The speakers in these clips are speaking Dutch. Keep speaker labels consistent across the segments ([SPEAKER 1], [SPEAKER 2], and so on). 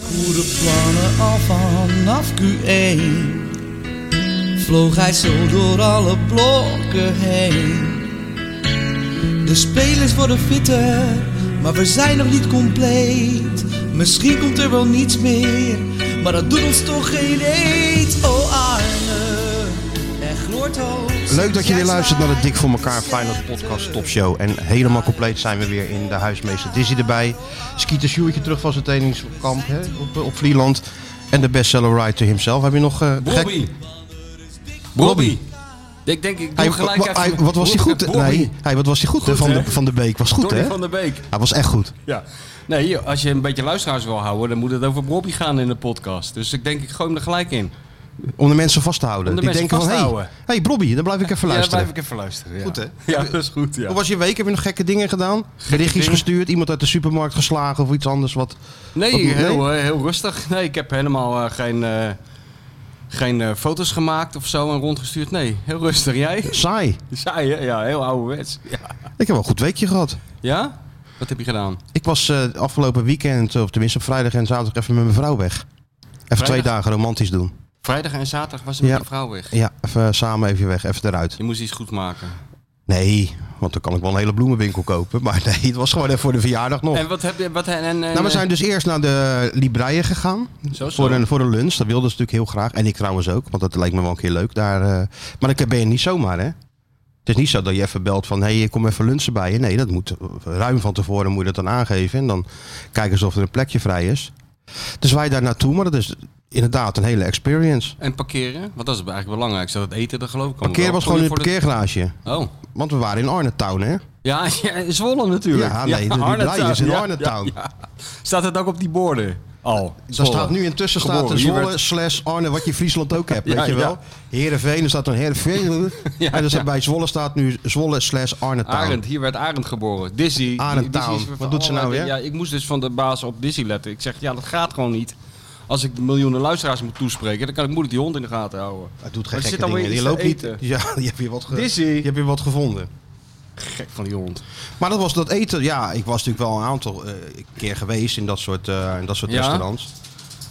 [SPEAKER 1] goede plannen al vanaf Q1 Vloog hij zo door alle blokken heen De spelers worden fitter, maar we zijn nog niet compleet Misschien komt er wel niets meer, maar dat doet ons toch geen eet Oh Arne, er gloort hoop
[SPEAKER 2] Leuk dat je weer
[SPEAKER 1] Jij
[SPEAKER 2] luistert naar de
[SPEAKER 1] zwaait.
[SPEAKER 2] Dik voor elkaar Final Podcast Top Show. En helemaal compleet zijn we weer in de huismeester Dizzy erbij. Skeeter Sjoertje terug van zijn trainingskamp hè, op, op Vlieland. En de bestseller writer himself. Heb je nog... eh, gek-
[SPEAKER 3] Bobby. Bobby. Ik denk, ik doe
[SPEAKER 2] Hij,
[SPEAKER 3] gelijk
[SPEAKER 2] wa-
[SPEAKER 3] even...
[SPEAKER 2] hij- wat was hij goed?
[SPEAKER 3] Bobby.
[SPEAKER 2] Nee, hij, wat was hij goed? hè? van,
[SPEAKER 3] hè?
[SPEAKER 2] de, van de Beek was goed,
[SPEAKER 3] Donny
[SPEAKER 2] hè?
[SPEAKER 3] van der Beek.
[SPEAKER 2] Hij was echt goed.
[SPEAKER 3] Ja. Nee, hier, als je een beetje luisteraars wil houden, dan moet het over Bobby gaan in de podcast. Dus ik denk, ik gooi hem er gelijk in.
[SPEAKER 2] Om de mensen vast te houden.
[SPEAKER 3] Om de
[SPEAKER 2] Die
[SPEAKER 3] mensen
[SPEAKER 2] denken van,
[SPEAKER 3] vast te
[SPEAKER 2] hé, hey,
[SPEAKER 3] houden.
[SPEAKER 2] hey, Bobby, dan blijf ik even
[SPEAKER 3] Ja, dan
[SPEAKER 2] luisteren.
[SPEAKER 3] blijf ik even luisteren. Ja.
[SPEAKER 2] Goed, hè?
[SPEAKER 3] Ja, dat is goed, ja.
[SPEAKER 2] Hoe was je week? Heb je nog gekke dingen gedaan? Berichtjes
[SPEAKER 3] dingen?
[SPEAKER 2] gestuurd? Iemand uit de supermarkt geslagen of iets anders? Wat?
[SPEAKER 3] Nee,
[SPEAKER 2] Wat moet-
[SPEAKER 3] heel, eh, heel rustig. Nee, ik heb helemaal eh, geen, eh, geen eh, foto's gemaakt of zo en rondgestuurd. Nee, heel rustig. Jij?
[SPEAKER 2] Saai.
[SPEAKER 3] Saai, hè? Ja, heel ouderwets. Ja?
[SPEAKER 2] Ik heb wel een goed weekje gehad.
[SPEAKER 3] ja? Wat heb je gedaan?
[SPEAKER 2] Ik was eh, afgelopen weekend, of tenminste op vrijdag en zaterdag, even met mijn vrouw weg. Even twee dagen romantisch doen.
[SPEAKER 3] Vrijdag en zaterdag was je met
[SPEAKER 2] Ja.
[SPEAKER 3] je vrouw weg.
[SPEAKER 2] Ja, even samen even weg, even eruit.
[SPEAKER 3] Je moest iets goed maken.
[SPEAKER 2] Nee, want dan kan ik wel een hele bloemenwinkel kopen. Maar nee, het was gewoon even voor de verjaardag nog.
[SPEAKER 3] En wat heb je... Wat, en, en,
[SPEAKER 2] nou, we zijn dus eerst naar de Libraïe gegaan.
[SPEAKER 3] Zo, zo.
[SPEAKER 2] Voor, een, voor een lunch. Dat wilden ze natuurlijk heel graag. En ik trouwens ook, want dat lijkt me wel een keer leuk daar. eh. Maar dan ben je niet zomaar, hè? Het is niet zo dat je even belt van, hé, hey, kom even lunchen bij je. Nee, dat moet eh, ruim van tevoren moet je dat dan aangeven. En dan kijken ze of er een plekje vrij is. Dus wij daar naartoe, maar dat is inderdaad een hele experience.
[SPEAKER 3] En parkeren? Want dat is eigenlijk belangrijk. Zodat het eten er geloof ik allemaal
[SPEAKER 2] Parkeren
[SPEAKER 3] wel.
[SPEAKER 2] was gewoon in het
[SPEAKER 3] Voor de-
[SPEAKER 2] parkeergarage.
[SPEAKER 3] Oh.
[SPEAKER 2] Want we waren in Arnhem-town, hè?
[SPEAKER 3] Ja, ja, in Zwolle natuurlijk.
[SPEAKER 2] Ja, nee, de- die
[SPEAKER 3] Arnhem
[SPEAKER 2] Lions in
[SPEAKER 3] Town. Ja,
[SPEAKER 2] Arnhem
[SPEAKER 3] ja,
[SPEAKER 2] Town.
[SPEAKER 3] ja. Staat het ook op die borden? Al.
[SPEAKER 2] Daar
[SPEAKER 3] Zwolle.
[SPEAKER 2] staat nu intussen staat
[SPEAKER 3] Geboren.
[SPEAKER 2] een
[SPEAKER 3] Hier
[SPEAKER 2] Zwolle
[SPEAKER 3] werd-
[SPEAKER 2] slash Arne, wat je in Friesland ook hebt,
[SPEAKER 3] Ja,
[SPEAKER 2] weet je
[SPEAKER 3] ja.
[SPEAKER 2] wel. Heerenveen, er staat een Heerenveen.
[SPEAKER 3] Ja,
[SPEAKER 2] en er staat
[SPEAKER 3] ja.
[SPEAKER 2] bij Zwolle staat nu Zwolle slash Arne
[SPEAKER 3] Arend, hier werd Arend geboren. Dizzy.
[SPEAKER 2] Arend
[SPEAKER 3] Dizzy is
[SPEAKER 2] Town.
[SPEAKER 3] weer van
[SPEAKER 2] Wat doet ze nou
[SPEAKER 3] allerlei-
[SPEAKER 2] weer?
[SPEAKER 3] Ja, ik moest dus van de baas op Dizzy letten. Ik zeg, ja, dat gaat gewoon niet. Als ik de miljoenen luisteraars moet toespreken, dan kan ik moeilijk die hond in de gaten houden.
[SPEAKER 2] Het doet
[SPEAKER 3] Maar
[SPEAKER 2] geen
[SPEAKER 3] er
[SPEAKER 2] gekke
[SPEAKER 3] zit alweer
[SPEAKER 2] dingen. Die
[SPEAKER 3] iets te
[SPEAKER 2] loopt niet.
[SPEAKER 3] eten.
[SPEAKER 2] Ja, je hebt weer wat, ge-
[SPEAKER 3] Dizzy.
[SPEAKER 2] je hebt weer wat gevonden.
[SPEAKER 3] Gek van die hond.
[SPEAKER 2] Maar dat was dat eten. Ja, ik was natuurlijk wel een aantal eh, keer geweest in dat soort, eh, in dat soort
[SPEAKER 3] Ja.
[SPEAKER 2] restaurants.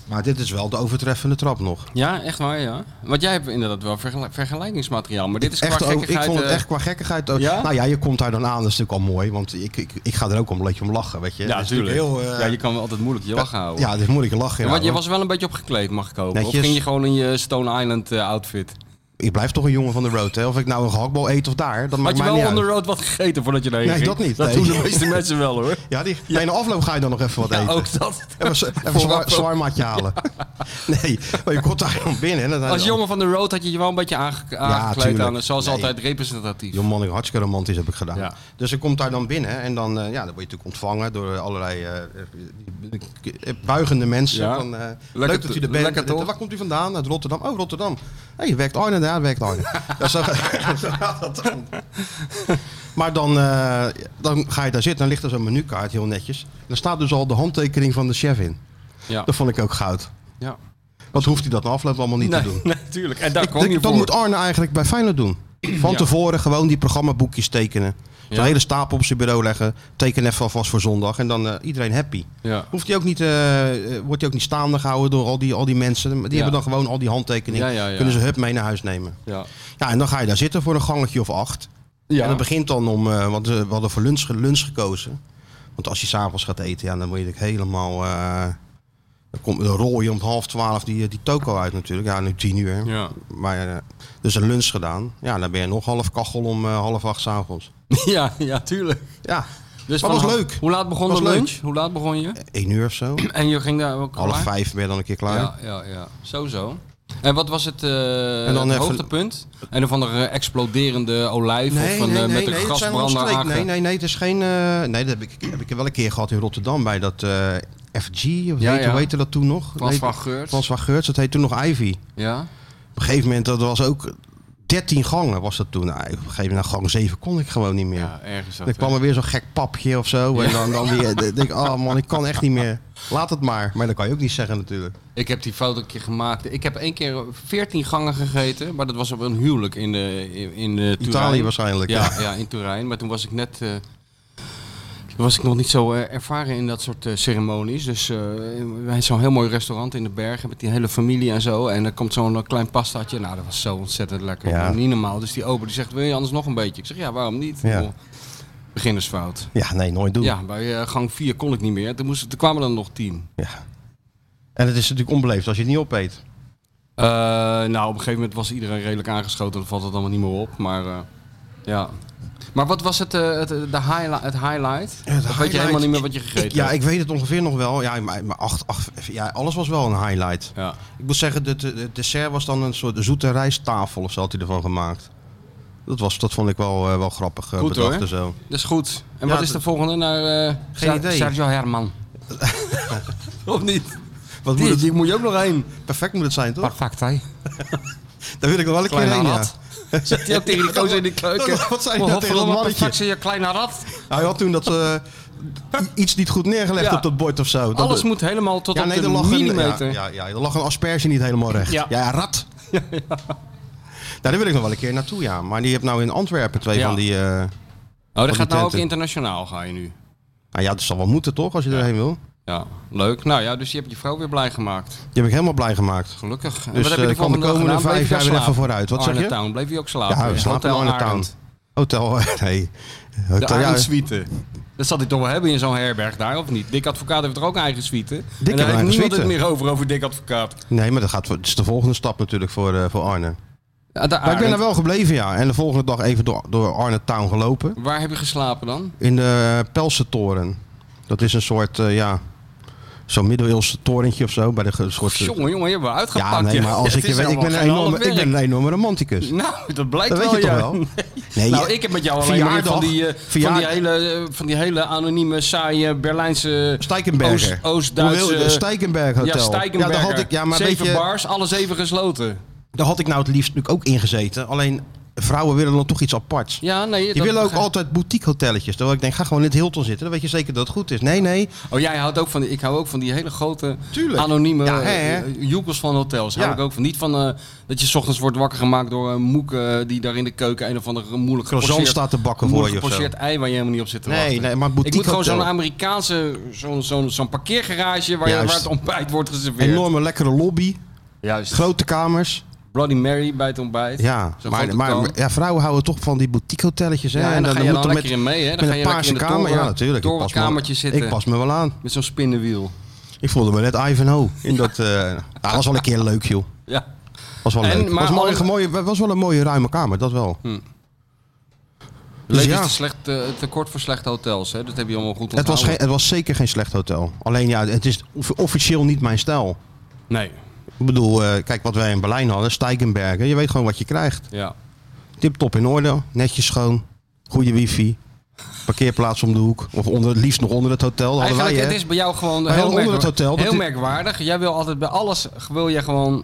[SPEAKER 2] Maar dit is wel de overtreffende trap nog.
[SPEAKER 3] Ja, echt waar, ja. Want jij hebt inderdaad wel vergel- vergelijkingsmateriaal. Maar dit is
[SPEAKER 2] Echt
[SPEAKER 3] qua
[SPEAKER 2] ook-
[SPEAKER 3] gekkigheid...
[SPEAKER 2] ik vond het
[SPEAKER 3] eh,
[SPEAKER 2] echt qua gekkigheid ook.
[SPEAKER 3] Ja?
[SPEAKER 2] Nou ja, je komt daar dan aan, dat is natuurlijk al mooi. Want ik, ik, ik ga er ook om een beetje om lachen, weet je.
[SPEAKER 3] Ja,
[SPEAKER 2] Dat is natuurlijk
[SPEAKER 3] natuurlijk.
[SPEAKER 2] Heel, eh,
[SPEAKER 3] ja, je kan wel altijd moeilijk je lachen houden.
[SPEAKER 2] Ja, dat is moeilijk lachen.
[SPEAKER 3] Ja,
[SPEAKER 2] Ja,
[SPEAKER 3] want je
[SPEAKER 2] hoor.
[SPEAKER 3] was wel een beetje opgekleed, mag ik hopen.
[SPEAKER 2] Netjes.
[SPEAKER 3] Of ging je gewoon in je Stone Island eh, outfit?
[SPEAKER 2] Ik blijf toch een jongen van de road, hè. Of ik nou een gehaktbal eet of daar, dat
[SPEAKER 3] Had
[SPEAKER 2] maakt
[SPEAKER 3] je
[SPEAKER 2] mij
[SPEAKER 3] wel
[SPEAKER 2] niet
[SPEAKER 3] on the
[SPEAKER 2] uit.
[SPEAKER 3] road wat gegeten voordat je daarheen
[SPEAKER 2] Nee,
[SPEAKER 3] ging?
[SPEAKER 2] dat niet,
[SPEAKER 3] Dat
[SPEAKER 2] nee.
[SPEAKER 3] doen de meeste mensen wel hoor.
[SPEAKER 2] Ja, die, bij de afloop ga je dan nog even wat
[SPEAKER 3] Ja,
[SPEAKER 2] eten.
[SPEAKER 3] ook dat.
[SPEAKER 2] Even, zo- even
[SPEAKER 3] Vooraf
[SPEAKER 2] zwaar,
[SPEAKER 3] ook.
[SPEAKER 2] zwaarmatje halen. Nee, maar je komt daar dan binnen. en dan-
[SPEAKER 3] Als jongen van de road had je je wel een beetje aange aangekleed
[SPEAKER 2] tuurlijk.
[SPEAKER 3] aan. dus Zoals
[SPEAKER 2] Nee.
[SPEAKER 3] altijd representatief.
[SPEAKER 2] Joh man, ik hartstikke romantisch heb ik gedaan.
[SPEAKER 3] Ja.
[SPEAKER 2] Dus ik komt daar dan binnen en dan, eh, ja, dan word je natuurlijk ontvangen door allerlei eh, eh, buigende mensen.
[SPEAKER 3] Ja.
[SPEAKER 2] Van, eh, leuk
[SPEAKER 3] Lekker
[SPEAKER 2] dat u
[SPEAKER 3] to-
[SPEAKER 2] er bent.
[SPEAKER 3] lekker
[SPEAKER 2] En dan,
[SPEAKER 3] toch?
[SPEAKER 2] Waar komt u vandaan? Uit Rotterdam. Oh, Rotterdam. Hé, je werkt Arne, daar werkt Arne. ja, zo gaat zo gaat dat dan. Maar dan, eh, dan ga je daar zitten, dan ligt er zo'n menukaart heel netjes. Daar staat dus al de handtekening van de chef in.
[SPEAKER 3] Ja.
[SPEAKER 2] Dat vond ik ook goud.
[SPEAKER 3] ja.
[SPEAKER 2] Wat hoeft hij dat na afloop allemaal niet te doen?
[SPEAKER 3] natuurlijk. En daar
[SPEAKER 2] Ik
[SPEAKER 3] kwam
[SPEAKER 2] denk,
[SPEAKER 3] je
[SPEAKER 2] dat
[SPEAKER 3] voor.
[SPEAKER 2] moet Arne eigenlijk bij Feyenoord doen. Van
[SPEAKER 3] Ja.
[SPEAKER 2] tevoren gewoon die programmaboekjes tekenen. Zo'n
[SPEAKER 3] Ja.
[SPEAKER 2] hele stapel op zijn bureau leggen. Teken even alvast voor zondag. En dan eh, iedereen happy.
[SPEAKER 3] Ja.
[SPEAKER 2] Hoeft hij ook niet, eh, eh, wordt hij ook niet staande gehouden door al die, al die mensen. Die hebben dan gewoon al die handtekeningen.
[SPEAKER 3] Ja, ja, ja.
[SPEAKER 2] Kunnen ze hup mee naar huis nemen.
[SPEAKER 3] Ja.
[SPEAKER 2] Ja, en dan ga je daar zitten voor een gangetje of acht.
[SPEAKER 3] Ja.
[SPEAKER 2] En dat begint dan om, eh, want eh, we hadden voor lunch, ge- lunch gekozen. Want als je s'avonds gaat eten, ja, dan word je natuurlijk helemaal... eh dan, kom, dan rol je om half twaalf die, die toko uit natuurlijk. Ja, nu tien uur.
[SPEAKER 3] Ja.
[SPEAKER 2] Maar, eh, dus een lunch gedaan. Ja, dan ben je nog half kachel om eh, half acht s'avonds.
[SPEAKER 3] ja, ja, tuurlijk.
[SPEAKER 2] Ja,
[SPEAKER 3] Dus
[SPEAKER 2] Maar
[SPEAKER 3] van-
[SPEAKER 2] was leuk.
[SPEAKER 3] Hoe laat begon
[SPEAKER 2] Was
[SPEAKER 3] de
[SPEAKER 2] leuk.
[SPEAKER 3] lunch? Hoe laat begon je?
[SPEAKER 2] één uur of zo.
[SPEAKER 3] En je ging daar ook
[SPEAKER 2] Half
[SPEAKER 3] klaar?
[SPEAKER 2] vijf ben je dan een keer klaar.
[SPEAKER 3] Ja, ja, ja. Sowieso. En wat was het, eh
[SPEAKER 2] En dan
[SPEAKER 3] het
[SPEAKER 2] even-
[SPEAKER 3] hoogtepunt? Een of andere exploderende olijf of een, eh, met een
[SPEAKER 2] het zijn
[SPEAKER 3] gasbrander
[SPEAKER 2] allemaal
[SPEAKER 3] aange...
[SPEAKER 2] streken. Nee, nee, nee, het is geen... eh, nee, dat heb ik, heb ik wel een keer gehad in Rotterdam bij dat eh, FG. Of
[SPEAKER 3] Ja,
[SPEAKER 2] heet,
[SPEAKER 3] ja.
[SPEAKER 2] Hoe heette dat toen nog?
[SPEAKER 3] Frans
[SPEAKER 2] Nee,
[SPEAKER 3] van Geurt.
[SPEAKER 2] Frans van Geurts, dat heette toen nog Ivy.
[SPEAKER 3] Ja?
[SPEAKER 2] Op een gegeven moment, dat was ook 13 gangen was dat toen. Nou, op een gegeven moment, na gang 7 kon ik gewoon niet meer.
[SPEAKER 3] Ja, ergens
[SPEAKER 2] dan kwam er weer zo'n gek papje of zo. En dan, dan weer, dan denk ik, oh man, ik kan echt niet meer. Laat het maar. Maar dat kan je ook niet zeggen natuurlijk.
[SPEAKER 3] Ik heb die fout een keer gemaakt. Ik heb één keer 14 gangen gegeten, maar dat was op een huwelijk in, de, in, in eh, Turijn.
[SPEAKER 2] Italië waarschijnlijk.
[SPEAKER 3] Ja, ja, in Turijn. Maar toen was ik net eh, Toen was ik nog niet zo eh, ervaren in dat soort eh, ceremonies. Dus eh wij zo'n heel mooi restaurant in de bergen met die hele familie en zo. En er komt zo'n eh, klein pastaatje. Nou, dat was zo ontzettend lekker.
[SPEAKER 2] Ja.
[SPEAKER 3] Niet normaal. Dus die ober die zegt, wil je anders nog een beetje? Ik zeg, ja, waarom niet?
[SPEAKER 2] Ja.
[SPEAKER 3] Ik bedoel, Beginnersfout.
[SPEAKER 2] Ja, nee, nooit doen.
[SPEAKER 3] Ja, bij eh, gang 4 kon ik niet meer. Toen, moest, toen kwamen er nog 10.
[SPEAKER 2] Ja. En het is natuurlijk onbeleefd als je het niet opeet.
[SPEAKER 3] Eh, nou, op een gegeven moment was iedereen redelijk aangeschoten. Dan valt het allemaal niet meer op. Maar eh, ja. Maar wat was het, eh, het, de highli- het highlight?
[SPEAKER 2] Het
[SPEAKER 3] Of weet je helemaal niet meer wat je
[SPEAKER 2] Ik-
[SPEAKER 3] gegeten
[SPEAKER 2] Ja,
[SPEAKER 3] hebt?
[SPEAKER 2] ik weet het ongeveer nog wel. Ja, maar, maar acht, acht, ja, alles was wel een highlight.
[SPEAKER 3] Ja.
[SPEAKER 2] Ik moet zeggen, het de, de dessert was dan een soort zoete rijsttafel of zo had hij ervan gemaakt. Dat, was, dat vond ik wel, eh, wel grappig eh,
[SPEAKER 3] Goed,
[SPEAKER 2] bedacht
[SPEAKER 3] hoor.
[SPEAKER 2] en zo.
[SPEAKER 3] Dat is Dus goed. En
[SPEAKER 2] Ja,
[SPEAKER 3] wat is
[SPEAKER 2] dat-
[SPEAKER 3] de volgende naar eh Ser-
[SPEAKER 2] idee.
[SPEAKER 3] Sergio Herman? of niet?
[SPEAKER 2] Wat
[SPEAKER 3] Die,
[SPEAKER 2] moet het,
[SPEAKER 3] die moet je ook nog heen.
[SPEAKER 2] perfect moet het zijn, toch?
[SPEAKER 3] Perfect, hè?
[SPEAKER 2] Daar wil ik nog wel een keer
[SPEAKER 3] Kleine
[SPEAKER 2] heen, ja.
[SPEAKER 3] rat. Zegt hij ook tegen die gozer in de keuken.
[SPEAKER 2] Wat zei je nou tegen
[SPEAKER 3] Wel,
[SPEAKER 2] dat
[SPEAKER 3] godverdomme,
[SPEAKER 2] mannetje?
[SPEAKER 3] perfect, zei je kleine rat.
[SPEAKER 2] Hij had toen dat, eh, iets niet goed neergelegd
[SPEAKER 3] Ja.
[SPEAKER 2] op dat bord of zo. Dat-
[SPEAKER 3] Alles moet helemaal tot
[SPEAKER 2] ja,
[SPEAKER 3] op
[SPEAKER 2] nee,
[SPEAKER 3] de
[SPEAKER 2] er lag
[SPEAKER 3] millimeter.
[SPEAKER 2] Een, ja, ja, ja, er lag een asperge niet helemaal recht. Ja,
[SPEAKER 3] Ja.
[SPEAKER 2] ja rat. Nou, daar wil ik nog wel een keer naartoe, ja. Maar die hebt nou in Antwerpen twee
[SPEAKER 3] Ja.
[SPEAKER 2] van die... eh,
[SPEAKER 3] Oh,
[SPEAKER 2] die
[SPEAKER 3] dat gaat nou ook
[SPEAKER 2] tenten.
[SPEAKER 3] internationaal, ga je nu.
[SPEAKER 2] Nou ja, dat zal wel moeten, toch? Als je erheen wil.
[SPEAKER 3] Ja, leuk. Nou ja, dus je hebt je vrouw weer blij gemaakt.
[SPEAKER 2] Die heb ik helemaal blij gemaakt.
[SPEAKER 3] Gelukkig. En
[SPEAKER 2] Dus,
[SPEAKER 3] wat heb je
[SPEAKER 2] eh, van de
[SPEAKER 3] de volgende dag
[SPEAKER 2] komende
[SPEAKER 3] gedaan? Bleef
[SPEAKER 2] vijf
[SPEAKER 3] je daar
[SPEAKER 2] jaar weer even
[SPEAKER 3] slapen? Oh,
[SPEAKER 2] vooruit. Wat zeg je?
[SPEAKER 3] Arnetown, bleef je ook slapen?
[SPEAKER 2] Ja, we slapen in
[SPEAKER 3] Hotel
[SPEAKER 2] Arnhem Town.
[SPEAKER 3] Arend.
[SPEAKER 2] Hotel, nee.
[SPEAKER 3] De
[SPEAKER 2] Hotel, ja,
[SPEAKER 3] eigen suite. Dat zal hij toch wel hebben in zo'n herberg daar, of niet? Dick Advocaat heeft er ook een eigen suite. en
[SPEAKER 2] heeft
[SPEAKER 3] daar
[SPEAKER 2] een
[SPEAKER 3] heeft
[SPEAKER 2] eigen
[SPEAKER 3] niemand
[SPEAKER 2] suite.
[SPEAKER 3] het meer over, over Dick Advocaat.
[SPEAKER 2] nee, maar dat, gaat, voor- dat is de volgende stap natuurlijk voor, eh, voor Arne.
[SPEAKER 3] Ja, de
[SPEAKER 2] Maar ik ben
[SPEAKER 3] Arend.
[SPEAKER 2] daar wel gebleven, ja. En de volgende dag even door, door Arne Town gelopen.
[SPEAKER 3] Waar heb je geslapen dan?
[SPEAKER 2] In de Pelsentoren. Dat is een soort, eh, ja... Zo'n middeleeuwse torentje of zo. Bij de ge- soort, eh,
[SPEAKER 3] Jongen, jongen, je hebt me uitgepakt.
[SPEAKER 2] ja, nee, maar als
[SPEAKER 3] Ja,
[SPEAKER 2] ik
[SPEAKER 3] het
[SPEAKER 2] je
[SPEAKER 3] is
[SPEAKER 2] weet, ik ben,
[SPEAKER 3] allemaal
[SPEAKER 2] een
[SPEAKER 3] geen
[SPEAKER 2] enorme,
[SPEAKER 3] half
[SPEAKER 2] ik ben
[SPEAKER 3] werk.
[SPEAKER 2] een enorme romanticus.
[SPEAKER 3] Nou, dat blijkt
[SPEAKER 2] dat weet je
[SPEAKER 3] wel,
[SPEAKER 2] toch
[SPEAKER 3] ja.
[SPEAKER 2] wel? Nee,
[SPEAKER 3] Nou,
[SPEAKER 2] je-
[SPEAKER 3] ik heb met jou alleen maar
[SPEAKER 2] Verjaardag.
[SPEAKER 3] van die, eh, van, die
[SPEAKER 2] Verjaardag.
[SPEAKER 3] hele, eh, van die hele anonieme, saaie Berlijnse...
[SPEAKER 2] Steikenberger.
[SPEAKER 3] Oost- Oost-Duitse-
[SPEAKER 2] Hoe wil je- Steikenberg Hotel.
[SPEAKER 3] Ja, Steigenberger.
[SPEAKER 2] Ja, daar had ik, ja, maar weet
[SPEAKER 3] Zeven
[SPEAKER 2] je,
[SPEAKER 3] bars, alles even gesloten.
[SPEAKER 2] daar had ik nou het liefst natuurlijk ook ingezeten. Alleen vrouwen willen dan toch iets aparts.
[SPEAKER 3] Ja, nee.
[SPEAKER 2] Die
[SPEAKER 3] dat
[SPEAKER 2] willen ook
[SPEAKER 3] begrijp-
[SPEAKER 2] altijd boutique hotelletje. Terwijl ik denk, ga gewoon in het Hilton zitten. Dan weet je zeker dat het goed is. Nee, nee.
[SPEAKER 3] Oh, jij houdt ook van... die- Ik hou ook van die hele grote,
[SPEAKER 2] Tuurlijk.
[SPEAKER 3] anonieme
[SPEAKER 2] Ja, hè,
[SPEAKER 3] eh,
[SPEAKER 2] hè?
[SPEAKER 3] joekels van hotels. Hou
[SPEAKER 2] Ja.
[SPEAKER 3] ik ook van. Niet van eh, dat je 's ochtends wordt wakker gemaakt door een moek eh, die daar in de keuken een of andere moeilijk
[SPEAKER 2] Croissant
[SPEAKER 3] gepocheerd-
[SPEAKER 2] staat te bakken
[SPEAKER 3] een
[SPEAKER 2] voor
[SPEAKER 3] moeilijk
[SPEAKER 2] je of zo.
[SPEAKER 3] gepocheerd ei waar je helemaal niet op zit te
[SPEAKER 2] Nee,
[SPEAKER 3] wachten.
[SPEAKER 2] nee, maar
[SPEAKER 3] Ik moet
[SPEAKER 2] boutique
[SPEAKER 3] gewoon zo'n
[SPEAKER 2] hotel.
[SPEAKER 3] Amerikaanse, zo'n zo'n zo'n parkeergarage waar, je,
[SPEAKER 2] Juist.
[SPEAKER 3] waar het ontbijt wordt geserveerd.
[SPEAKER 2] Enorme lekkere lobby.
[SPEAKER 3] Juist.
[SPEAKER 2] Grote kamers.
[SPEAKER 3] Bloody Mary bij het ontbijt.
[SPEAKER 2] Ja,
[SPEAKER 3] Zo'n
[SPEAKER 2] maar,
[SPEAKER 3] grote
[SPEAKER 2] maar
[SPEAKER 3] kan.
[SPEAKER 2] ja, vrouwen houden toch van die boutique hotelletjes. Hè?
[SPEAKER 3] Ja, en dan ga je
[SPEAKER 2] moet
[SPEAKER 3] dan
[SPEAKER 2] er
[SPEAKER 3] lekker in mee, hè? Dan
[SPEAKER 2] met
[SPEAKER 3] ga
[SPEAKER 2] een
[SPEAKER 3] je lekker
[SPEAKER 2] paarse
[SPEAKER 3] in de
[SPEAKER 2] kamer.
[SPEAKER 3] toren-
[SPEAKER 2] Ja, natuurlijk. Ik pas me-
[SPEAKER 3] torenkamertje zitten.
[SPEAKER 2] Ik pas me wel aan.
[SPEAKER 3] Met zo'n spinnenwiel.
[SPEAKER 2] Ik voelde me net Ivanhoe. In dat, eh nou, dat was wel een keer leuk, joh.
[SPEAKER 3] Ja.
[SPEAKER 2] Was wel
[SPEAKER 3] En,
[SPEAKER 2] leuk.
[SPEAKER 3] maar Hm.
[SPEAKER 2] was, mooi,
[SPEAKER 3] al-
[SPEAKER 2] een mooie, was wel een mooie ruime kamer, dat wel. Dus
[SPEAKER 3] Leven
[SPEAKER 2] ja.
[SPEAKER 3] is te slecht, eh, tekort voor slechte hotels. Hè? Dat heb je allemaal goed
[SPEAKER 2] Het
[SPEAKER 3] onthouden.
[SPEAKER 2] was, geen, het was zeker geen slecht hotel. Alleen ja, het is off- officieel niet mijn stijl.
[SPEAKER 3] Nee.
[SPEAKER 2] Ik bedoel, eh, kijk wat wij in Berlijn hadden, Steigenbergen. Je weet gewoon wat je krijgt.
[SPEAKER 3] Ja.
[SPEAKER 2] Tip top in orde, netjes schoon, goede wifi, parkeerplaats om de hoek. Of onder, het liefst nog onder het hotel. Dat Hadden wij,
[SPEAKER 3] Eigenlijk, het
[SPEAKER 2] hè?
[SPEAKER 3] is bij jou gewoon
[SPEAKER 2] Wij
[SPEAKER 3] heel,
[SPEAKER 2] hadden onder het
[SPEAKER 3] merkwa-
[SPEAKER 2] hotel, dat
[SPEAKER 3] heel
[SPEAKER 2] is-
[SPEAKER 3] merkwaardig. Jij wil altijd bij alles, wil je gewoon...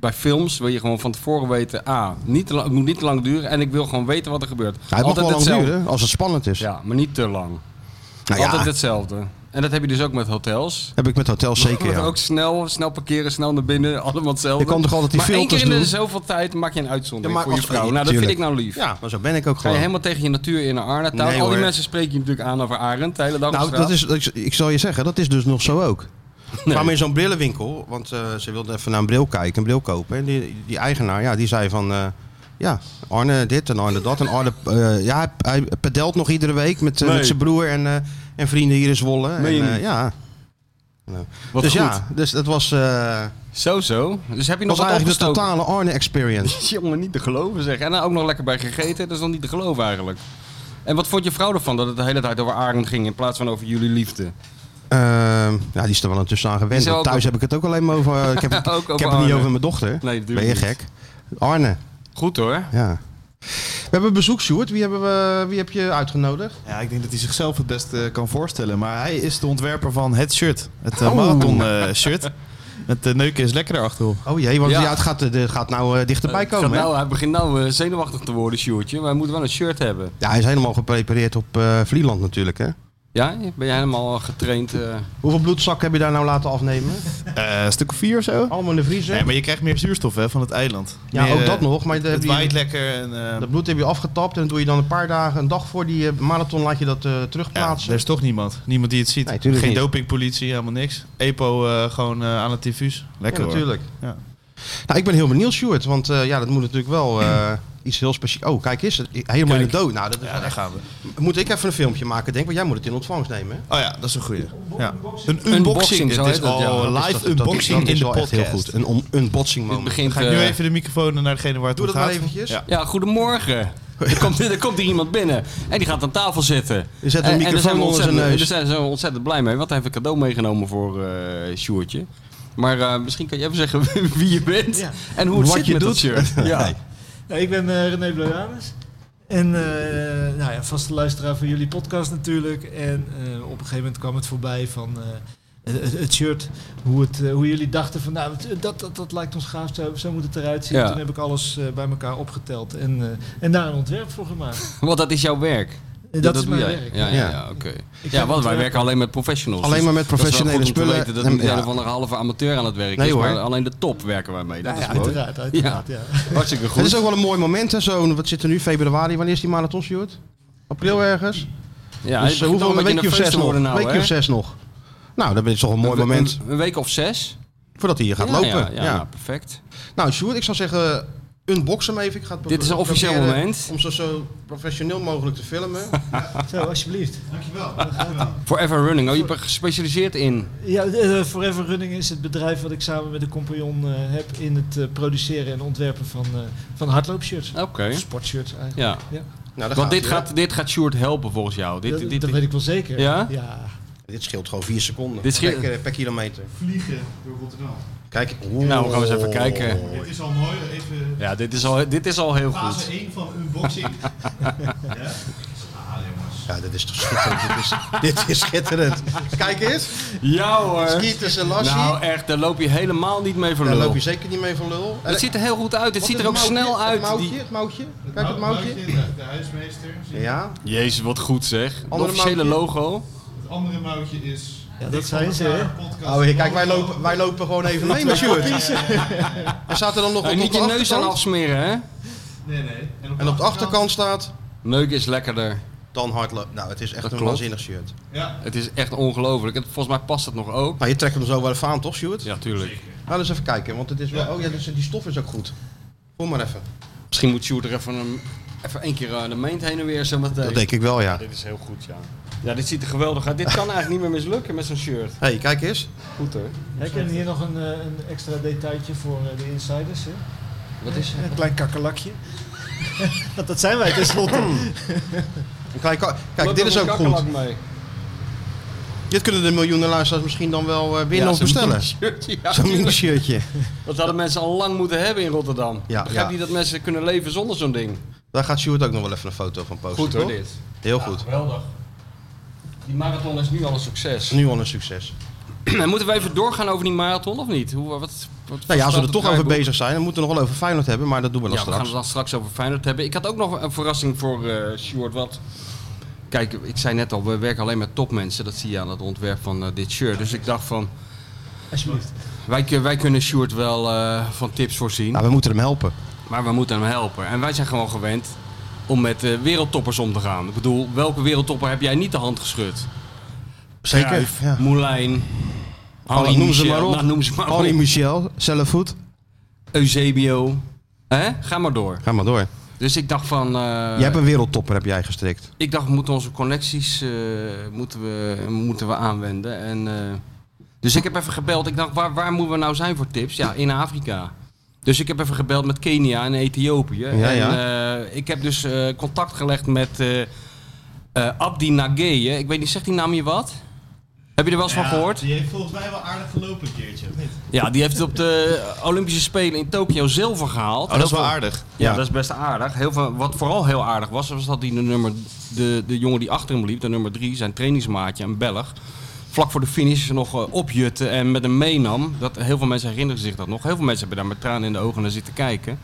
[SPEAKER 3] Bij films wil je gewoon van tevoren weten... Ah, niet te lang, het moet niet te lang duren. En ik wil gewoon weten wat er gebeurt.
[SPEAKER 2] Nou, het mag
[SPEAKER 3] altijd
[SPEAKER 2] wel lang
[SPEAKER 3] hetzelfde.
[SPEAKER 2] duren, als het spannend is.
[SPEAKER 3] Ja, maar niet te lang.
[SPEAKER 2] Nou ja,
[SPEAKER 3] Altijd hetzelfde. En dat heb je dus ook met hotels.
[SPEAKER 2] heb ik met hotels zeker,
[SPEAKER 3] Want
[SPEAKER 2] ja.
[SPEAKER 3] Ook snel, snel parkeren, snel naar binnen. Allemaal hetzelfde.
[SPEAKER 2] Je kan toch altijd die
[SPEAKER 3] maar één
[SPEAKER 2] filters
[SPEAKER 3] keer in de
[SPEAKER 2] doen?
[SPEAKER 3] zoveel tijd maak je een uitzondering
[SPEAKER 2] Ja, maar
[SPEAKER 3] voor je
[SPEAKER 2] als-
[SPEAKER 3] vrouw. Nou, dat
[SPEAKER 2] tuurlijk.
[SPEAKER 3] vind ik nou lief.
[SPEAKER 2] Ja, maar zo ben ik ook
[SPEAKER 3] Ga je
[SPEAKER 2] gewoon.
[SPEAKER 3] helemaal tegen je natuur in naar Arnhem.
[SPEAKER 2] Nee,
[SPEAKER 3] Al die
[SPEAKER 2] hoor.
[SPEAKER 3] mensen spreken je natuurlijk aan over Arend de hele dag op
[SPEAKER 2] Nou,
[SPEAKER 3] straat.
[SPEAKER 2] dat is, ik, ik zal je zeggen, dat is dus nog zo ook. Ik kwam in zo'n brillenwinkel, want eh, ze wilde even naar een bril kijken, een bril kopen. En die, die eigenaar, ja, die zei van, eh, ja, Arne dit en Arne dat. En Arne, eh, ja, hij, hij pedelt nog iedere week met, eh,
[SPEAKER 3] Nee.
[SPEAKER 2] met zijn broer en, eh, en vrienden hier in Zwolle. En,
[SPEAKER 3] Meen je
[SPEAKER 2] eh,
[SPEAKER 3] niet?
[SPEAKER 2] ja. Nou,
[SPEAKER 3] Wat
[SPEAKER 2] dus
[SPEAKER 3] goed.
[SPEAKER 2] ja, dus dat was, eh,
[SPEAKER 3] Zo, zo. Dus heb je nog
[SPEAKER 2] was
[SPEAKER 3] wat
[SPEAKER 2] eigenlijk de
[SPEAKER 3] opgestoken?
[SPEAKER 2] totale Arne-experience.
[SPEAKER 3] Jongen, niet te geloven zeg. En dan ook nog lekker bij gegeten. Dat is dan niet te geloven eigenlijk. En wat vond je vrouw ervan dat het de hele tijd over Arend ging in plaats van over jullie liefde?
[SPEAKER 2] Ehm, ja, die is er wel intussen aan gewend.
[SPEAKER 3] Is er
[SPEAKER 2] want
[SPEAKER 3] ook
[SPEAKER 2] Thuis heb ik het ook alleen maar over, eh, ik heb, het-
[SPEAKER 3] Ook
[SPEAKER 2] ik
[SPEAKER 3] over
[SPEAKER 2] heb het niet
[SPEAKER 3] Arne.
[SPEAKER 2] over mijn dochter.
[SPEAKER 3] Nee,
[SPEAKER 2] ben
[SPEAKER 3] natuurlijk
[SPEAKER 2] je
[SPEAKER 3] niet.
[SPEAKER 2] gek? Arne.
[SPEAKER 3] Goed hoor.
[SPEAKER 2] Ja. We hebben bezoek, Sjoerd. Wie, hebben we, wie heb je uitgenodigd?
[SPEAKER 4] Ja, ik denk dat hij zichzelf het best eh, kan voorstellen. Maar hij is de ontwerper van het shirt. Het eh,
[SPEAKER 2] Oh.
[SPEAKER 4] marathon eh, shirt. Met de neuken is lekker achterop.
[SPEAKER 2] Oh jee, want
[SPEAKER 3] Ja.
[SPEAKER 2] ja. het, gaat, eh, het gaat nou eh, dichterbij
[SPEAKER 3] Het gaat
[SPEAKER 2] komen. hè?
[SPEAKER 3] nou, hij begint nou eh, zenuwachtig te worden, Sjoerdje. Maar hij moet wel een shirt hebben.
[SPEAKER 2] Ja, hij is helemaal geprepareerd op eh Vlieland natuurlijk, hè?
[SPEAKER 3] Ja, ben jij helemaal getraind? eh,
[SPEAKER 2] Hoeveel bloedzak heb je daar nou laten afnemen?
[SPEAKER 4] Eh, een stuk of vier of zo?
[SPEAKER 2] Allemaal in de vriezer?
[SPEAKER 4] Nee, maar je krijgt meer zuurstof hè, van het eiland.
[SPEAKER 2] ja,
[SPEAKER 4] Meer,
[SPEAKER 2] ook
[SPEAKER 4] eh,
[SPEAKER 2] dat nog. Maar dat,
[SPEAKER 4] Het
[SPEAKER 2] heb je-
[SPEAKER 4] waait lekker en... eh,
[SPEAKER 2] dat bloed heb je afgetapt en dan doe je dan een paar dagen, een dag voor die eh, marathon laat je dat eh,
[SPEAKER 4] ja,
[SPEAKER 2] terugplaatsen.
[SPEAKER 4] er is toch niemand. Niemand die het ziet.
[SPEAKER 2] Nee,
[SPEAKER 4] Geen
[SPEAKER 2] tuurlijk niet.
[SPEAKER 4] dopingpolitie, helemaal niks. EPO eh, gewoon eh, aan het diffuus. Lekker
[SPEAKER 2] Ja,
[SPEAKER 4] hoor.
[SPEAKER 2] natuurlijk.
[SPEAKER 4] Ja.
[SPEAKER 2] Nou, ik ben heel benieuwd, Stuart, want eh, ja, dat moet natuurlijk wel eh, iets heel speciaals. Oh, kijk eens, het- helemaal in de dood. Nou, dat is
[SPEAKER 4] Ja, daar gaan we.
[SPEAKER 2] Moet ik even een filmpje maken, denk ik, want jij moet het in ontvangst nemen. hè?
[SPEAKER 4] Oh ja, dat is een goeie. Ja. Een
[SPEAKER 3] Unboxing,
[SPEAKER 4] unboxing.
[SPEAKER 3] zo
[SPEAKER 4] Dit is
[SPEAKER 3] heet het, ja.
[SPEAKER 4] al
[SPEAKER 3] Dat
[SPEAKER 2] Nou, Dat is-
[SPEAKER 4] live
[SPEAKER 2] dat- dat-
[SPEAKER 4] unboxing
[SPEAKER 2] dat
[SPEAKER 4] in
[SPEAKER 2] is
[SPEAKER 4] de
[SPEAKER 2] wel echt
[SPEAKER 4] podcast.
[SPEAKER 2] heel goed. Een on- unboxing
[SPEAKER 3] dit
[SPEAKER 2] moment.
[SPEAKER 3] begint.
[SPEAKER 4] Ga ik nu
[SPEAKER 3] eh,
[SPEAKER 4] even de microfoon naar degene waar het
[SPEAKER 2] Doe
[SPEAKER 4] om
[SPEAKER 2] dat maar
[SPEAKER 4] gaat.
[SPEAKER 2] eventjes.
[SPEAKER 4] Ja.
[SPEAKER 3] Ja, goedemorgen. Er komt, er komt hier iemand binnen en die gaat aan tafel zitten. Eh,
[SPEAKER 2] Je zet een
[SPEAKER 3] En- en,
[SPEAKER 2] microfoon
[SPEAKER 3] daar zijn we
[SPEAKER 2] onder zijn
[SPEAKER 3] ontzettend-
[SPEAKER 2] neus.
[SPEAKER 3] Daar zijn ze ontzettend blij mee, want hij heeft een cadeau meegenomen voor eh Sjoertje. Maar eh, misschien kan je even zeggen wie je bent
[SPEAKER 5] Ja.
[SPEAKER 3] en hoe het
[SPEAKER 2] Wat
[SPEAKER 3] zit
[SPEAKER 2] je
[SPEAKER 3] met dat
[SPEAKER 2] doet.
[SPEAKER 3] shirt. Ja.
[SPEAKER 5] Ja, ik ben eh, René Blojanus. En eh nou ja, vaste luisteraar van jullie podcast natuurlijk. En eh, op een gegeven moment kwam het voorbij van eh, het, het shirt. Hoe, het, eh, hoe jullie dachten van nou, het- dat, dat, dat lijkt ons gaaf. Zo, zo moet het eruit zien.
[SPEAKER 3] Ja.
[SPEAKER 5] Toen heb ik alles eh, bij elkaar opgeteld. En, eh, en daar een ontwerp voor gemaakt.
[SPEAKER 3] Want dat is jouw werk.
[SPEAKER 5] En dat, is
[SPEAKER 3] doe
[SPEAKER 5] mijn
[SPEAKER 3] jij.
[SPEAKER 5] werk.
[SPEAKER 3] Ja, ja,
[SPEAKER 2] Ja.
[SPEAKER 3] ja, oké.
[SPEAKER 5] Ik
[SPEAKER 3] Ja,
[SPEAKER 5] heb
[SPEAKER 3] want wij
[SPEAKER 5] ontwerp-
[SPEAKER 3] werken alleen met professionals. dus
[SPEAKER 2] Alleen maar met professionele
[SPEAKER 3] dat is wel goed om te
[SPEAKER 2] spullen.
[SPEAKER 3] weten dat niet
[SPEAKER 2] En-
[SPEAKER 3] een
[SPEAKER 2] ja.
[SPEAKER 3] of andere halve amateur aan het werk
[SPEAKER 2] Nee,
[SPEAKER 3] is,
[SPEAKER 2] hoor.
[SPEAKER 3] maar alleen de top werken wij mee. Dat
[SPEAKER 5] Ja,
[SPEAKER 3] is mooi.
[SPEAKER 5] uiteraard, uiteraard. Ja.
[SPEAKER 3] Hartstikke goed.
[SPEAKER 2] Het is ook wel een mooi moment, hè? Zo, wat zit er nu? Februari, wanneer is die marathon, Stuart? April ergens?
[SPEAKER 3] ja,
[SPEAKER 2] dus eh, hoeveel, een weekje of zes nog?
[SPEAKER 3] worden
[SPEAKER 2] Een
[SPEAKER 3] nou,
[SPEAKER 2] weekje
[SPEAKER 3] hè?
[SPEAKER 2] of zes nog. Nou, dat is toch een mooi
[SPEAKER 3] Een-
[SPEAKER 2] moment
[SPEAKER 3] Een, een week of zes.
[SPEAKER 2] voordat hij hier gaat
[SPEAKER 3] Ja,
[SPEAKER 2] lopen.
[SPEAKER 3] Ja,
[SPEAKER 2] Ja,
[SPEAKER 3] ja, nou, perfect.
[SPEAKER 2] Nou, Stuart, ik zou zeggen, unbox hem even. Ik ga het pro-
[SPEAKER 3] Dit is een officieel
[SPEAKER 2] proberen
[SPEAKER 3] moment.
[SPEAKER 2] Om zo, zo professioneel mogelijk te filmen. Nou,
[SPEAKER 5] Zo, alsjeblieft.
[SPEAKER 3] Forever Running. Oh, je bent gespecialiseerd in.
[SPEAKER 5] Ja, eh, Forever Running is het bedrijf wat ik samen met een compagnon eh, heb in het eh, produceren en ontwerpen van, eh van hardloopshirts.
[SPEAKER 3] Oké.
[SPEAKER 5] Sportshirts eigenlijk.
[SPEAKER 3] Ja.
[SPEAKER 2] Nou, daar
[SPEAKER 3] Want dit
[SPEAKER 2] hij,
[SPEAKER 3] gaat, dit gaat Sjoerd helpen volgens jou. Dit,
[SPEAKER 5] dat,
[SPEAKER 3] dit,
[SPEAKER 5] dat
[SPEAKER 3] dit,
[SPEAKER 5] weet ik wel zeker.
[SPEAKER 3] Ja?
[SPEAKER 2] hè? Dit scheelt gewoon vier seconden
[SPEAKER 3] Dit scheelt-
[SPEAKER 2] per, per kilometer.
[SPEAKER 6] vliegen door Rotterdam.
[SPEAKER 2] Kijk.
[SPEAKER 3] Nou, we gaan eens even kijken.
[SPEAKER 2] Oh.
[SPEAKER 6] Dit is al mooi, even
[SPEAKER 3] ja, dit, is al, dit is al heel
[SPEAKER 6] fase
[SPEAKER 3] goed.
[SPEAKER 6] 1 van unboxing. ja? Ah, jongens.
[SPEAKER 2] Ja, dit is toch schitterend. dit, is, dit is schitterend. Kijk eens.
[SPEAKER 3] Ja hoor.
[SPEAKER 2] Kieters en Lassie.
[SPEAKER 3] Nou echt, daar loop je helemaal niet mee voor
[SPEAKER 2] daar loop
[SPEAKER 3] lul.
[SPEAKER 2] je zeker niet mee van lul. En-
[SPEAKER 3] Het ziet er heel goed uit. Het
[SPEAKER 2] Wat
[SPEAKER 3] ziet
[SPEAKER 2] is
[SPEAKER 3] er ook
[SPEAKER 2] het mouwtje?
[SPEAKER 3] snel uit.
[SPEAKER 2] Het mouwtje,
[SPEAKER 3] die-
[SPEAKER 2] het mouwtje. Kijk
[SPEAKER 5] Nou,
[SPEAKER 2] het mouwtje.
[SPEAKER 6] Nou, de, de huismeester. zie je.
[SPEAKER 2] Ja.
[SPEAKER 3] Jezus, wat goed zeg. Het
[SPEAKER 2] Andere
[SPEAKER 3] officiële
[SPEAKER 2] mouwtje.
[SPEAKER 3] logo. Nou,
[SPEAKER 6] Het andere moutje is...
[SPEAKER 5] Ja, dat zijn ze, hè?
[SPEAKER 2] Oh, hier, kijk, wij lopen, wij lopen gewoon even mee met Sjoerd. Er staat er dan nog
[SPEAKER 3] Nou,
[SPEAKER 2] op
[SPEAKER 3] niet
[SPEAKER 2] de
[SPEAKER 3] je neus aan
[SPEAKER 2] achterkant.
[SPEAKER 3] afsmeren, hè?
[SPEAKER 6] Nee, nee.
[SPEAKER 2] En op de achterkant staat
[SPEAKER 3] Neuk is lekkerder.
[SPEAKER 2] dan hardlopen. Nou, het is echt
[SPEAKER 3] Dat
[SPEAKER 2] een
[SPEAKER 3] klopt.
[SPEAKER 2] waanzinnig shirt.
[SPEAKER 6] Ja.
[SPEAKER 3] Het is echt ongelooflijk. En Volgens mij past het nog ook.
[SPEAKER 2] Nou, je trekt hem zo wel even aan, toch Sjoerd?
[SPEAKER 3] Ja, tuurlijk.
[SPEAKER 2] Nou, eens even kijken, want het is wel... Oh ja, dus die stof is ook goed. Voel maar even.
[SPEAKER 3] Misschien moet Sjoerd er even een, even één keer eh, de meent heen en weer zo meteen.
[SPEAKER 2] Dat denk ik wel, ja.
[SPEAKER 3] Dit is heel goed, ja. Ja, dit ziet er geweldig uit. Dit kan eigenlijk niet meer mislukken met zo'n shirt.
[SPEAKER 2] Hé, hey, kijk eens.
[SPEAKER 3] Goed hoor.
[SPEAKER 5] Ik heb hier nog een, eh, een extra detailtje voor eh, de insiders. Hè?
[SPEAKER 3] Wat is
[SPEAKER 5] Een klein kakkerlakje. Want dat zijn wij tenslotte.
[SPEAKER 2] Een klein ka- Kijk, dit is ook goed.
[SPEAKER 3] Mee.
[SPEAKER 2] Dit kunnen de miljoenen luisteraars misschien dan wel eh, winnen of bestellen. Zo'n mini shirtje.
[SPEAKER 3] dat hadden mensen al lang moeten hebben in Rotterdam.
[SPEAKER 2] Ja,
[SPEAKER 3] Begrijp
[SPEAKER 2] ja.
[SPEAKER 3] je dat mensen kunnen leven zonder zo'n ding?
[SPEAKER 2] Daar gaat Sjoerd ook nog wel even een foto van posten.
[SPEAKER 3] Goed hoor,
[SPEAKER 2] toch?
[SPEAKER 3] dit.
[SPEAKER 2] Heel goed.
[SPEAKER 3] Geweldig. Die marathon is nu al een succes.
[SPEAKER 2] Nu al een succes.
[SPEAKER 3] En moeten we even doorgaan over die marathon of niet? Hoe, wat, wat,
[SPEAKER 2] Nou ja, als we er toch
[SPEAKER 3] staat
[SPEAKER 2] over
[SPEAKER 3] draaiboek?
[SPEAKER 2] bezig zijn, dan moeten we nog wel over Feyenoord hebben, maar dat doen we dan
[SPEAKER 3] Ja, we gaan
[SPEAKER 2] straks.
[SPEAKER 3] het dan straks over Feyenoord hebben. Ik had ook nog een verrassing voor eh Sjoerd. Wat... Kijk, ik zei net al, we werken alleen met topmensen. Dat zie je aan het ontwerp van eh, dit shirt. Dus ik dacht van,
[SPEAKER 5] Alsjeblieft.
[SPEAKER 3] wij, kun- wij kunnen Sjoerd wel eh, van tips voorzien.
[SPEAKER 2] Nou, we moeten hem helpen.
[SPEAKER 3] Maar we moeten hem helpen. En wij zijn gewoon gewend om met eh, wereldtoppers om te gaan. Ik bedoel, welke wereldtopper heb jij niet de hand geschud?
[SPEAKER 2] Zeker.
[SPEAKER 3] Cruijff,
[SPEAKER 2] Ja.
[SPEAKER 3] Moulijn, Henri
[SPEAKER 2] noem ze
[SPEAKER 3] Michel,
[SPEAKER 2] maar op.
[SPEAKER 3] nou, noem ze maar
[SPEAKER 2] Henri
[SPEAKER 3] op.
[SPEAKER 2] Michel, Sellevoet.
[SPEAKER 3] Eusebio. Hè? Ga maar door.
[SPEAKER 2] Ga maar door.
[SPEAKER 3] Dus ik dacht van... eh,
[SPEAKER 2] jij hebt een wereldtopper heb jij gestrikt.
[SPEAKER 3] Ik dacht, we moeten onze connecties eh, moeten we, moeten we aanwenden. En, eh, dus ik heb even gebeld. Ik dacht, waar, waar moeten we nou zijn voor tips? Ja, in Afrika. Dus ik heb even gebeld met Kenia en Ethiopië. en, eh, ik heb dus eh, contact gelegd met eh, eh, Abdi Nageye. Ik weet niet, zegt die naam je wat? Heb je er wel eens van gehoord?
[SPEAKER 6] Die heeft volgens mij wel aardig gelopen een keertje, of niet?
[SPEAKER 3] Ja, die heeft het op de Olympische Spelen in Tokio zilver gehaald.
[SPEAKER 4] Oh, dat is
[SPEAKER 3] Heel
[SPEAKER 4] wel
[SPEAKER 3] veel-
[SPEAKER 4] aardig.
[SPEAKER 3] ja,
[SPEAKER 2] Ja.
[SPEAKER 3] dat is best aardig. Heel veel, wat vooral heel aardig was, was dat die de, nummer, de, de jongen die achter hem liep, de nummer drie, zijn trainingsmaatje, een Belg, vlak voor de finish nog eh, opjutte en met hem meenam. Dat, heel veel mensen herinneren zich dat nog. Heel veel mensen hebben daar met tranen in de ogen naar zitten kijken.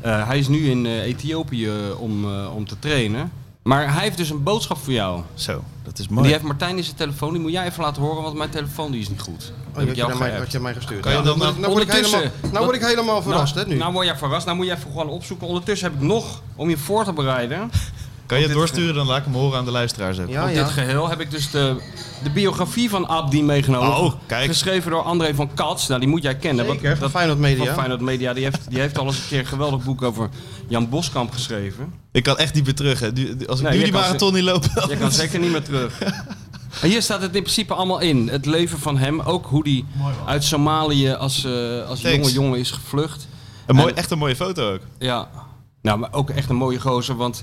[SPEAKER 3] Eh, hij is nu in eh, Ethiopië eh, om, eh, om te trainen. Maar hij heeft dus een boodschap voor jou.
[SPEAKER 4] Zo, dat is
[SPEAKER 3] Die
[SPEAKER 4] mooi.
[SPEAKER 3] heeft Martijn in zijn telefoon. Die moet jij even laten horen, want mijn telefoon die is niet goed.
[SPEAKER 2] Oh,
[SPEAKER 3] Heb ik jou
[SPEAKER 2] mij,
[SPEAKER 3] geappt.
[SPEAKER 2] had je mij gestuurd.
[SPEAKER 4] je
[SPEAKER 2] Ja, dan,
[SPEAKER 4] dan
[SPEAKER 2] word ik- nou word ik
[SPEAKER 3] eh, ondertussen-
[SPEAKER 2] helemaal, nou word ik helemaal verrast,
[SPEAKER 3] nou,
[SPEAKER 2] hè, nu.
[SPEAKER 3] Nou word jij verrast. Nou moet je even gewoon opzoeken. Ondertussen heb ik nog, om je voor te bereiden...
[SPEAKER 4] Kan je het doorsturen? Dan laat ik hem horen aan de luisteraars ook.
[SPEAKER 2] ja,
[SPEAKER 3] op dit
[SPEAKER 2] Ah, ja.
[SPEAKER 3] geheel heb ik dus de, de biografie van Abdi meegenomen.
[SPEAKER 4] Oh, kijk.
[SPEAKER 3] Geschreven door André van Kats. Nou, die moet jij kennen. want
[SPEAKER 2] Zeker, van
[SPEAKER 3] dat,
[SPEAKER 2] Feyenoord
[SPEAKER 3] van
[SPEAKER 2] Media.
[SPEAKER 3] Feyenoord Media. Die heeft, die heeft al eens een keer een geweldig boek over Jan Boskamp geschreven.
[SPEAKER 4] Ik kan echt niet meer terug. Hè. Nu- Als ik
[SPEAKER 3] Nee,
[SPEAKER 4] nu
[SPEAKER 3] je
[SPEAKER 4] die
[SPEAKER 3] kan
[SPEAKER 4] marathon niet loop.
[SPEAKER 3] Je
[SPEAKER 2] Oh,
[SPEAKER 3] kan zeker niet meer terug. En hier staat het in principe allemaal in. Het leven van hem. Ook hoe die uit Somalië als, eh, als
[SPEAKER 4] Thanks.
[SPEAKER 3] jonge jongen is gevlucht.
[SPEAKER 4] Een mooi, echt een mooie foto ook.
[SPEAKER 3] Ja. Nou, maar ook echt een mooie gozer. Want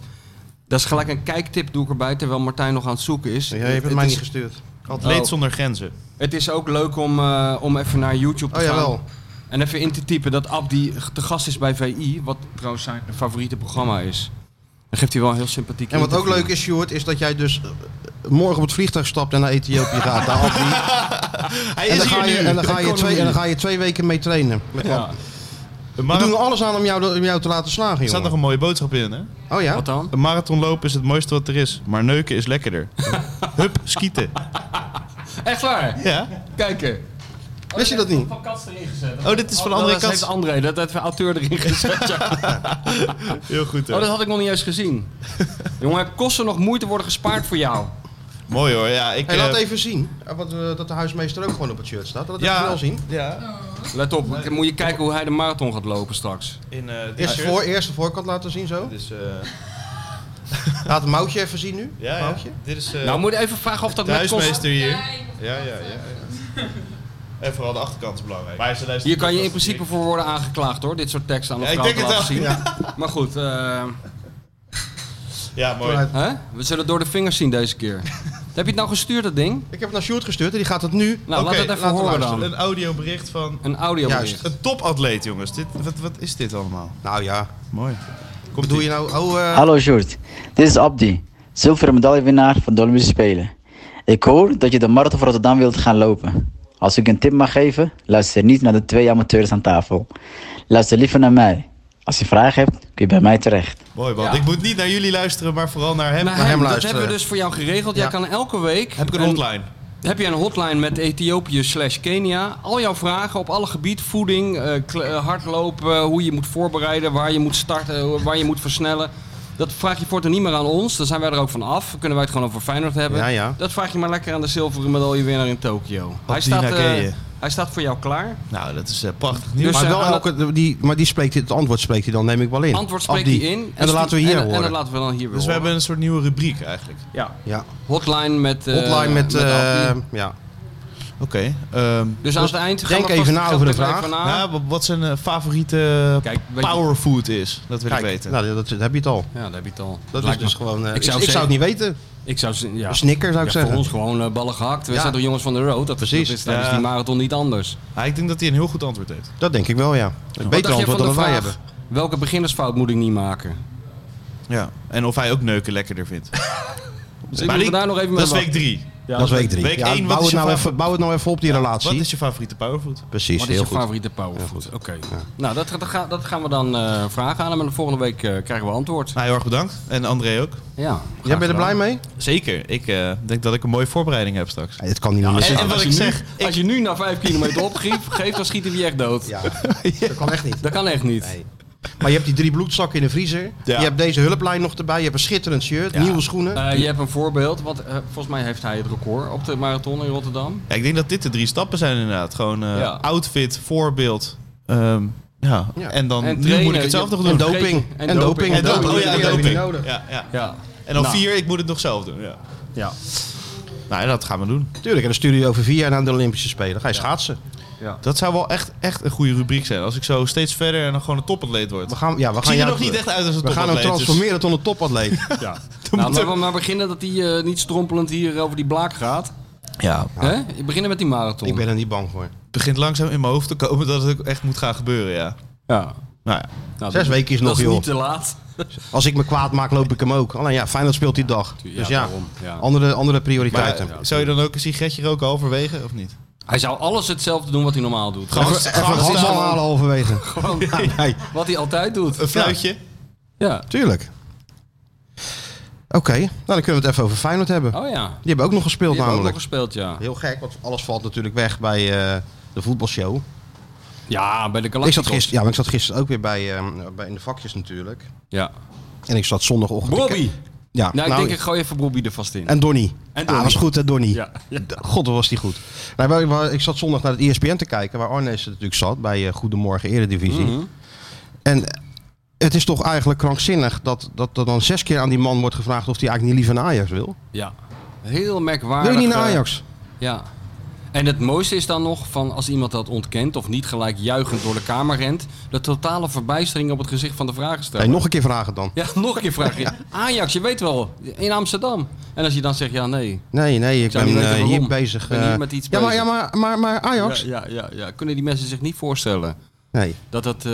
[SPEAKER 3] dat is gelijk een kijktip doe ik erbij. Terwijl Martijn nog aan het zoeken is.
[SPEAKER 2] Jij hebt het mij
[SPEAKER 3] is,
[SPEAKER 2] niet gestuurd.
[SPEAKER 4] Atleet
[SPEAKER 3] Oh.
[SPEAKER 4] zonder grenzen.
[SPEAKER 3] het is ook leuk om, eh, om even naar YouTube te
[SPEAKER 2] Oh,
[SPEAKER 3] gaan.
[SPEAKER 2] jawel.
[SPEAKER 3] En even in te typen dat Abdi te gast is bij VI. Wat trouwens zijn favoriete programma is. Dan geeft hij wel een heel sympathiek
[SPEAKER 2] En wat ook
[SPEAKER 3] interview.
[SPEAKER 2] leuk is, Sjoerd, is dat jij dus eh, morgen op het vliegtuig stapt en naar Ethiopië gaat. Naar Abdi.
[SPEAKER 4] Hij
[SPEAKER 2] en, dan
[SPEAKER 4] is
[SPEAKER 2] ga
[SPEAKER 4] hier
[SPEAKER 2] je,
[SPEAKER 4] nu.
[SPEAKER 2] en, dan ga je
[SPEAKER 3] Economie.
[SPEAKER 2] twee, en dan ga je twee weken mee trainen. Met
[SPEAKER 3] Ja.
[SPEAKER 2] Ab-
[SPEAKER 4] Een
[SPEAKER 2] We doen
[SPEAKER 4] mara-
[SPEAKER 2] er alles aan om jou, om jou te laten slagen,
[SPEAKER 4] Er staat nog
[SPEAKER 2] jongen.
[SPEAKER 4] een mooie boodschap in, hè?
[SPEAKER 2] Oh ja?
[SPEAKER 3] Wat dan?
[SPEAKER 4] Een marathon lopen is het mooiste wat er is, maar neuken is lekkerder. Hup, skieten.
[SPEAKER 3] Echt waar?
[SPEAKER 4] Ja?
[SPEAKER 3] Kijken.
[SPEAKER 2] Wist je dat niet?
[SPEAKER 3] Van Kats erin gezet.
[SPEAKER 4] Oh, dit is van André
[SPEAKER 3] Dat
[SPEAKER 4] Kats.
[SPEAKER 3] heeft André, dat heeft de auteur erin gezet. ja.
[SPEAKER 4] Heel goed, hè?
[SPEAKER 3] Oh, dat had ik nog niet eens gezien. Jongen, heb kosten nog moeite worden gespaard voor jou?
[SPEAKER 4] Mooi hoor, ja. Ik,
[SPEAKER 2] Hey,
[SPEAKER 4] eh,
[SPEAKER 2] laat even zien eh, wat, eh, dat de huismeester ook gewoon op het shirt staat. Dat
[SPEAKER 4] Ja.
[SPEAKER 2] heb je wel zien.
[SPEAKER 4] Ja,
[SPEAKER 3] Let op, ik- moet je kijken hoe hij de marathon gaat lopen straks.
[SPEAKER 4] in eh dit
[SPEAKER 2] Eerst,
[SPEAKER 4] shirt.
[SPEAKER 2] voor, eerst de voorkant laten zien zo.
[SPEAKER 4] Dus, eh,
[SPEAKER 2] Laat het mouwtje even zien nu.
[SPEAKER 4] ja, ja,
[SPEAKER 2] Mouwtje.
[SPEAKER 4] dit is eh
[SPEAKER 3] Nou, moet je even vragen of dat
[SPEAKER 4] de
[SPEAKER 3] met kosten...
[SPEAKER 4] huismeester hier. Ja, ja, ja. ja. En vooral de achterkant is belangrijk. Maar ze luisteren
[SPEAKER 3] Hier kan je in
[SPEAKER 4] podcast
[SPEAKER 3] principe voor worden aangeklaagd hoor, dit soort teksten aan een
[SPEAKER 4] Ja, ik
[SPEAKER 3] vrouw te
[SPEAKER 4] denk het
[SPEAKER 3] laten zien.
[SPEAKER 4] wel,
[SPEAKER 3] Maar goed, eh,
[SPEAKER 4] direct. Ja, mooi.
[SPEAKER 3] hè? we zullen het door de vingers zien deze keer. Heb je het nou gestuurd, dat ding?
[SPEAKER 2] Ik heb het naar Sjoerd gestuurd en die gaat het nu.
[SPEAKER 3] Nou,
[SPEAKER 4] Oké,
[SPEAKER 3] laat het even
[SPEAKER 2] laten we
[SPEAKER 3] horen
[SPEAKER 2] luisteren.
[SPEAKER 3] dan.
[SPEAKER 4] Een audiobericht van
[SPEAKER 3] Een audiobericht.
[SPEAKER 2] Juist.
[SPEAKER 4] een topatleet, jongens. Dit, wat, wat is dit allemaal?
[SPEAKER 2] Nou ja,
[SPEAKER 4] Mooi.
[SPEAKER 2] wat doe je nou? Oh, eh,
[SPEAKER 7] Hallo Sjoerd, dit is Abdi, zilveren medaillewinnaar van de Olympische Spelen. Ik hoor dat je de Marathon van Rotterdam wilt gaan lopen. Als ik een tip mag geven, luister niet naar de twee amateurs aan tafel. Luister liever naar mij. Als je vragen hebt, kun je bij mij terecht.
[SPEAKER 4] Mooi, want
[SPEAKER 3] Ja.
[SPEAKER 4] ik moet niet naar jullie luisteren, maar vooral naar hem.
[SPEAKER 3] Maar
[SPEAKER 2] hem
[SPEAKER 3] hem, dat
[SPEAKER 2] luisteren.
[SPEAKER 3] hebben we dus voor jou geregeld. Jij
[SPEAKER 2] Ja.
[SPEAKER 3] kan elke week...
[SPEAKER 4] Heb ik een hotline?
[SPEAKER 3] Heb jij een hotline met Ethiopië slash Kenia? Al jouw vragen op alle gebied, voeding, eh, kle- eh, hardlopen, eh, hoe je moet voorbereiden, waar je moet starten, eh, waar je moet versnellen. Dat vraag je voortaan niet meer aan ons, dan zijn wij er ook van af. Dan kunnen wij het gewoon over Feyenoord hebben.
[SPEAKER 2] Ja, ja.
[SPEAKER 3] Dat vraag je maar lekker aan de zilveren medaillewinnaar in Tokio. Hij staat,
[SPEAKER 4] Dina
[SPEAKER 3] eh,
[SPEAKER 4] Geye.
[SPEAKER 3] hij staat voor jou klaar.
[SPEAKER 4] Nou, dat is eh, prachtig nieuws.
[SPEAKER 3] Dus,
[SPEAKER 2] maar,
[SPEAKER 3] eh,
[SPEAKER 2] wel
[SPEAKER 3] aan
[SPEAKER 2] elke, die, maar die spreekt, het antwoord spreekt hij dan, neem ik wel in.
[SPEAKER 3] Antwoord spreekt
[SPEAKER 2] Abdi.
[SPEAKER 3] hij in.
[SPEAKER 2] En dan
[SPEAKER 3] stu-
[SPEAKER 2] laten we hier
[SPEAKER 3] en, En dat
[SPEAKER 2] horen.
[SPEAKER 3] laten we dan hier weer
[SPEAKER 4] dus we
[SPEAKER 3] horen.
[SPEAKER 4] hebben een soort nieuwe rubriek eigenlijk.
[SPEAKER 3] Ja,
[SPEAKER 2] Ja,
[SPEAKER 3] hotline met... eh,
[SPEAKER 2] hotline met... eh,
[SPEAKER 3] Abdi.
[SPEAKER 2] ja.
[SPEAKER 4] Oké. ehm,
[SPEAKER 3] dus aan het eind gaan
[SPEAKER 2] denk
[SPEAKER 3] we vast-
[SPEAKER 2] even na
[SPEAKER 3] gaan we
[SPEAKER 2] over de
[SPEAKER 3] even
[SPEAKER 2] vraag.
[SPEAKER 3] na.
[SPEAKER 4] nou, wa- wat zijn eh, favoriete
[SPEAKER 3] Kijk, weet je-
[SPEAKER 4] powerfood is, dat wil
[SPEAKER 2] Kijk,
[SPEAKER 4] ik weten.
[SPEAKER 2] Nou, dat, dat heb je het al.
[SPEAKER 3] Ja, daar heb je het al.
[SPEAKER 2] Dat
[SPEAKER 3] Lijkt
[SPEAKER 2] is dus
[SPEAKER 3] me-
[SPEAKER 2] gewoon... eh,
[SPEAKER 3] Ik
[SPEAKER 2] ik
[SPEAKER 3] zou
[SPEAKER 2] zou, ik zou het niet weten.
[SPEAKER 3] Ik zou... z- Ja.
[SPEAKER 2] Een snicker zou ik
[SPEAKER 3] Ja, voor
[SPEAKER 2] zeggen.
[SPEAKER 3] ons gewoon eh, ballen gehakt. We
[SPEAKER 2] Ja.
[SPEAKER 3] zijn toch jongens van de road? Dat,
[SPEAKER 2] Precies.
[SPEAKER 3] Dat is, dat is
[SPEAKER 4] Ja.
[SPEAKER 3] die marathon niet anders.
[SPEAKER 4] Ah, ik denk dat hij een heel goed antwoord heeft.
[SPEAKER 2] Dat denk ik wel, ja. Een beter
[SPEAKER 3] dacht jij
[SPEAKER 2] antwoord dan
[SPEAKER 3] van
[SPEAKER 2] wat
[SPEAKER 3] de
[SPEAKER 2] wij
[SPEAKER 3] vraag,
[SPEAKER 2] hebben.
[SPEAKER 3] Welke beginnersfout moet ik niet maken?
[SPEAKER 4] Ja. En of hij ook neuken lekkerder vindt.
[SPEAKER 3] Dus ik wil daar nog even mee
[SPEAKER 4] dat is week
[SPEAKER 3] wachten.
[SPEAKER 4] drie.
[SPEAKER 2] dat is week drie.
[SPEAKER 4] week één, wat
[SPEAKER 2] bouw,
[SPEAKER 4] is
[SPEAKER 2] het
[SPEAKER 4] je
[SPEAKER 2] nou
[SPEAKER 4] vraag?
[SPEAKER 2] even, bouw het nou even op, die relatie.
[SPEAKER 4] Wat is je favoriete powerfood?
[SPEAKER 2] Precies,
[SPEAKER 3] Wat is
[SPEAKER 2] heel
[SPEAKER 3] je
[SPEAKER 2] goed.
[SPEAKER 3] favoriete powerfood? Oké. Nou, dat, dat, ga- dat gaan we dan eh, vragen aan hem. En de volgende week eh, krijgen we antwoord.
[SPEAKER 4] Nou, heel erg bedankt. En André ook.
[SPEAKER 3] Ja. graag
[SPEAKER 2] Jij bent er
[SPEAKER 3] gedaan.
[SPEAKER 2] blij mee?
[SPEAKER 4] Zeker. Ik eh, denk dat ik een mooie voorbereiding heb straks.
[SPEAKER 2] Nee, het kan niet meer
[SPEAKER 4] en-
[SPEAKER 2] zitten.
[SPEAKER 4] en- wat
[SPEAKER 3] Als je
[SPEAKER 4] ik
[SPEAKER 3] nu-
[SPEAKER 4] zeg, ik-
[SPEAKER 3] Als je nu na vijf kilometer opgeeft, dan schieten we je echt dood.
[SPEAKER 2] Ja, dat kan echt niet.
[SPEAKER 3] Dat kan echt niet.
[SPEAKER 2] Nee. Maar je hebt die drie bloedzakken in de vriezer.
[SPEAKER 4] Ja.
[SPEAKER 2] Je hebt deze hulplijn nog erbij. Je hebt een schitterend shirt, nieuwe schoenen.
[SPEAKER 3] Eh, je hebt een voorbeeld, want eh, volgens mij heeft hij het record op de marathon in Rotterdam.
[SPEAKER 4] Ja, ik denk dat dit de drie stappen zijn inderdaad. Gewoon eh,
[SPEAKER 3] Ja.
[SPEAKER 4] outfit, voorbeeld. ehm, ja.
[SPEAKER 2] Ja.
[SPEAKER 4] En dan
[SPEAKER 3] En
[SPEAKER 4] nu moet ik
[SPEAKER 3] trainen.
[SPEAKER 4] het zelf
[SPEAKER 3] Je-
[SPEAKER 4] nog
[SPEAKER 2] en
[SPEAKER 4] doen.
[SPEAKER 3] do-
[SPEAKER 2] doping.
[SPEAKER 3] En
[SPEAKER 2] En,
[SPEAKER 3] doping.
[SPEAKER 2] doping.
[SPEAKER 3] En doping.
[SPEAKER 4] oh ja,
[SPEAKER 2] Die heb je
[SPEAKER 4] doping.
[SPEAKER 2] niet nodig.
[SPEAKER 4] Ja, ja.
[SPEAKER 3] Ja.
[SPEAKER 4] En dan
[SPEAKER 3] Nou.
[SPEAKER 4] vier, ik moet het nog zelf doen. Ja.
[SPEAKER 3] Ja.
[SPEAKER 4] Nou, en dat gaan we doen.
[SPEAKER 2] Tuurlijk, en dan stuur je over vier jaar naar de Olympische Spelen. Ga je schaatsen.
[SPEAKER 4] Dat zou wel echt, echt een goede rubriek zijn. Als ik zo steeds verder en dan gewoon een topatleet word.
[SPEAKER 2] We gaan, ja, we
[SPEAKER 4] ik
[SPEAKER 2] gaan
[SPEAKER 4] zie er
[SPEAKER 2] jou-
[SPEAKER 4] nog niet echt uit als een
[SPEAKER 2] We gaan hem
[SPEAKER 4] topatleet. dus-
[SPEAKER 2] transformeren tot een topatleet.
[SPEAKER 3] Ja. Nou, laten we maar beginnen dat hij eh, niet strompelend hier over die blaak gaat.
[SPEAKER 4] Ja,
[SPEAKER 3] Hè? We beginnen met die marathon.
[SPEAKER 2] Ik ben er niet bang voor.
[SPEAKER 4] het begint langzaam in mijn hoofd te komen dat het ook echt moet gaan gebeuren, ja.
[SPEAKER 3] Ja.
[SPEAKER 4] Nou ja.
[SPEAKER 3] Nou,
[SPEAKER 2] Zes
[SPEAKER 3] dat-
[SPEAKER 2] weken is
[SPEAKER 3] dat
[SPEAKER 2] nog,
[SPEAKER 3] is
[SPEAKER 2] joh.
[SPEAKER 3] niet te laat.
[SPEAKER 2] Als ik me kwaad maak, loop ik hem ook. Alleen ja, Feyenoord speelt die dag. Dus ja,
[SPEAKER 3] daarom, ja.
[SPEAKER 2] Andere, andere
[SPEAKER 4] Maar
[SPEAKER 2] prioriteiten.
[SPEAKER 4] eh, zou je dan ook een sigaretje roken halverwege, of niet?
[SPEAKER 3] Hij zou alles hetzelfde doen wat hij normaal doet.
[SPEAKER 4] Gewoon-
[SPEAKER 3] Gewoon-
[SPEAKER 2] Even een
[SPEAKER 4] gewoon-
[SPEAKER 2] handbal halen halverwege.
[SPEAKER 3] gewoon
[SPEAKER 2] Nee,
[SPEAKER 3] wat hij altijd doet.
[SPEAKER 4] Een fluitje?
[SPEAKER 3] Ja.
[SPEAKER 2] tuurlijk. Oké, nou, dan kunnen we het even over Feyenoord hebben.
[SPEAKER 3] Oh ja.
[SPEAKER 2] Die hebben ook nog
[SPEAKER 3] Die
[SPEAKER 2] gespeeld
[SPEAKER 3] hebben ook nog
[SPEAKER 2] namelijk.
[SPEAKER 3] gespeeld, ja.
[SPEAKER 2] Heel gek, want alles valt natuurlijk weg bij eh, de voetbalshow.
[SPEAKER 3] Ja, bij de
[SPEAKER 2] Ik zat,
[SPEAKER 3] Galacticos.
[SPEAKER 2] gisteren, ja, maar ik zat gisteren ook weer bij, eh, bij in de vakjes natuurlijk.
[SPEAKER 3] Ja.
[SPEAKER 2] En ik zat zondagochtend...
[SPEAKER 3] Bobby.
[SPEAKER 2] Ja,
[SPEAKER 3] Nou, ik
[SPEAKER 2] nou,
[SPEAKER 3] denk ik gooi even Bobby er vast in.
[SPEAKER 2] En Donny.
[SPEAKER 3] En
[SPEAKER 2] Ah,
[SPEAKER 3] Donny.
[SPEAKER 2] was goed hè, Donny.
[SPEAKER 3] Ja. ja.
[SPEAKER 2] God, wat was die goed. Nou, wij- wij- ik zat zondag naar het E ESPN te kijken, waar Arnees natuurlijk zat, bij eh, Goedemorgen Eredivisie.
[SPEAKER 3] Mhm.
[SPEAKER 2] En het is toch eigenlijk krankzinnig dat, dat er dan zes keer aan die man wordt gevraagd of hij eigenlijk niet liever naar Ajax wil.
[SPEAKER 3] Ja. Heel
[SPEAKER 2] Wil
[SPEAKER 3] merkwaardig.
[SPEAKER 2] je niet naar
[SPEAKER 3] eh,
[SPEAKER 2] Ajax?
[SPEAKER 3] Ja. En het mooiste is dan nog van als iemand dat ontkent of niet gelijk juichend door de kamer rent, de totale verbijstering op het gezicht van de vragensteller.
[SPEAKER 2] Nee, nog een keer vragen dan.
[SPEAKER 3] Ja, nog een keer vraag je. Ajax, je weet wel, in Amsterdam. En als je dan zegt ja, nee.
[SPEAKER 2] Nee, nee, ik
[SPEAKER 3] zou
[SPEAKER 2] ben
[SPEAKER 3] niet weten
[SPEAKER 2] eh, hier
[SPEAKER 3] waarom.
[SPEAKER 2] bezig.
[SPEAKER 3] Ik ben hier
[SPEAKER 2] eh,
[SPEAKER 3] met iets
[SPEAKER 2] ja, maar, ja,
[SPEAKER 3] bezig.
[SPEAKER 2] maar, maar, maar
[SPEAKER 3] Ja,
[SPEAKER 2] Ajax?
[SPEAKER 3] ja, ja, ja. Kunnen die mensen zich niet voorstellen
[SPEAKER 2] Nee.
[SPEAKER 3] dat, dat, eh,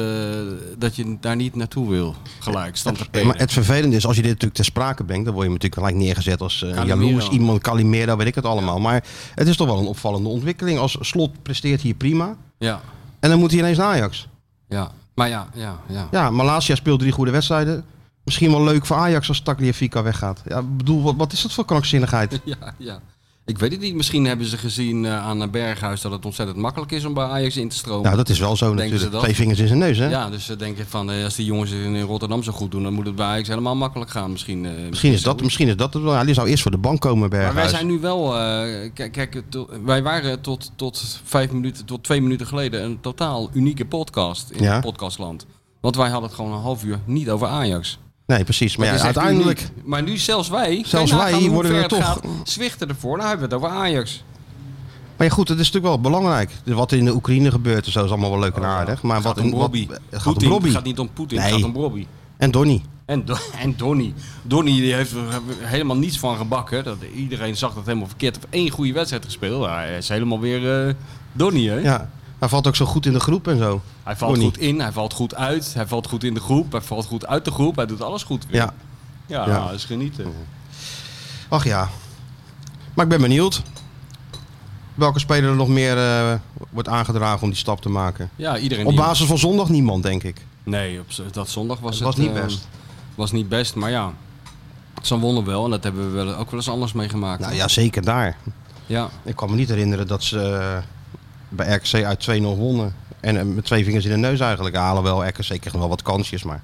[SPEAKER 3] dat je daar niet naartoe wil? Gelijk, stand te
[SPEAKER 2] Maar
[SPEAKER 3] penen.
[SPEAKER 2] het vervelende is, als je dit natuurlijk ter sprake brengt, dan word je natuurlijk gelijk neergezet als eh, een
[SPEAKER 3] Calimero.
[SPEAKER 2] jaloers iemand, Calimero, weet ik het allemaal. Maar het is toch wel een opvallende ontwikkeling. Als Slot presteert hier prima
[SPEAKER 3] Ja,
[SPEAKER 2] en dan moet hij ineens naar Ajax.
[SPEAKER 3] ja. Maar ja, ja, ja.
[SPEAKER 2] Ja, Malasia speelt drie goede wedstrijden. Misschien wel leuk voor Ajax als Tagliafico weggaat. Ja, ik bedoel, wat, wat is dat voor krankzinnigheid?
[SPEAKER 3] Ja, ja. Ik weet het niet. Misschien hebben ze gezien eh, aan eh, Berghuis dat het ontzettend makkelijk is om bij Ajax in te stromen.
[SPEAKER 2] Nou, dat is wel zo
[SPEAKER 3] Denken ze
[SPEAKER 2] natuurlijk.
[SPEAKER 3] dat?
[SPEAKER 2] Twee vingers in zijn neus, hè?
[SPEAKER 3] Ja, dus ze denken van eh, als die jongens het in Rotterdam zo goed doen, dan moet het bij Ajax helemaal makkelijk gaan. Misschien, eh,
[SPEAKER 2] Misschien is dat,
[SPEAKER 3] zoiets.
[SPEAKER 2] misschien is dat het wel. Ja, die zou eerst voor de bank komen,
[SPEAKER 3] Maar
[SPEAKER 2] Berghuis.
[SPEAKER 3] wij zijn nu wel, eh, kijk, kijk to- wij waren tot, tot vijf minuten, tot twee minuten geleden een totaal unieke podcast in
[SPEAKER 2] Ja.
[SPEAKER 3] het podcastland. Want wij hadden het gewoon een half uur niet over Ajax.
[SPEAKER 2] Nee, precies. Maar
[SPEAKER 3] Dat
[SPEAKER 2] ja,
[SPEAKER 3] is echt
[SPEAKER 2] uiteindelijk...
[SPEAKER 3] uniek. Maar nu zelfs wij,
[SPEAKER 2] Zelfs wij worden
[SPEAKER 3] er
[SPEAKER 2] er toch-
[SPEAKER 3] Gaat, zwichten ervoor, nou hebben we het over Ajax.
[SPEAKER 2] Maar ja, goed, het is natuurlijk wel belangrijk. Dus Wat in de Oekraïne gebeurt en zo is allemaal wel leuk en aardig. Maar
[SPEAKER 3] Het
[SPEAKER 2] wat
[SPEAKER 3] gaat om
[SPEAKER 2] in wat,
[SPEAKER 3] Robbie.
[SPEAKER 2] het gaat om
[SPEAKER 3] Poetin.
[SPEAKER 2] Robbie
[SPEAKER 3] Het gaat niet om Poetin, het
[SPEAKER 2] Nee.
[SPEAKER 3] gaat om Robbie.
[SPEAKER 2] en Donny.
[SPEAKER 3] En, Do- en Donny. Donny die heeft er helemaal niets van gebakken. Dat, iedereen zag dat helemaal verkeerd. Op één goede wedstrijd gespeeld. Nou, Hij is helemaal weer eh Donny, hè?
[SPEAKER 2] Ja, hij valt ook zo goed in de groep en zo.
[SPEAKER 3] Hij valt
[SPEAKER 2] Donny.
[SPEAKER 3] goed in, hij valt goed uit. Hij valt goed in de groep, hij valt goed uit de groep. Hij doet alles goed weer.
[SPEAKER 2] Ja,
[SPEAKER 3] ja,
[SPEAKER 2] Ja.
[SPEAKER 3] dat is genieten.
[SPEAKER 2] ach ja. Maar ik ben benieuwd welke speler er nog meer eh, wordt aangedragen om die stap te maken.
[SPEAKER 3] Ja, iedereen
[SPEAKER 2] Op
[SPEAKER 3] die-
[SPEAKER 2] basis van zondag niemand, denk ik.
[SPEAKER 3] Nee, op z- dat zondag was
[SPEAKER 2] Het
[SPEAKER 3] het...
[SPEAKER 2] was niet
[SPEAKER 3] eh,
[SPEAKER 2] best.
[SPEAKER 3] was niet best, maar ja. Zo'n wonder wel. En dat hebben we wel, ook wel eens anders meegemaakt.
[SPEAKER 2] Nou ja, zeker daar.
[SPEAKER 3] ja.
[SPEAKER 2] Ik kan me niet herinneren dat ze eh, bij RKC uit 2-0 wonnen. En eh, met twee vingers in de neus eigenlijk halen wel. RKC kreeg nog wel wat kansjes, maar...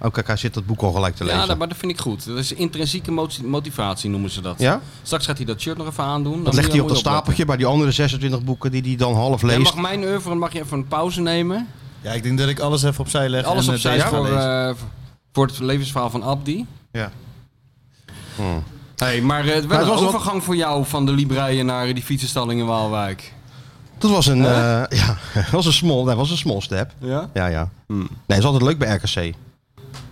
[SPEAKER 2] Oh kijk, hij zit dat boek al gelijk te lezen.
[SPEAKER 3] Ja, dat, maar dat vind ik goed. Dat is intrinsieke moti- motivatie noemen ze dat.
[SPEAKER 2] Ja?
[SPEAKER 3] Straks gaat hij dat shirt nog even aandoen. Dan
[SPEAKER 2] Dat legt
[SPEAKER 3] moet
[SPEAKER 2] hij op
[SPEAKER 3] je-
[SPEAKER 2] dat
[SPEAKER 3] moet je opletten.
[SPEAKER 2] stapeltje bij die andere 26 boeken die hij dan half
[SPEAKER 3] Jij
[SPEAKER 2] leest.
[SPEAKER 3] mag mijn oeuvre, mag je even een pauze nemen.
[SPEAKER 4] Ja, ik denk dat ik alles even opzij leg.
[SPEAKER 3] Alles
[SPEAKER 4] en, eh,
[SPEAKER 3] opzij
[SPEAKER 4] deze
[SPEAKER 3] voor,
[SPEAKER 4] ga lezen.
[SPEAKER 3] eh, voor het levensverhaal van Abdi.
[SPEAKER 2] Ja.
[SPEAKER 3] Hey, maar eh, wel
[SPEAKER 2] het
[SPEAKER 3] een
[SPEAKER 2] was wel-
[SPEAKER 3] overgang voor jou van de Libreien naar die fietsenstalling in Waalwijk.
[SPEAKER 2] Dat was een, eh, ja, dat was een small, dat was een small step.
[SPEAKER 3] Ja?
[SPEAKER 2] Ja, ja.
[SPEAKER 3] Hmm.
[SPEAKER 2] Nee, het is altijd leuk bij RKC.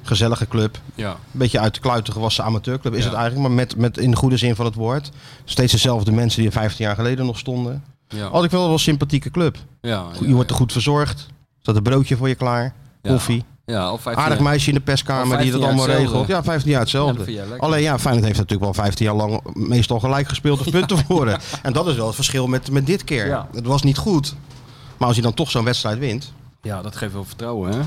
[SPEAKER 2] Gezellige club.
[SPEAKER 3] Ja.
[SPEAKER 2] Een beetje uit de kluiten gewassen amateurclub is
[SPEAKER 3] Ja.
[SPEAKER 2] het eigenlijk. Maar met, met in de goede zin van het woord. Steeds dezelfde mensen die er 15 jaar geleden nog stonden.
[SPEAKER 3] Ja.
[SPEAKER 2] Had ik wel wel een sympathieke club.
[SPEAKER 3] ja,
[SPEAKER 2] Je wordt er goed verzorgd. Er staat een broodje voor je klaar.
[SPEAKER 3] Ja.
[SPEAKER 2] Koffie.
[SPEAKER 3] ja, of 15
[SPEAKER 2] Aardig
[SPEAKER 3] jaar.
[SPEAKER 2] meisje in de
[SPEAKER 3] Al
[SPEAKER 2] perskamer
[SPEAKER 3] 15
[SPEAKER 2] die dat
[SPEAKER 3] jaar
[SPEAKER 2] allemaal
[SPEAKER 3] hetzelfde.
[SPEAKER 2] regelt. Ja, 15 jaar
[SPEAKER 3] Ja, dat
[SPEAKER 2] hetzelfde.
[SPEAKER 3] vind jij lekker.
[SPEAKER 2] Alleen ja, Feyenoord heeft natuurlijk wel 15 jaar lang meestal gelijk gespeeld of punten verloren. En dat is wel het verschil met, met dit keer.
[SPEAKER 3] Ja.
[SPEAKER 2] Het was niet goed. Maar als je dan toch zo'n wedstrijd wint.
[SPEAKER 3] Ja, dat geeft wel vertrouwen, hè?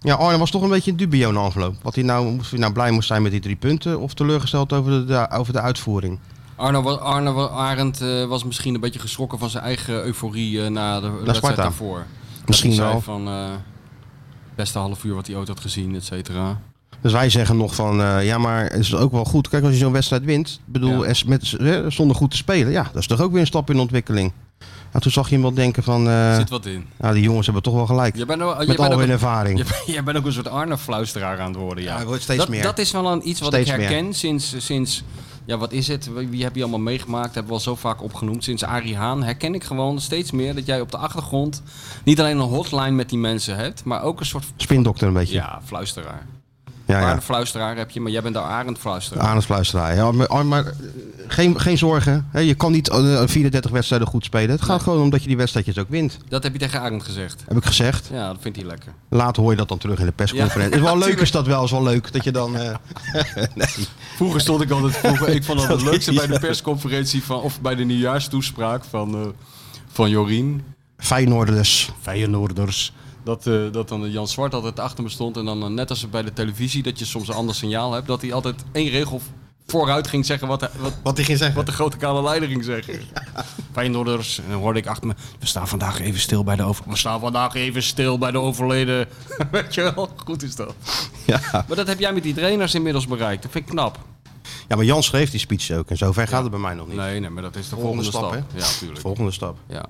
[SPEAKER 2] Ja, Arne was toch een beetje een dubio na afloop. Wat hij nou, of hij nou blij moest zijn met die drie punten of teleurgesteld over de, de- over de uitvoering.
[SPEAKER 3] Arno, wa- Arno wa- Arend eh, was misschien een beetje geschrokken van zijn eigen euforie eh, na de wedstrijd
[SPEAKER 2] Sparta.
[SPEAKER 3] daarvoor. Dat
[SPEAKER 2] Misschien
[SPEAKER 3] hij zei
[SPEAKER 2] wel.
[SPEAKER 3] van eh, beste half uur wat hij ooit had gezien, et cetera.
[SPEAKER 2] Dus wij zeggen nog van, eh, ja maar het is ook wel goed. Kijk, als je zo'n wedstrijd wint, ik bedoel,
[SPEAKER 3] Ja.
[SPEAKER 2] er s- met, eh, zonder goed te spelen. Ja, dat is toch ook weer een stap in ontwikkeling. En toen zag je hem wel denken van, eh,
[SPEAKER 3] Zit wat in.
[SPEAKER 2] nou die jongens hebben toch wel gelijk.
[SPEAKER 3] Jij bent, ook- jij
[SPEAKER 2] Met
[SPEAKER 3] bent
[SPEAKER 2] al
[SPEAKER 3] ook,
[SPEAKER 2] hun ervaring.
[SPEAKER 3] jij bent- jij bent ook een soort Arno-fluisteraar aan het worden, ja.
[SPEAKER 2] Ja, het wordt steeds
[SPEAKER 3] dat,
[SPEAKER 2] meer.
[SPEAKER 3] dat is wel een, iets wat
[SPEAKER 2] Steeds
[SPEAKER 3] ik
[SPEAKER 2] meer.
[SPEAKER 3] herken sinds, sinds... Ja, wat is het? Wie wie heb je allemaal meegemaakt? Hebben we al zo vaak opgenoemd. Sinds Arie Haan herken ik gewoon steeds meer dat jij op de achtergrond... niet alleen een hotline met die mensen hebt, maar ook een soort...
[SPEAKER 2] Spindokter een beetje. Ja,
[SPEAKER 3] Ja, fluisteraar.
[SPEAKER 2] ja.
[SPEAKER 3] Ja,
[SPEAKER 2] ja.
[SPEAKER 3] fluisteraar heb je, maar jij bent de arend fluisteraar.
[SPEAKER 2] Aan het fluisteraar. Ja, maar, oh, maar eh, geen, geen zorgen. hè. Je kan niet eh, 34 wedstrijden goed spelen. Het gaat gewoon om dat je die wedstrijdjes ook wint.
[SPEAKER 3] Dat heb je tegen Arend gezegd.
[SPEAKER 2] Heb ik gezegd.
[SPEAKER 3] Ja, dat vindt hij lekker.
[SPEAKER 2] Later hoor je dat dan terug in de persconferentie. is wel leuk is dat wel. Is wel leuk dat je dan... eh,
[SPEAKER 3] Vroeger stond ik altijd, vroeger, ik vond dat het leukste bij de
[SPEAKER 2] Ja.
[SPEAKER 3] persconferentie van, of bij de nieuwjaarstoespraak van, eh, van Jorien.
[SPEAKER 2] Feyenoorders.
[SPEAKER 3] Feyenoorders. Dat, eh, dat dan Jan Zwart altijd achter me stond en dan eh, net als bij de televisie dat je soms een ander signaal hebt, dat hij altijd één regel vooruit ging zeggen wat, wat,
[SPEAKER 2] Wat die ging zeggen.
[SPEAKER 3] wat de grote kale leider ging zeggen. Feyenoorders, en dan hoorde ik achter me, we staan vandaag even stil bij de, over, we staan vandaag even stil bij de overleden. Weet je wel, goed is dat.
[SPEAKER 2] Ja.
[SPEAKER 3] Maar dat heb jij met die trainers inmiddels bereikt, dat vind ik knap.
[SPEAKER 2] ja, maar Jan schreef die speech ook. En zover gaat het bij mij nog niet.
[SPEAKER 3] Nee, nee, maar dat is de
[SPEAKER 2] Volgende
[SPEAKER 3] volgende,
[SPEAKER 2] stap,
[SPEAKER 3] stap. Ja, tuurlijk.
[SPEAKER 2] Volgende stap.
[SPEAKER 3] Ja.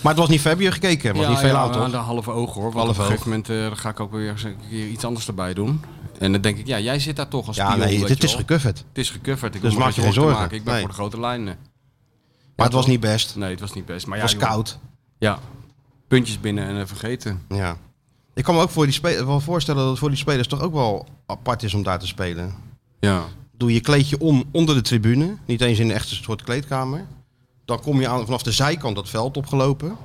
[SPEAKER 2] Maar het was niet ver, heb je gekeken. Het was niet veel
[SPEAKER 3] ja,
[SPEAKER 2] aan,
[SPEAKER 3] aan
[SPEAKER 2] toch?
[SPEAKER 3] de halve ogen hoor. Want
[SPEAKER 2] Halve
[SPEAKER 3] op een
[SPEAKER 2] oog.
[SPEAKER 3] gegeven moment eh, ga ik ook weer eens een keer iets anders erbij doen. En dan denk ik, ja, jij zit daar toch als
[SPEAKER 2] Ja,
[SPEAKER 3] pion,
[SPEAKER 2] nee,
[SPEAKER 3] weet
[SPEAKER 2] dit
[SPEAKER 3] je
[SPEAKER 2] is
[SPEAKER 3] wel.
[SPEAKER 2] gecoverd.
[SPEAKER 3] Het is gecoverd. Ik
[SPEAKER 2] Dus
[SPEAKER 3] hoef me
[SPEAKER 2] maak je
[SPEAKER 3] geen
[SPEAKER 2] geen
[SPEAKER 3] zorgen
[SPEAKER 2] zorgen.
[SPEAKER 3] te maken. Ik ben
[SPEAKER 2] Nee.
[SPEAKER 3] voor de grote lijnen.
[SPEAKER 2] Maar het was niet best. Het
[SPEAKER 3] Nee, het was niet best. Maar ja,
[SPEAKER 2] was
[SPEAKER 3] joh.
[SPEAKER 2] koud.
[SPEAKER 3] Ja. Puntjes binnen en eh, vergeten.
[SPEAKER 2] Ja. Ik kan me ook voor die spe- wel voorstellen dat het voor die spelers toch ook wel apart is om daar te spelen.
[SPEAKER 3] Ja.
[SPEAKER 2] Doe je kleedje om onder de tribune. Niet eens in een echte soort kleedkamer. Dan kom je aan, vanaf de zijkant dat veld opgelopen.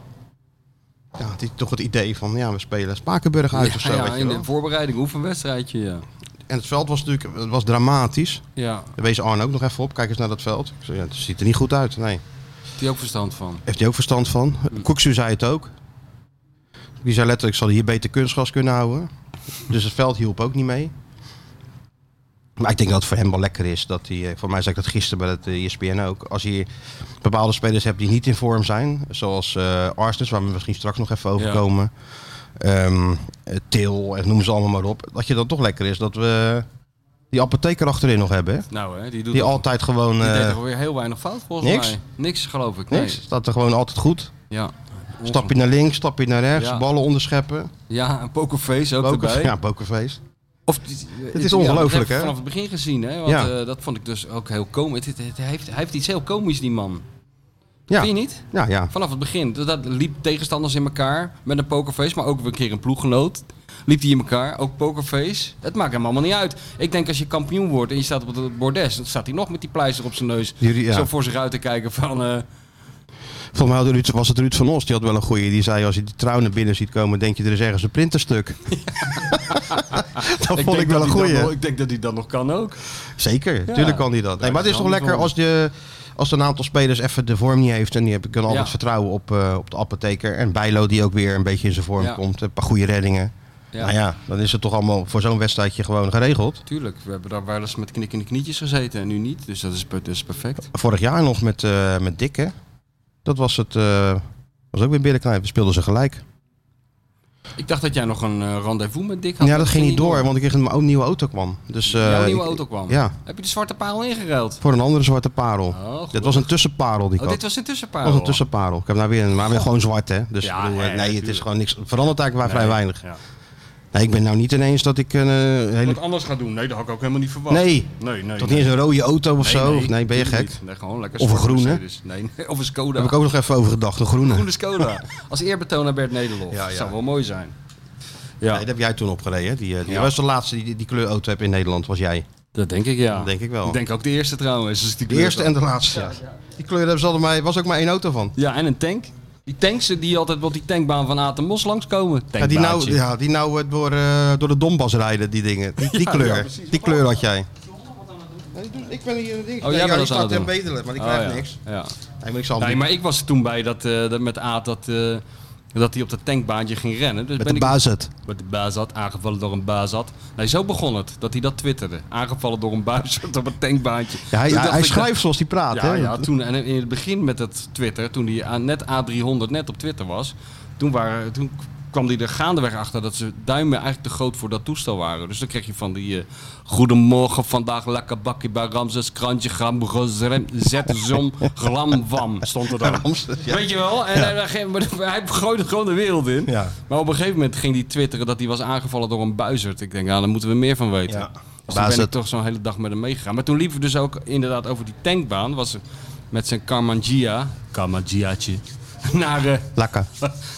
[SPEAKER 2] Ja, het is toch het idee van, ja, we spelen Spakenburg uit of zo.
[SPEAKER 3] ja,
[SPEAKER 2] weet je
[SPEAKER 3] in
[SPEAKER 2] wel.
[SPEAKER 3] de voorbereiding, oefenwedstrijdje, ja.
[SPEAKER 2] En het veld was natuurlijk het was dramatisch.
[SPEAKER 3] Ja,
[SPEAKER 2] Daar wees Arne ook nog even op. Kijk eens naar dat veld. Ik zei, ja, het ziet er niet goed uit. Nee.
[SPEAKER 3] die ook verstand van.
[SPEAKER 2] Heeft hij ook verstand van.
[SPEAKER 3] Hm.
[SPEAKER 2] Koeksu zei het ook. Die zei letterlijk, zal hij hier beter kunstgras kunnen houden. Dus het veld hielp ook niet mee. Maar ik denk dat het voor hem wel lekker is. Dat hij, eh, voor mij zei ik dat gisteren bij het eh, ESPN ook. Als je bepaalde spelers hebt die niet in vorm zijn. Zoals eh Arsnes, waar we misschien straks nog even over
[SPEAKER 3] Ja.
[SPEAKER 2] komen. Ehm, eh, Til, en noem ze allemaal maar op. Dat je dan toch lekker is dat we die apotheker achterin nog hebben. hè?
[SPEAKER 3] Nou hè, die doet
[SPEAKER 2] Die
[SPEAKER 3] toch-
[SPEAKER 2] altijd gewoon...
[SPEAKER 3] die deed
[SPEAKER 2] eh,
[SPEAKER 3] toch weer heel weinig fout volgens
[SPEAKER 2] niks?
[SPEAKER 3] mij. Niks, geloof ik. Nee.
[SPEAKER 2] niks. Staat er gewoon altijd goed.
[SPEAKER 3] Ja.
[SPEAKER 2] Stap je naar links, stap je naar rechts,
[SPEAKER 3] Ja.
[SPEAKER 2] ballen onderscheppen.
[SPEAKER 3] Ja, een pokerface ook
[SPEAKER 2] Poker-
[SPEAKER 3] erbij.
[SPEAKER 2] ja, pokerface.
[SPEAKER 3] Of, die-
[SPEAKER 2] is
[SPEAKER 3] ja,
[SPEAKER 2] ongelooflijk,
[SPEAKER 3] dat heb ik
[SPEAKER 2] hè?
[SPEAKER 3] vanaf het begin gezien, hè? Want
[SPEAKER 2] Ja.
[SPEAKER 3] eh, dat vond ik dus ook heel komisch. Het, het- het heeft, hij heeft iets heel komisch, die man.
[SPEAKER 2] Ja.
[SPEAKER 3] Vind je niet?
[SPEAKER 2] Ja, ja.
[SPEAKER 3] Vanaf het begin. Dat, dat liep tegenstanders in elkaar met een pokerface, maar ook weer een keer een ploeggenoot. Liep die in elkaar, ook pokerface. Het maakt hem allemaal niet uit. Ik denk als je kampioen wordt en je staat op het bordes, dan staat hij nog met die pleister op zijn neus.
[SPEAKER 2] Jullie- ja.
[SPEAKER 3] Zo voor zich uit te kijken van... eh,
[SPEAKER 2] Volgens mij had Ruud- was het Ruud van Os, die had wel een goeie. Die zei, als je die trouw naar binnen ziet komen, denk je er is ergens een printerstuk. dat vond
[SPEAKER 3] denk
[SPEAKER 2] ik
[SPEAKER 3] dat
[SPEAKER 2] wel een
[SPEAKER 3] hij dan
[SPEAKER 2] goeie.
[SPEAKER 3] nog- ik denk dat hij dat nog kan ook.
[SPEAKER 2] Zeker, natuurlijk kan die dat. Nee, maar het is toch
[SPEAKER 3] handig
[SPEAKER 2] lekker
[SPEAKER 3] wel.
[SPEAKER 2] als, je, als een aantal spelers even de vorm niet heeft. En die heb ik dan altijd
[SPEAKER 3] Ja.
[SPEAKER 2] vertrouwen op, eh, op de apotheker. En Bijlo die ook weer een beetje in zijn vorm
[SPEAKER 3] Ja.
[SPEAKER 2] komt. Een paar goede reddingen.
[SPEAKER 3] Ja.
[SPEAKER 2] Nou ja, dan is het toch allemaal voor zo'n wedstrijdje gewoon geregeld.
[SPEAKER 3] Tuurlijk, we hebben daar wel eens met knikkende knietjes gezeten en nu niet. Dus dat is, per- dat is perfect.
[SPEAKER 2] Vorig jaar nog met, eh met Dikke. Dat was het. eh, was ook weer binnenknijp. We speelden ze
[SPEAKER 3] Oh,
[SPEAKER 2] gelijk.
[SPEAKER 3] Ik dacht dat jij nog een eh, rendezvous met Dick had.
[SPEAKER 2] Ja, dat ging niet door, want ik kreeg een o- nieuwe auto kwam. Dus, eh,
[SPEAKER 3] Jouw nieuwe
[SPEAKER 2] ik-
[SPEAKER 3] auto kwam.
[SPEAKER 2] Ja,
[SPEAKER 3] Heb je de zwarte paal ingeruild?
[SPEAKER 2] voor een andere zwarte parel.
[SPEAKER 3] Oh, goed.
[SPEAKER 2] dit was een tussenparel die ik
[SPEAKER 3] Oh,
[SPEAKER 2] had.
[SPEAKER 3] dit was een tussenpaal.
[SPEAKER 2] Dat was een tussenparel. Ik heb nou weer een, maar weer gewoon zwart, hè? Dus
[SPEAKER 3] Ja,
[SPEAKER 2] ik bedoel, eh,
[SPEAKER 3] ja, ja,
[SPEAKER 2] nee, het is
[SPEAKER 3] tuurlijk.
[SPEAKER 2] gewoon niks. Verandert eigenlijk maar vrij weinig.
[SPEAKER 3] ja.
[SPEAKER 2] Nee, ik ben nou niet ineens dat ik een eh, hele.
[SPEAKER 3] Wat anders gaan doen? Nee, dat had ik ook helemaal niet verwacht.
[SPEAKER 2] Nee,
[SPEAKER 3] nee, nee.
[SPEAKER 2] tot niet eens een rode auto of zo. Nee, ben je gek?
[SPEAKER 3] natuurlijk niet. Nee, gewoon lekker
[SPEAKER 2] Of een
[SPEAKER 3] zwarte
[SPEAKER 2] groene.
[SPEAKER 3] Mercedes. Nee, nee, of een Skoda.
[SPEAKER 2] Daar heb ik ook nog even over gedacht. De groene.
[SPEAKER 3] Groene Skoda. Als eerbetoon aan Bert Nederlof.
[SPEAKER 2] Ja, ja.
[SPEAKER 3] Dat zou wel mooi zijn. Ja,
[SPEAKER 2] Nee, dat heb jij toen opgereden. hè? Die, eh, die
[SPEAKER 3] Ja.
[SPEAKER 2] was de laatste die, die kleurauto heb in Nederland, was jij.
[SPEAKER 3] dat denk ik ja.
[SPEAKER 2] Dat denk ik wel.
[SPEAKER 3] Ik denk ook de eerste trouwens. Dus die
[SPEAKER 2] De eerste en de laatste. Die kleur hebben ze altijd maar, was ook maar één auto van.
[SPEAKER 3] Ja, en een tank. Die tanks die altijd op die tankbaan van Aten Mos langskomen.
[SPEAKER 2] Ja, die nou,
[SPEAKER 3] ja.
[SPEAKER 2] ja, die nou eh, door, eh, door de Donbass rijden, die dingen. Die, die
[SPEAKER 3] Ja,
[SPEAKER 2] kleur.
[SPEAKER 3] ja, precies.
[SPEAKER 2] die kleur had jij. Ik ben hier een ding.
[SPEAKER 3] Oh, jij bent
[SPEAKER 2] ik
[SPEAKER 3] dat aan
[SPEAKER 2] sta
[SPEAKER 3] het
[SPEAKER 2] te
[SPEAKER 3] doen.
[SPEAKER 2] bedelen, maar ik
[SPEAKER 3] Oh,
[SPEAKER 2] krijg
[SPEAKER 3] ja.
[SPEAKER 2] niks.
[SPEAKER 3] Ja.
[SPEAKER 2] Nee, maar ik zal
[SPEAKER 3] Nee, maar ik was er toen bij dat, eh, dat met Aad dat, eh, dat hij op dat tankbaantje ging rennen. Dus
[SPEAKER 2] met
[SPEAKER 3] ben
[SPEAKER 2] de
[SPEAKER 3] ik
[SPEAKER 2] bazet.
[SPEAKER 3] met de Bazat, aangevallen door een Bazat. Nee, zo begon het, dat hij dat twitterde. Aangevallen door een Bazat op een tankbaantje.
[SPEAKER 2] Ja, hij
[SPEAKER 3] Toen
[SPEAKER 2] hij,
[SPEAKER 3] dacht
[SPEAKER 2] hij
[SPEAKER 3] ik
[SPEAKER 2] schrijft zoals hij praat.
[SPEAKER 3] dat-
[SPEAKER 2] hè?
[SPEAKER 3] Ja, ja, toen en in het begin met dat Twitter, toen hij aan- net A300 net op Twitter was, toen, waren, toen kwam hij er gaandeweg achter dat ze duimen eigenlijk te groot voor dat toestel waren. Dus dan kreeg je van die eh, goedemorgen vandaag lekker bakkie bij Ramses krantje gram gezrem, zet zom glam vam stond er dan.
[SPEAKER 2] Amsterdam, ja.
[SPEAKER 3] Weet je wel? En hij, hij- maar hij gooide gewoon de wereld in.
[SPEAKER 2] Ja.
[SPEAKER 3] Maar op een gegeven moment ging hij twitteren dat hij was aangevallen door een buizerd. Ik denk, ja, daar moeten we meer van weten.
[SPEAKER 2] Ja.
[SPEAKER 3] Dus toen ben ik
[SPEAKER 2] Buizerd.
[SPEAKER 3] toch zo'n hele dag met hem meegegaan. Maar toen liepen we dus ook inderdaad over die tankbaan. Was er met zijn Carmangia, Carmangiaatje, naar, eh,
[SPEAKER 2] Lekker.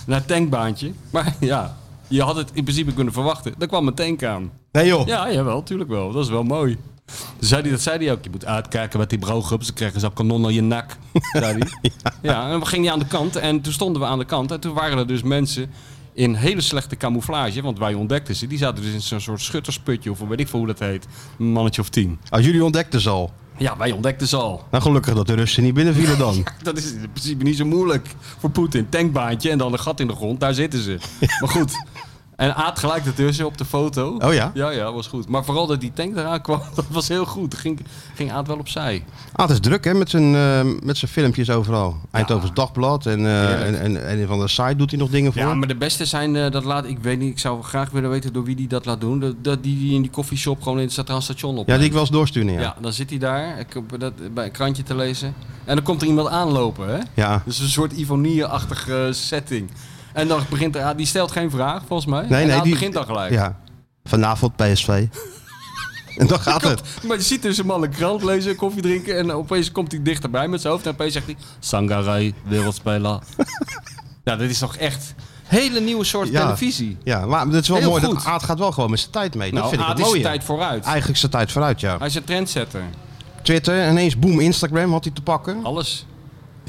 [SPEAKER 3] naar het tankbaantje. Maar ja, je had het in principe kunnen verwachten. Daar kwam een tank aan.
[SPEAKER 2] Nee joh.
[SPEAKER 3] Ja, jawel, tuurlijk wel. Dat is wel mooi. Toen Zei die, dat zei hij ook. Je moet uitkijken met die brouwgroep. Ze krijgen zo'n kanon aan je nak. Zei die. ja. en we gingen die aan de kant. En toen stonden we aan de kant. En toen waren er dus mensen in hele slechte camouflage. Want wij ontdekten ze. Die zaten dus in zo'n soort schuttersputje. Of weet ik veel hoe dat heet. Een mannetje of tien.
[SPEAKER 2] Als jullie ontdekten ze al.
[SPEAKER 3] Ja, wij ontdekten ze al.
[SPEAKER 2] Nou, gelukkig dat de Russen niet binnenvielen dan.
[SPEAKER 3] Dat is in principe niet zo moeilijk voor Poetin. Tankbaantje en dan een gat in de grond, daar zitten ze. Maar goed, En Aad gelijk ertussen op de foto.
[SPEAKER 2] Oh ja?
[SPEAKER 3] Ja, ja, was goed. Maar vooral dat die tank eraan kwam, dat was heel goed. Ging, ging Aad wel opzij.
[SPEAKER 2] Ah, het is druk hè, met zijn, eh, met zijn filmpjes overal. Eindhoven's Dagblad en, eh en,
[SPEAKER 3] Heerlijk.
[SPEAKER 2] en, en van de site doet hij nog dingen voor.
[SPEAKER 3] Ja, maar de beste zijn, eh, dat laat, ik weet niet, ik zou graag willen weten door wie die dat laat doen. Dat, dat die, die in die koffieshop gewoon in het Centraal Station op.
[SPEAKER 2] Ja, die ik wel eens doorsturen,
[SPEAKER 3] Ja.
[SPEAKER 2] ja. Ja,
[SPEAKER 3] dan zit hij daar ik, heb dat, bij een krantje te lezen. En dan komt er iemand aanlopen, hè? Dus een soort Ivonie-achtige setting. En dan begint er, ah, die stelt geen vraag, volgens mij.
[SPEAKER 2] Nee,
[SPEAKER 3] en
[SPEAKER 2] nee,
[SPEAKER 3] Aad
[SPEAKER 2] die-
[SPEAKER 3] begint dan gelijk.
[SPEAKER 2] ja. Vanavond PSV. en dan gaat het.
[SPEAKER 3] Maar je ziet dus een man een krant lezen, koffie drinken en opeens komt hij dichterbij met zijn hoofd en opeens zegt hij... Sangarai, wereldspeler. ja, dat is toch echt hele nieuwe soort
[SPEAKER 2] Ja.
[SPEAKER 3] televisie.
[SPEAKER 2] Ja, maar dat is wel
[SPEAKER 3] Heel
[SPEAKER 2] mooi.
[SPEAKER 3] goed.
[SPEAKER 2] Dat Aad gaat wel gewoon met zijn tijd mee. dat
[SPEAKER 3] Nou,
[SPEAKER 2] vind ik
[SPEAKER 3] Aad
[SPEAKER 2] het
[SPEAKER 3] is de
[SPEAKER 2] mooie.
[SPEAKER 3] tijd vooruit.
[SPEAKER 2] Eigenlijk zijn tijd vooruit, ja.
[SPEAKER 3] Hij is een trendsetter.
[SPEAKER 2] Twitter, ineens boom, Instagram had hij te pakken.
[SPEAKER 3] Alles.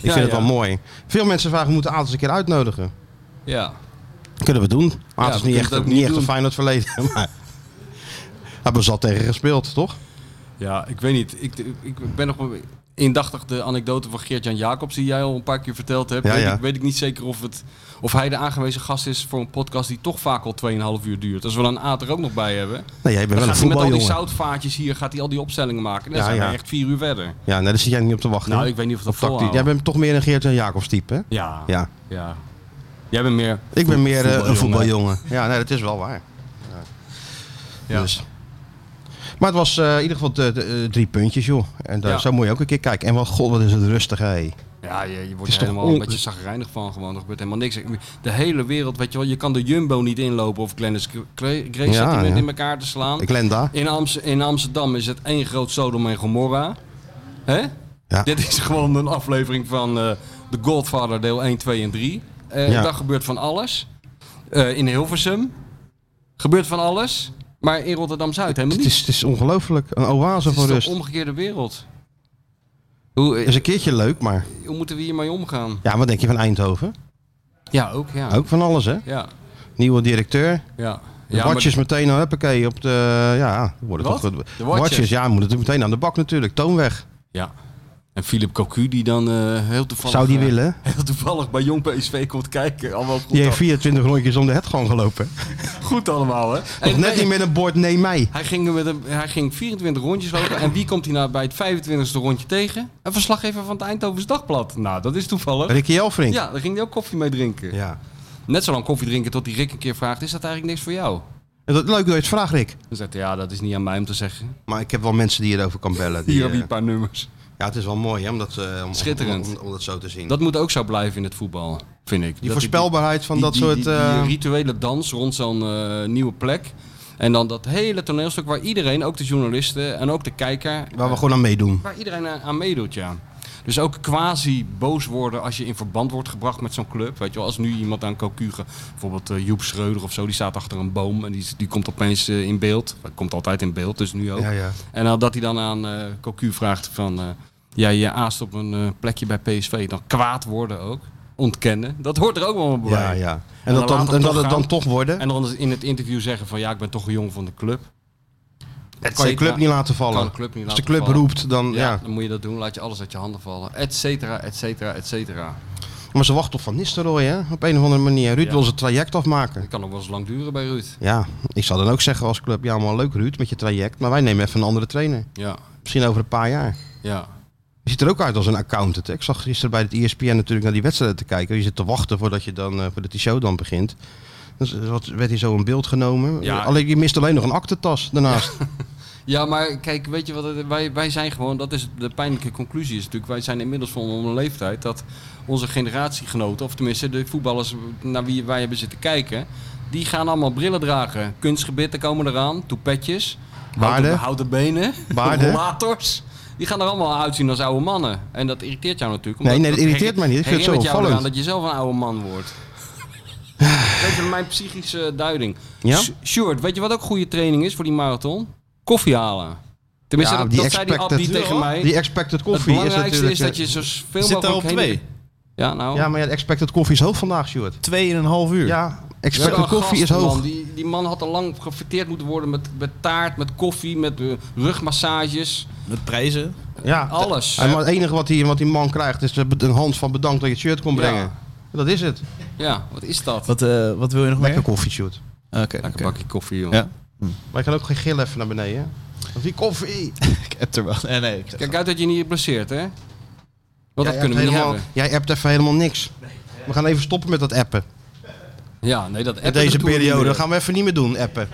[SPEAKER 2] Ik vind het wel mooi. Veel mensen vragen, moeten Aad eens een keer uitnodigen.
[SPEAKER 3] Ja.
[SPEAKER 2] Kunnen we doen. Aad
[SPEAKER 3] Ja,
[SPEAKER 2] is
[SPEAKER 3] we
[SPEAKER 2] niet
[SPEAKER 3] kunnen
[SPEAKER 2] echt,
[SPEAKER 3] het ook
[SPEAKER 2] niet
[SPEAKER 3] niet
[SPEAKER 2] echt een
[SPEAKER 3] doen.
[SPEAKER 2] Feyenoord verleden, maar... Hebben we zat tegen gespeeld, toch?
[SPEAKER 3] Ja, ik weet niet. Ik, ik ben nog wel indachtig de anekdote van Geert-Jan Jacobs die jij al een paar keer verteld hebt.
[SPEAKER 2] Ja,
[SPEAKER 3] weet,
[SPEAKER 2] ja.
[SPEAKER 3] Ik, weet ik niet zeker of, het, of hij de aangewezen gast is voor een podcast die toch vaak al 2,5 uur duurt. Als we dan Aad er ook nog bij hebben.
[SPEAKER 2] Nee, jij bent
[SPEAKER 3] Dan
[SPEAKER 2] wel een
[SPEAKER 3] gaat hij met al die
[SPEAKER 2] voetbaljongen.
[SPEAKER 3] zoutvaartjes hier, gaat hij al die opstellingen maken. En dan
[SPEAKER 2] Ja,
[SPEAKER 3] zijn
[SPEAKER 2] ja.
[SPEAKER 3] we echt vier uur verder.
[SPEAKER 2] Ja, nee, daar zit jij niet op te wachten.
[SPEAKER 3] Nou,
[SPEAKER 2] hoor.
[SPEAKER 3] ik weet niet of dat
[SPEAKER 2] Op tactiek.
[SPEAKER 3] volhoudt.
[SPEAKER 2] Jij bent toch meer een Geert en Jacobs type, hè?
[SPEAKER 3] Ja. ja.
[SPEAKER 2] Ja.
[SPEAKER 3] Jij bent meer...
[SPEAKER 2] Ik ben meer eh, een
[SPEAKER 3] voetbaljongen.
[SPEAKER 2] voetbaljongen. Ja, nee, dat is wel waar. Ja. Dus. Maar het was eh, in ieder geval de, de, eh, drie puntjes, joh. En daar
[SPEAKER 3] Ja.
[SPEAKER 2] zo moet je ook een keer kijken. En wat, god, wat is het rustig, hé.
[SPEAKER 3] Ja, je, je wordt
[SPEAKER 2] is
[SPEAKER 3] er
[SPEAKER 2] toch
[SPEAKER 3] helemaal
[SPEAKER 2] on-
[SPEAKER 3] een beetje zagrijnig van gewoon. Er gebeurt helemaal niks. De hele wereld, weet je wel. Je kan de Jumbo niet inlopen of Glennis Grace
[SPEAKER 2] Ja,
[SPEAKER 3] zit iemand
[SPEAKER 2] ja.
[SPEAKER 3] in elkaar te slaan.
[SPEAKER 2] Glenda.
[SPEAKER 3] In, Amst- in Amsterdam is het één groot Sodom en Gomorra. Hè?
[SPEAKER 2] Ja.
[SPEAKER 3] Dit is gewoon een aflevering van eh The Godfather deel 1, 2 en 3. Eh
[SPEAKER 2] Ja.
[SPEAKER 3] Daar gebeurt van alles. Eh, in Hilversum gebeurt van alles. Maar in Rotterdam-Zuid helemaal
[SPEAKER 2] Het
[SPEAKER 3] niet.
[SPEAKER 2] is, het is ongelooflijk. Een oase
[SPEAKER 3] Het
[SPEAKER 2] van
[SPEAKER 3] is de
[SPEAKER 2] rust. Dus
[SPEAKER 3] omgekeerde wereld. Hoe, eh,
[SPEAKER 2] is een keertje leuk, maar...
[SPEAKER 3] hoe moeten we hiermee omgaan?
[SPEAKER 2] Ja, wat denk je van Eindhoven?
[SPEAKER 3] Ja, ook ja.
[SPEAKER 2] Ook van alles, hè?
[SPEAKER 3] Ja,
[SPEAKER 2] Nieuwe directeur.
[SPEAKER 3] ja.
[SPEAKER 2] De
[SPEAKER 3] ja
[SPEAKER 2] watjes meteen, al, huppakee, op de... Ja, worden
[SPEAKER 3] Wat?
[SPEAKER 2] toch...
[SPEAKER 3] De
[SPEAKER 2] De
[SPEAKER 3] watjes?
[SPEAKER 2] watjes, ja, moet het meteen aan de bak natuurlijk. Toon weg.
[SPEAKER 3] ja. En Philip Cocu die dan eh, heel toevallig...
[SPEAKER 2] Zou die
[SPEAKER 3] eh,
[SPEAKER 2] willen?
[SPEAKER 3] Heel toevallig bij Jong PSV komt kijken. Allemaal goed,
[SPEAKER 2] Die
[SPEAKER 3] al-
[SPEAKER 2] heeft 24 rondjes om de het gewoon gelopen.
[SPEAKER 3] goed allemaal, hè?
[SPEAKER 2] Nog net niet met een bord, nee mij.
[SPEAKER 3] Hij ging, met een, hij ging 24 rondjes lopen. En wie komt hij nou bij het 25e rondje tegen? Een verslaggever van het Eindhovens Dagblad. Nou, dat is toevallig.
[SPEAKER 2] Ricky Elfrink.
[SPEAKER 3] Ja, daar ging hij ook koffie mee drinken.
[SPEAKER 2] Ja.
[SPEAKER 3] Net zo lang koffie drinken tot die Rick een keer vraagt... is dat eigenlijk niks voor jou?
[SPEAKER 2] En dat, leuk dat je het vraagt, Rick.
[SPEAKER 3] Dan zegt hij, ja, dat is niet aan mij om te zeggen.
[SPEAKER 2] Maar ik heb wel mensen die hierover kan bellen. Die,
[SPEAKER 3] Hier heb je een
[SPEAKER 2] eh,
[SPEAKER 3] paar nummers.
[SPEAKER 2] ja, het is wel mooi hè, om, dat, eh, om,
[SPEAKER 3] Schitterend.
[SPEAKER 2] Om, om, om dat zo te zien.
[SPEAKER 3] Dat moet ook zo blijven in het voetbal, vind ik.
[SPEAKER 2] die
[SPEAKER 3] Dat
[SPEAKER 2] voorspelbaarheid van
[SPEAKER 3] die-
[SPEAKER 2] dat
[SPEAKER 3] die-
[SPEAKER 2] soort...
[SPEAKER 3] die- die
[SPEAKER 2] eh,
[SPEAKER 3] rituele dans rond zo'n eh, nieuwe plek. En dan dat hele toneelstuk waar iedereen, ook de journalisten en ook de kijker...
[SPEAKER 2] waar we gewoon aan meedoen.
[SPEAKER 3] Waar iedereen eh, aan, aan meedoet, ja. Dus ook quasi boos worden als je in verband wordt gebracht met zo'n club. Weet je wel, als nu iemand aan Cocu, ge- bijvoorbeeld eh, Joep Schreuder of zo, die staat achter een boom en die, die komt opeens eh, in beeld. Hij komt altijd in beeld, dus nu ook.
[SPEAKER 2] Ja, ja.
[SPEAKER 3] En dan dat hij dan aan eh Cocu vraagt van, eh, ja, je aast op een eh, plekje bij PSV. Dan kwaad worden ook, ontkennen. Dat hoort er ook wel bij.
[SPEAKER 2] Ja, ja. En, dat,
[SPEAKER 3] dan
[SPEAKER 2] dan,
[SPEAKER 3] laat
[SPEAKER 2] en
[SPEAKER 3] het
[SPEAKER 2] dat
[SPEAKER 3] toch
[SPEAKER 2] het dan
[SPEAKER 3] gaan.
[SPEAKER 2] toch worden.
[SPEAKER 3] En dan in het interview zeggen van, ja, ik ben toch een jong van de club.
[SPEAKER 2] Het
[SPEAKER 3] kan
[SPEAKER 2] kan je
[SPEAKER 3] je
[SPEAKER 2] club
[SPEAKER 3] dra-
[SPEAKER 2] niet laten vallen.
[SPEAKER 3] kan de club niet
[SPEAKER 2] Als de
[SPEAKER 3] laten
[SPEAKER 2] club
[SPEAKER 3] vallen.
[SPEAKER 2] roept, dan ja.
[SPEAKER 3] Ja, dan moet je dat doen. Laat je alles uit je handen vallen. Et cetera, et cetera, et cetera.
[SPEAKER 2] Maar ze wachten op Van Nistelrooy, hè? Op een of andere manier. Ruud
[SPEAKER 3] Ja.
[SPEAKER 2] wil zijn traject afmaken.
[SPEAKER 3] Dat kan nog wel eens lang duren bij Ruud.
[SPEAKER 2] Ja, ik zou dan ook zeggen als club, ja maar leuk Ruud met je traject, maar wij nemen even een andere trainer.
[SPEAKER 3] Ja,
[SPEAKER 2] Misschien over een paar jaar.
[SPEAKER 3] ja.
[SPEAKER 2] Je ziet er ook uit als een accountant. hè. Ik zag gisteren bij het E ESPN natuurlijk naar die wedstrijden te kijken. Je zit te wachten voordat, je dan, eh, voordat die show dan begint. Dus eh, wat werd hier zo in beeld genomen. Eh,
[SPEAKER 3] Ja.
[SPEAKER 2] Alleen, je mist alleen nog een aktentas daarnaast.
[SPEAKER 3] Ja, maar kijk, weet je wat? het- Wij, wij zijn gewoon, dat is de pijnlijke conclusie is natuurlijk. Wij zijn inmiddels van een leeftijd dat onze generatiegenoten, of tenminste de voetballers naar wie wij hebben zitten kijken, die gaan allemaal brillen dragen. Kunstgebitten komen eraan, toepetjes,
[SPEAKER 2] Baarden.
[SPEAKER 3] houten, houten benen,
[SPEAKER 2] Baarden.
[SPEAKER 3] rollators. Die gaan er allemaal uitzien als oude mannen. En dat irriteert jou natuurlijk.
[SPEAKER 2] Nee, nee, dat irriteert mij niet. Ik vind het zo
[SPEAKER 3] herinnert jou
[SPEAKER 2] opvallend.
[SPEAKER 3] eraan dat je zelf een oude man wordt. Weet je, mijn psychische duiding.
[SPEAKER 2] Ja?
[SPEAKER 3] Sh- Sjoerd, weet je wat ook goede training is voor die marathon? Koffie halen. Tenminste,
[SPEAKER 2] Ja,
[SPEAKER 3] dat,
[SPEAKER 2] die
[SPEAKER 3] dat zei die
[SPEAKER 2] expected-
[SPEAKER 3] Abdi tegen mij.
[SPEAKER 2] die expected koffie
[SPEAKER 3] het
[SPEAKER 2] is
[SPEAKER 3] belangrijkste
[SPEAKER 2] natuurlijk...
[SPEAKER 3] is, dat je
[SPEAKER 2] eh,
[SPEAKER 3] zo veel
[SPEAKER 4] Zit daar
[SPEAKER 3] mogelijk
[SPEAKER 4] op
[SPEAKER 3] heen-
[SPEAKER 4] twee.
[SPEAKER 3] Ja, nou.
[SPEAKER 2] Ja, maar ja, de expected koffie is hoog vandaag, Stuart.
[SPEAKER 4] Tweeënhalf uur.
[SPEAKER 2] Ja,
[SPEAKER 3] Zo'n
[SPEAKER 2] expected koffie is
[SPEAKER 3] gast,
[SPEAKER 2] hoog.
[SPEAKER 3] Man. Die, die man had al lang gefeteerd moeten worden met, met taart, met koffie, met eh, rugmassages.
[SPEAKER 4] Met prijzen.
[SPEAKER 2] Ja,
[SPEAKER 3] Alles.
[SPEAKER 2] En maar het enige wat die, wat die man krijgt is eh, een hand van bedankt dat je het shirt kon
[SPEAKER 3] Ja.
[SPEAKER 2] brengen. Dat is het.
[SPEAKER 3] Ja, wat is dat?
[SPEAKER 4] Wat, eh, wat wil je nog
[SPEAKER 2] Lekker
[SPEAKER 4] meer?
[SPEAKER 2] koffie, Sjoerd.
[SPEAKER 4] Oké,
[SPEAKER 3] Lekker
[SPEAKER 4] oké.
[SPEAKER 3] bakje koffie, joh.
[SPEAKER 4] Ja.
[SPEAKER 2] Maar ik kan ook geen gil even naar beneden. hè? Want die koffie.
[SPEAKER 4] ik heb er wel. Nee, nee. Ik zeg-
[SPEAKER 3] Kijk uit dat je niet blesseert, hè? Want dat
[SPEAKER 2] Jij
[SPEAKER 3] kunnen we
[SPEAKER 2] hebt
[SPEAKER 3] niet
[SPEAKER 2] helemaal,
[SPEAKER 3] hebben.
[SPEAKER 2] Jij appt even helemaal niks. We gaan even stoppen met dat appen.
[SPEAKER 3] Ja, nee, dat
[SPEAKER 2] In
[SPEAKER 3] appen,
[SPEAKER 2] deze
[SPEAKER 3] dat doen we
[SPEAKER 2] periode
[SPEAKER 3] niet meer.
[SPEAKER 2] gaan we even niet meer doen, appen.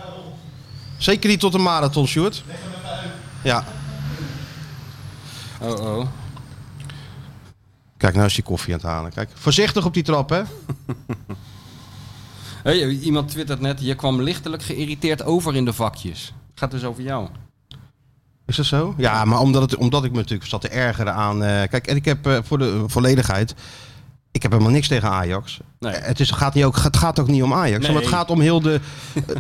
[SPEAKER 2] Zeker niet tot de marathon, Sjoerd. Ja,
[SPEAKER 3] Oh, oh.
[SPEAKER 2] kijk, nou is die koffie aan het halen. Kijk, voorzichtig op die trap, hè.
[SPEAKER 3] Hey, iemand twittert net, je kwam lichtelijk geïrriteerd over in de vakjes. Gaat dus over jou.
[SPEAKER 2] Is dat zo? Ja, maar omdat, het, omdat ik me natuurlijk zat te ergeren aan... eh, kijk, en ik heb eh, voor de volledigheid... Ik heb helemaal niks tegen Ajax.
[SPEAKER 3] Nee.
[SPEAKER 2] Eh, Het, is, gaat niet ook, het gaat ook niet om Ajax.
[SPEAKER 3] Nee.
[SPEAKER 2] Maar het gaat om heel de,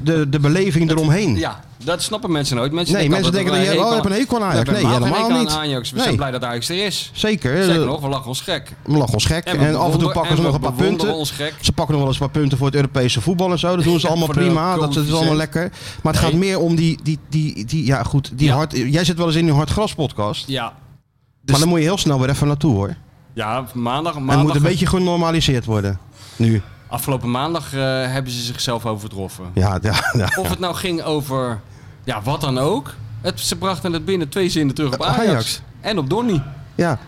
[SPEAKER 2] de, de beleving eromheen.
[SPEAKER 3] Ja, dat snappen mensen nooit. Mensen
[SPEAKER 2] nee, mensen denken dat
[SPEAKER 3] je
[SPEAKER 2] je oh, je hebt een hekel aan Ajax. Nee, helemaal niet.
[SPEAKER 3] Ajax. We
[SPEAKER 2] Nee.
[SPEAKER 3] zijn blij dat Ajax er is.
[SPEAKER 2] Zeker.
[SPEAKER 3] Zeker
[SPEAKER 2] eh,
[SPEAKER 3] nog, we lachen ons gek.
[SPEAKER 2] We lachen ons gek. En,
[SPEAKER 3] we
[SPEAKER 2] af en toe
[SPEAKER 3] bewonder-
[SPEAKER 2] pakken ze
[SPEAKER 3] en
[SPEAKER 2] nog
[SPEAKER 3] we
[SPEAKER 2] een paar
[SPEAKER 3] bewonderen
[SPEAKER 2] punten.
[SPEAKER 3] ons gek.
[SPEAKER 2] Ze pakken nog wel eens wat punten voor het Europese voetbal en zo. Dat doen ze allemaal
[SPEAKER 3] Voor de
[SPEAKER 2] prima. Dat is allemaal
[SPEAKER 3] coëfficiënt.
[SPEAKER 2] lekker. Maar het
[SPEAKER 3] Nee.
[SPEAKER 2] gaat meer om die, die, die, die ja goed, die
[SPEAKER 3] Ja.
[SPEAKER 2] hard, jij zit wel eens in die hardgras podcast.
[SPEAKER 3] Ja, dus-
[SPEAKER 2] Maar dan moet je heel snel weer even naartoe hoor.
[SPEAKER 3] ja maandag,
[SPEAKER 2] En het
[SPEAKER 3] maandag
[SPEAKER 2] moet een beetje genormaliseerd worden. Nu.
[SPEAKER 3] afgelopen maandag eh, hebben ze zichzelf overtroffen.
[SPEAKER 2] Ja, ja, ja.
[SPEAKER 3] Of het nou ging over ja, wat dan ook. Het, ze brachten het binnen twee zinnen terug op
[SPEAKER 2] Eh,
[SPEAKER 3] Ajax.
[SPEAKER 2] Ajax.
[SPEAKER 3] En op Donny.
[SPEAKER 2] ja.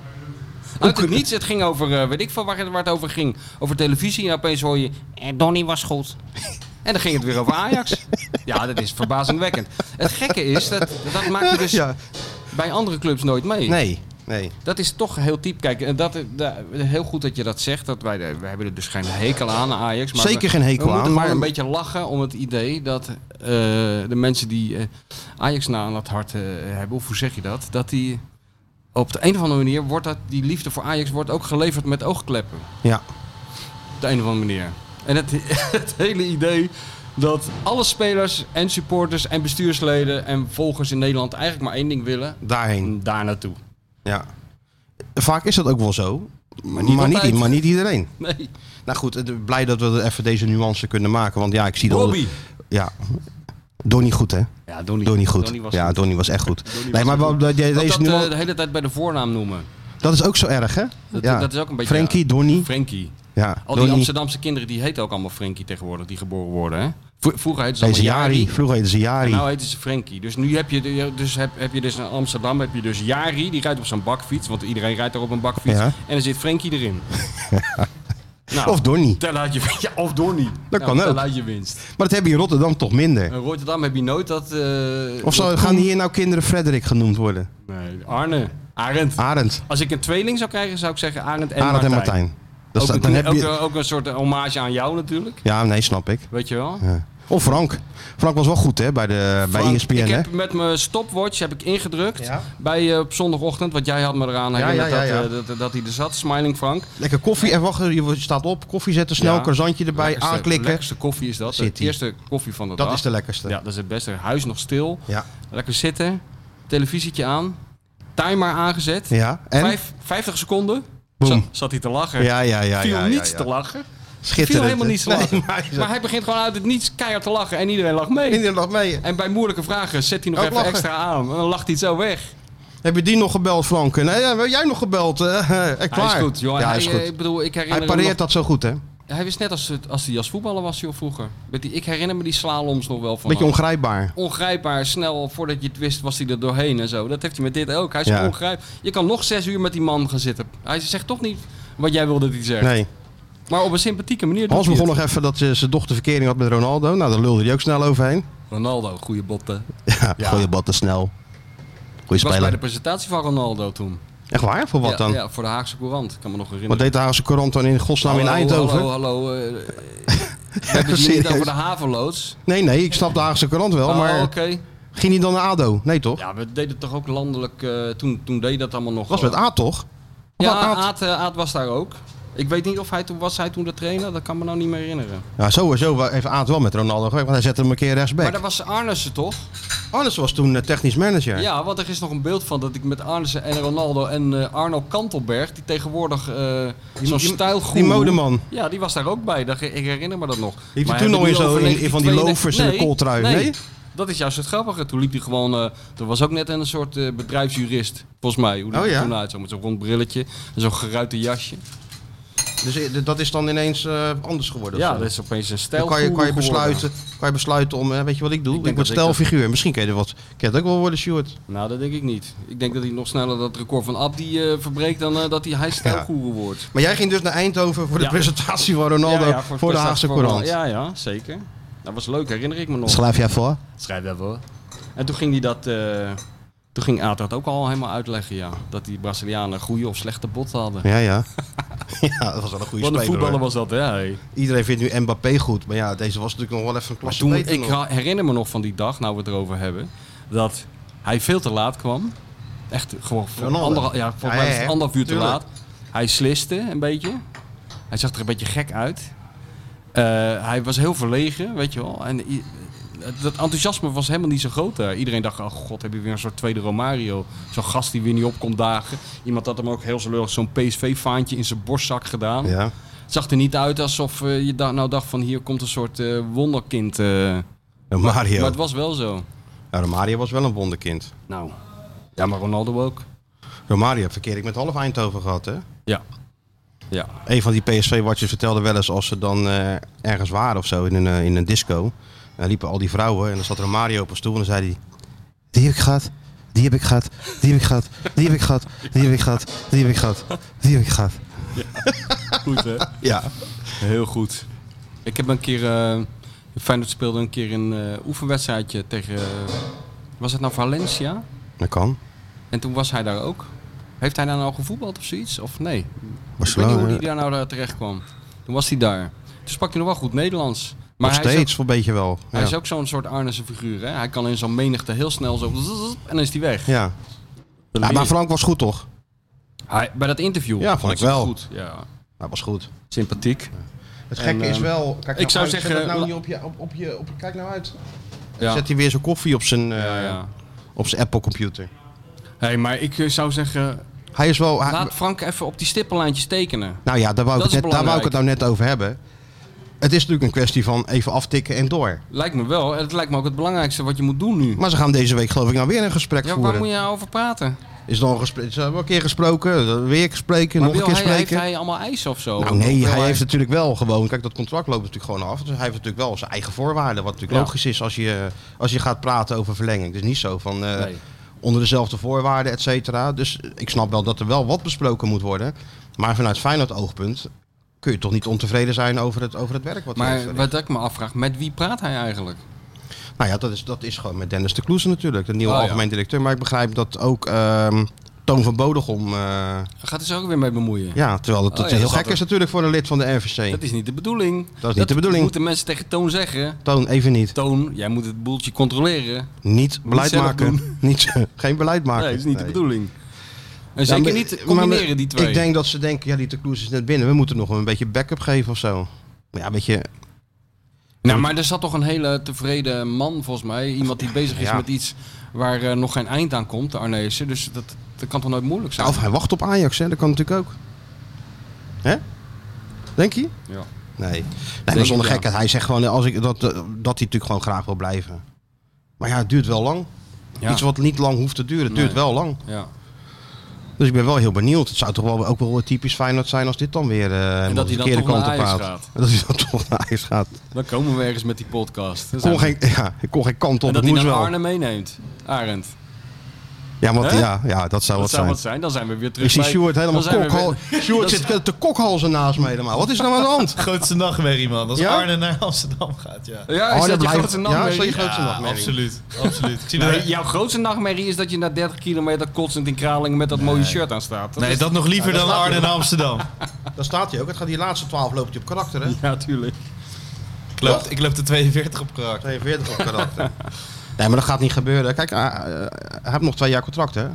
[SPEAKER 3] Uit het niets, het ging over, eh, weet ik veel waar, het- waar het over ging. Over televisie en opeens hoor je, en Donny was goed. En dan ging het weer over Ajax. Ja, dat is verbazingwekkend. Het gekke is, dat, dat maak je dus
[SPEAKER 2] Ja.
[SPEAKER 3] bij andere clubs nooit mee.
[SPEAKER 2] Nee. Nee.
[SPEAKER 3] Dat is toch heel typ. Kijk, en dat, eh, da- heel goed dat je dat zegt. Dat wij, wij hebben er dus geen hekel aan, aan Ajax. Maar
[SPEAKER 2] Zeker
[SPEAKER 3] we-
[SPEAKER 2] geen hekel
[SPEAKER 3] we moeten
[SPEAKER 2] aan,
[SPEAKER 3] gewoon
[SPEAKER 2] maar-
[SPEAKER 3] een beetje lachen om het idee dat eh, de mensen die eh, Ajax na aan het hart eh, hebben, of hoe zeg je dat? Dat die op de een of andere manier wordt dat, die liefde voor Ajax wordt ook geleverd met oogkleppen.
[SPEAKER 2] Ja.
[SPEAKER 3] Op de een of andere manier. En het, het hele idee dat alle spelers en supporters en bestuursleden en volgers in Nederland eigenlijk maar één ding willen.
[SPEAKER 2] Daarheen.
[SPEAKER 3] Daar naartoe.
[SPEAKER 2] Ja. Vaak is dat ook wel zo. Maar niet, maar
[SPEAKER 3] altijd.
[SPEAKER 2] niet, iedereen.
[SPEAKER 3] Nee.
[SPEAKER 2] Nou goed, eh, blij dat we even deze nuance kunnen maken. Want ja, ik zie dat...
[SPEAKER 3] Bobby.
[SPEAKER 2] Ja. Donnie goed, hè?
[SPEAKER 3] Ja, Donnie.
[SPEAKER 2] Donnie goed.
[SPEAKER 3] was
[SPEAKER 2] ja,
[SPEAKER 3] goed.
[SPEAKER 2] Donnie was echt goed. nee, maar
[SPEAKER 3] was
[SPEAKER 2] wel- de- de-
[SPEAKER 3] Dat,
[SPEAKER 2] deze
[SPEAKER 3] dat,
[SPEAKER 2] nu
[SPEAKER 3] eh, de hele tijd bij de voornaam noemen.
[SPEAKER 2] dat is ook zo erg, hè?
[SPEAKER 3] Dat,
[SPEAKER 2] ja.
[SPEAKER 3] dat is ook een beetje...
[SPEAKER 2] Frankie, Donnie.
[SPEAKER 3] Frankie.
[SPEAKER 2] ja,
[SPEAKER 3] Al die
[SPEAKER 2] Donnie.
[SPEAKER 3] Amsterdamse kinderen die heten ook allemaal Frankie tegenwoordig, die geboren worden. Hè? Vro- Vroeger heette ze
[SPEAKER 2] Deze
[SPEAKER 3] allemaal Jari.
[SPEAKER 2] Jari. Vroeger heette ze Jari.
[SPEAKER 3] Nou heten ze Frankie. Dus nu heb je, de- dus heb, heb je dus in Amsterdam heb je dus Jari, die rijdt op zo'n bakfiets. Want iedereen rijdt daar op een bakfiets.
[SPEAKER 2] Ja.
[SPEAKER 3] En er zit Frankie erin. nou,
[SPEAKER 2] of Donnie.
[SPEAKER 3] tel uit je, ja, of Donnie.
[SPEAKER 2] Dat
[SPEAKER 3] Nou,
[SPEAKER 2] kan ook.
[SPEAKER 3] Tel uit je winst.
[SPEAKER 2] Maar dat hebben we in Rotterdam toch minder.
[SPEAKER 3] In Rotterdam heb je nooit dat... eh,
[SPEAKER 2] Of zo,
[SPEAKER 3] dat-
[SPEAKER 2] gaan hier nou kinderen Frederik genoemd worden?
[SPEAKER 3] Nee, Arne. Arend.
[SPEAKER 2] Arend.
[SPEAKER 3] Als ik een tweeling zou krijgen, zou ik zeggen Arend en
[SPEAKER 2] Ah. Arend en
[SPEAKER 3] Martijn.
[SPEAKER 2] Martijn. Dat is,
[SPEAKER 3] ook,
[SPEAKER 2] dat-
[SPEAKER 3] een,
[SPEAKER 2] dan heb
[SPEAKER 3] ook,
[SPEAKER 2] je,
[SPEAKER 3] een- ook een soort hommage aan jou natuurlijk.
[SPEAKER 2] ja, nee, snap ik.
[SPEAKER 3] Weet je wel?
[SPEAKER 2] Ja. Of Frank. Frank was wel goed, hè? Bij, de, bij E
[SPEAKER 3] Frank,
[SPEAKER 2] ESPN,
[SPEAKER 3] ik
[SPEAKER 2] hè?
[SPEAKER 3] heb met mijn stopwatch heb ik ingedrukt
[SPEAKER 2] Ja.
[SPEAKER 3] bij, eh, op zondagochtend, want jij had me eraan
[SPEAKER 2] Ja,
[SPEAKER 3] herinnerd
[SPEAKER 2] ja, ja,
[SPEAKER 3] Dat, eh, dat, dat hij er zat, Smiling Frank.
[SPEAKER 2] Lekker koffie. En wacht, je staat op. Koffie zetten, snel
[SPEAKER 3] Ja.
[SPEAKER 2] croissantje erbij,
[SPEAKER 3] Lekkerste-
[SPEAKER 2] aanklikken.
[SPEAKER 3] lekkerste koffie is dat,
[SPEAKER 2] Zit
[SPEAKER 3] de
[SPEAKER 2] hij.
[SPEAKER 3] eerste koffie van de
[SPEAKER 2] Dat
[SPEAKER 3] dag.
[SPEAKER 2] is de lekkerste.
[SPEAKER 3] Ja, dat is het beste. Huis nog stil,
[SPEAKER 2] Ja.
[SPEAKER 3] lekker zitten, televisietje aan, timer aangezet.
[SPEAKER 2] Ja, en?
[SPEAKER 3] Vijf, 50 seconden
[SPEAKER 2] Boom.
[SPEAKER 3] zat, zat hij te lachen.
[SPEAKER 2] Ja, ja, ja.
[SPEAKER 3] viel
[SPEAKER 2] ja, ja,
[SPEAKER 3] niet
[SPEAKER 2] ja.
[SPEAKER 3] te lachen.
[SPEAKER 2] Schitterend.
[SPEAKER 3] viel helemaal niet te
[SPEAKER 2] Nee,
[SPEAKER 3] lachen.
[SPEAKER 2] maar hij is-
[SPEAKER 3] Maar hij begint gewoon uit het niets keihard te lachen en iedereen lacht mee.
[SPEAKER 2] Kinderen nog mee.
[SPEAKER 3] En bij moeilijke vragen zet hij nog
[SPEAKER 2] Ook
[SPEAKER 3] even
[SPEAKER 2] lachen.
[SPEAKER 3] extra aan. En dan lacht hij het zo weg.
[SPEAKER 2] Heb je die nog gebeld, Frank? Nee, ja, heb jij nog gebeld? Eh, eh, eh, klaar.
[SPEAKER 3] Hij is goed, jongen.
[SPEAKER 2] Ja, hij
[SPEAKER 3] hij,
[SPEAKER 2] is
[SPEAKER 3] eh,
[SPEAKER 2] goed.
[SPEAKER 3] Ik bedoel, ik herinner
[SPEAKER 2] Hij
[SPEAKER 3] me
[SPEAKER 2] pareert
[SPEAKER 3] nog-
[SPEAKER 2] dat zo goed, hè?
[SPEAKER 3] Hij was net als, het- als hij als voetballer was, joh, vroeger. Met die, ik herinner me die slaloms nog wel van.
[SPEAKER 2] Beetje
[SPEAKER 3] hem.
[SPEAKER 2] ongrijpbaar.
[SPEAKER 3] ongrijpbaar, snel, voordat je het wist, was hij er doorheen en zo. Dat heeft hij met dit ook. Hij is
[SPEAKER 2] Ja.
[SPEAKER 3] ongrijpbaar. Je kan nog zes uur met die man gaan zitten. Hij zegt toch niet wat jij wilde dat hij zegt.
[SPEAKER 2] Nee.
[SPEAKER 3] Maar op een sympathieke manier
[SPEAKER 2] Hans
[SPEAKER 3] doet hij
[SPEAKER 2] begon nog even dat ze- zijn dochter verkering had met Ronaldo. Nou, daar lulde hij ook snel overheen.
[SPEAKER 3] het. Ronaldo, goede botten.
[SPEAKER 2] Ja,
[SPEAKER 3] Ja.
[SPEAKER 2] goeie bal te snel.
[SPEAKER 3] Ik
[SPEAKER 2] Goeie
[SPEAKER 3] was bij
[SPEAKER 2] speler.
[SPEAKER 3] de presentatie van Ronaldo toen.
[SPEAKER 2] Echt waar? Voor wat
[SPEAKER 3] ja,
[SPEAKER 2] dan?
[SPEAKER 3] Ja, voor de Haagse Courant. Ik kan me nog herinneren.
[SPEAKER 2] Wat deed de Haagse Courant dan in godsnaam in
[SPEAKER 3] Hallo,
[SPEAKER 2] Eindhoven?
[SPEAKER 3] Hallo, hallo. eh, we hebben het hier niet
[SPEAKER 2] Serieus?
[SPEAKER 3] Dus over de haveloods.
[SPEAKER 2] Nee, nee, ik snap de Haagse Courant wel,
[SPEAKER 3] Oh,
[SPEAKER 2] maar
[SPEAKER 3] oké.
[SPEAKER 2] ging hij dan naar ADO? Nee, toch?
[SPEAKER 3] Ja, we deden toch ook landelijk. eh, toen, toen deed dat allemaal nog.
[SPEAKER 2] was met A, toch?
[SPEAKER 3] Ja,
[SPEAKER 2] Of Aad?
[SPEAKER 3] Aad, eh, Aad was daar ook. Ik weet niet of hij toen was hij toen de trainer, dat kan me nou niet meer herinneren.
[SPEAKER 2] Ja, sowieso wel- heeft Aad wel met Ronaldo gewerkt, want hij zette hem een keer rechtsback.
[SPEAKER 3] Maar dat was Arnesen toch?
[SPEAKER 2] Anders was toen eh, technisch manager.
[SPEAKER 3] Ja. want er is nog een beeld van dat ik met Arnesen en Ronaldo en eh, Arno Kantelberg, die tegenwoordig eh zo'n
[SPEAKER 2] die-
[SPEAKER 3] stijlgoed.
[SPEAKER 2] Die modeman.
[SPEAKER 3] Ja, die was daar ook bij. Dat, ik herinner me dat nog.
[SPEAKER 2] hij toen
[SPEAKER 3] Maar hebben
[SPEAKER 2] nog in
[SPEAKER 3] we
[SPEAKER 2] zo
[SPEAKER 3] over
[SPEAKER 2] in- in van die
[SPEAKER 3] 1992?
[SPEAKER 2] loafers en de kooltrui? Nee?
[SPEAKER 3] Dat is juist het grappige. Toen liep hij gewoon... eh, er was ook net een soort eh, bedrijfsjurist, volgens mij. Hoe die
[SPEAKER 2] Oh
[SPEAKER 3] er
[SPEAKER 2] ja?
[SPEAKER 3] toen uit, zo met zo'n rond brilletje en zo'n geruite jasje.
[SPEAKER 2] Dus eh, dat is dan ineens eh, anders geworden. of
[SPEAKER 3] Ja,
[SPEAKER 2] zo.
[SPEAKER 3] dat is opeens een stijl.
[SPEAKER 2] Dan kan je, kan, je besluiten, kan je besluiten om, eh, weet je wat ik doe?
[SPEAKER 3] Ik
[SPEAKER 2] Ik,
[SPEAKER 3] denk
[SPEAKER 2] word
[SPEAKER 3] dat ik eh, dat-
[SPEAKER 2] stijlfiguur. Misschien kan je er wat. Kan dat ook wel worden, Stuart.
[SPEAKER 3] Nou, dat denk ik niet. Ik denk dat hij nog sneller dat record van Abdi eh, verbreekt dan eh, dat hij hij stijlgoeroe wordt.
[SPEAKER 2] Maar jij ging dus naar Eindhoven voor de
[SPEAKER 3] Ja.
[SPEAKER 2] presentatie van Ronaldo
[SPEAKER 3] Ja, ja,
[SPEAKER 2] voor,
[SPEAKER 3] het
[SPEAKER 2] de
[SPEAKER 3] beste
[SPEAKER 2] Haagse
[SPEAKER 3] van-
[SPEAKER 2] Courant.
[SPEAKER 3] Ja, ja, zeker. Dat was leuk, herinner ik me nog.
[SPEAKER 2] Schrijf jij voor?
[SPEAKER 3] Schrijf dat wel. En toen ging hij dat... eh, toen ging Aad dat ook al helemaal uitleggen, ja. Dat die Brazilianen goede of slechte botten hadden.
[SPEAKER 2] Ja, ja. ja, dat was wel een goede
[SPEAKER 3] Wat een
[SPEAKER 2] speler.
[SPEAKER 3] voetballer
[SPEAKER 2] hoor.
[SPEAKER 3] was dat, hè? hey.
[SPEAKER 2] Iedereen vindt nu Mbappé goed. Maar ja, deze was natuurlijk nog wel even een
[SPEAKER 3] Maar
[SPEAKER 2] klasse
[SPEAKER 3] toen,
[SPEAKER 2] beter
[SPEAKER 3] ik
[SPEAKER 2] nog.
[SPEAKER 3] ra- herinner me nog van die dag, nou we het erover hebben, dat hij veel te laat kwam. Echt gewoon voor
[SPEAKER 2] Ronaldo.
[SPEAKER 3] anderhalf, ja, volgens
[SPEAKER 2] Ja,
[SPEAKER 3] mij
[SPEAKER 2] ja,
[SPEAKER 3] was het
[SPEAKER 2] ja.
[SPEAKER 3] anderhalf uur te
[SPEAKER 2] Tuurlijk.
[SPEAKER 3] laat. Hij sliste een beetje. Hij zag er een beetje gek uit. Eh, hij was heel verlegen, weet je wel. En i- dat enthousiasme was helemaal niet zo groot daar. Iedereen dacht, oh god, heb je weer een soort tweede Romario. Zo'n gast die weer niet opkomt dagen. Iemand had hem ook heel zelullig zo'n PSV-faantje in zijn borstzak gedaan.
[SPEAKER 2] Ja.
[SPEAKER 3] Het zag er niet uit alsof eh, je da- nou dacht van hier komt een soort eh, wonderkind. eh,
[SPEAKER 2] Mario.
[SPEAKER 3] maar het was wel zo.
[SPEAKER 2] Ja, Romario was wel een wonderkind.
[SPEAKER 3] Nou. Ja, maar Ronaldo ook.
[SPEAKER 2] Romario heeft verkeerd ik met half Eindhoven gehad, hè?
[SPEAKER 3] Ja. Ja.
[SPEAKER 2] Een van die PSV-watchers vertelde wel eens als ze dan eh, ergens waren of zo in een, eh, in een disco. En liepen al die vrouwen en dan zat er een Mario op een stoel en dan zei hij... Die heb ik gehad, die heb ik gehad, die heb ik gehad, die heb ik gehad, die heb ik gehad, die heb ik gehad, die heb ik gehad.
[SPEAKER 3] Goed hè?
[SPEAKER 2] Ja,
[SPEAKER 3] Heel goed. Ik heb een keer... eh Feyenoord speelde een keer een eh, oefenwedstrijdje tegen... eh, was het nou Valencia?
[SPEAKER 2] dat kan.
[SPEAKER 3] En toen was hij daar ook. Heeft hij daar nou gevoetbald of zoiets? Of nee? Ik weet niet
[SPEAKER 2] Barcelona,
[SPEAKER 3] hoe hij daar nou eh, terecht kwam. Toen was hij daar. Toen sprak hij nog wel goed Nederlands.
[SPEAKER 2] nog
[SPEAKER 3] Maar hij is ook-
[SPEAKER 2] steeds voor een beetje wel.
[SPEAKER 3] Hij
[SPEAKER 2] Ja.
[SPEAKER 3] is ook zo'n soort Arnese figuur. Hè? Hij kan in zo'n menigte heel snel zo... En dan is hij weg.
[SPEAKER 2] Ja. Ja, maar Frank was goed toch?
[SPEAKER 3] Hij- bij dat interview.
[SPEAKER 2] Ja, vond ik
[SPEAKER 3] was het
[SPEAKER 2] wel.
[SPEAKER 3] Goed. Ja.
[SPEAKER 2] Hij was goed.
[SPEAKER 3] Sympathiek.
[SPEAKER 2] Het
[SPEAKER 3] En,
[SPEAKER 2] gekke is
[SPEAKER 3] ehm,
[SPEAKER 2] wel... Kijk
[SPEAKER 3] ik zou
[SPEAKER 2] uit, zet
[SPEAKER 3] zeggen,
[SPEAKER 2] dat nou
[SPEAKER 3] la-
[SPEAKER 2] niet op je, op, op je, op je- Kijk nou uit.
[SPEAKER 3] Ja.
[SPEAKER 2] Zet hij weer zijn koffie op zijn, eh,
[SPEAKER 3] ja, ja.
[SPEAKER 2] op zijn Apple-computer.
[SPEAKER 3] Hey, maar ik eh, zou zeggen...
[SPEAKER 2] Hij is wel... hij-
[SPEAKER 3] Laat Frank even op die stippenlijntjes tekenen.
[SPEAKER 2] Nou ja, daar wou, ik
[SPEAKER 3] Dat
[SPEAKER 2] het
[SPEAKER 3] is
[SPEAKER 2] net, daar wou ik het nou
[SPEAKER 3] belangrijk.
[SPEAKER 2] net over hebben. Het is natuurlijk een kwestie van even aftikken en door.
[SPEAKER 3] Lijkt me wel. En Het lijkt me ook het belangrijkste wat je moet doen nu.
[SPEAKER 2] Maar ze gaan deze week geloof ik nou weer een gesprek
[SPEAKER 3] Ja, waar
[SPEAKER 2] voeren.
[SPEAKER 3] moet je nou over praten?
[SPEAKER 2] Is dan gesprek, is er wel een keer gesproken, weer spreken,
[SPEAKER 3] Maar
[SPEAKER 2] nog een
[SPEAKER 3] wil
[SPEAKER 2] keer
[SPEAKER 3] hij, heeft
[SPEAKER 2] spreken.
[SPEAKER 3] hij allemaal eisen of zo?
[SPEAKER 2] nou nee,
[SPEAKER 3] Wil
[SPEAKER 2] hij heeft natuurlijk wel gewoon, kijk dat contract loopt natuurlijk gewoon af. Dus hij heeft natuurlijk wel zijn eigen voorwaarden. Wat natuurlijk
[SPEAKER 3] Ja.
[SPEAKER 2] logisch is als je, als je gaat praten over verlenging. Dus niet zo van eh,
[SPEAKER 3] Nee.
[SPEAKER 2] onder dezelfde voorwaarden, et cetera. Dus ik snap wel dat er wel wat besproken moet worden. Maar vanuit Feyenoord oogpunt kun je toch niet ontevreden zijn over het, over het werk wat hij heeft
[SPEAKER 3] Maar
[SPEAKER 2] verricht.
[SPEAKER 3] wat ik me afvraag, met wie praat hij eigenlijk?
[SPEAKER 2] Nou ja, dat is, dat is gewoon met Dennis de Kloes natuurlijk, de nieuwe
[SPEAKER 3] Oh, ja.
[SPEAKER 2] algemeen directeur. Maar ik begrijp dat ook ehm, Toon van Bodegom. eh,
[SPEAKER 3] Gaat hij zich ook weer mee bemoeien?
[SPEAKER 2] ja, terwijl dat, dat
[SPEAKER 3] Oh ja,
[SPEAKER 2] heel
[SPEAKER 3] dat
[SPEAKER 2] gek
[SPEAKER 3] zat
[SPEAKER 2] is natuurlijk voor een lid van de RVC.
[SPEAKER 3] Dat is niet de bedoeling. Dat
[SPEAKER 2] is niet de bedoeling.
[SPEAKER 3] moeten mensen tegen Toon zeggen.
[SPEAKER 2] Toon, even niet.
[SPEAKER 3] Toon, jij moet het boeltje controleren.
[SPEAKER 2] Niet beleid
[SPEAKER 3] zelf
[SPEAKER 2] maken.
[SPEAKER 3] doen.
[SPEAKER 2] Niet, eh, geen beleid maken.
[SPEAKER 3] Nee, dat is niet de
[SPEAKER 2] Nee.
[SPEAKER 3] bedoeling.
[SPEAKER 2] Nou,
[SPEAKER 3] En zeker
[SPEAKER 2] maar-
[SPEAKER 3] niet combineren
[SPEAKER 2] maar
[SPEAKER 3] die twee.
[SPEAKER 2] Ik denk dat ze denken, ja, die de Kloes is net binnen. We moeten nog een beetje backup geven of zo. Maar ja, weet je,
[SPEAKER 3] nou, maar er zat toch een hele tevreden man volgens mij. Iemand die bezig is
[SPEAKER 2] Ja.
[SPEAKER 3] met iets waar eh, nog geen eind aan komt, de Arnezen. Dus dat, dat kan toch nooit moeilijk zijn?
[SPEAKER 2] of hij wacht op Ajax, hè? Dat kan natuurlijk ook. Hè? Denk je?
[SPEAKER 3] Ja.
[SPEAKER 2] Nee, nee maar zonder
[SPEAKER 3] ik, ja.
[SPEAKER 2] gekheid. Hij zegt gewoon als ik, dat, eh, dat hij natuurlijk gewoon graag wil blijven. Maar ja, het duurt wel lang.
[SPEAKER 3] Ja.
[SPEAKER 2] Iets wat niet lang hoeft te duren, het duurt
[SPEAKER 3] Nee.
[SPEAKER 2] wel lang.
[SPEAKER 3] ja.
[SPEAKER 2] Dus ik ben wel heel benieuwd. Het zou toch wel ook wel typisch Feyenoord zijn als dit dan weer eh
[SPEAKER 3] dat hij
[SPEAKER 2] de
[SPEAKER 3] dan
[SPEAKER 2] verkeerde
[SPEAKER 3] toch naar
[SPEAKER 2] kant op
[SPEAKER 3] Ajax
[SPEAKER 2] gaat.
[SPEAKER 3] gaat.
[SPEAKER 2] En Dat hij dan toch naar Ajax gaat.
[SPEAKER 3] Dan komen we ergens met die podcast. Dan
[SPEAKER 2] Ik
[SPEAKER 3] zijn
[SPEAKER 2] kon
[SPEAKER 3] we-
[SPEAKER 2] geen, ja, ik kon geen kant op, het
[SPEAKER 3] en dat hij
[SPEAKER 2] moest
[SPEAKER 3] dan
[SPEAKER 2] wel.
[SPEAKER 3] Arne meeneemt. Arend.
[SPEAKER 2] Ja, want,
[SPEAKER 3] Hè?
[SPEAKER 2] ja, ja, dat zou
[SPEAKER 3] Dat
[SPEAKER 2] wat
[SPEAKER 3] zou
[SPEAKER 2] zijn.
[SPEAKER 3] wat zijn. Dan zijn we weer terug
[SPEAKER 2] Ik zie
[SPEAKER 3] bij-
[SPEAKER 2] Stuart helemaal
[SPEAKER 3] dan zijn we
[SPEAKER 2] kokhal.
[SPEAKER 3] weer-
[SPEAKER 2] Stuart
[SPEAKER 3] Dat is-
[SPEAKER 2] zit te kokhalzen naast me helemaal. Wat is er nou aan de hand?
[SPEAKER 4] Grootste nachtmerrie, man. Als
[SPEAKER 2] Ja?
[SPEAKER 4] Arne naar Amsterdam gaat, ja.
[SPEAKER 3] Ja, is
[SPEAKER 2] Arne
[SPEAKER 3] dat je
[SPEAKER 2] Oh, blijft-
[SPEAKER 3] grootste
[SPEAKER 2] Ja,
[SPEAKER 3] nachtmerrie?
[SPEAKER 2] is dat je grootste nachtmerrie?
[SPEAKER 4] absoluut. absoluut. Ik zie
[SPEAKER 3] Nee,
[SPEAKER 4] daar-
[SPEAKER 3] jouw grootste nachtmerrie is dat je na 30 kilometer kotsend in Kralingen met dat mooie shirt aan staat.
[SPEAKER 4] nee, dat nog liever dan Arne naar Amsterdam.
[SPEAKER 2] Daar staat hij ook. Het gaat die laatste 12 loopt hij op karakter, hè?
[SPEAKER 3] Ja, tuurlijk.
[SPEAKER 4] Ik loop, ik loop de 42 op karakter.
[SPEAKER 2] 42 op karakter. Nee, maar dat gaat niet gebeuren. Kijk, eh, eh, hij heeft nog twee jaar contract, hè?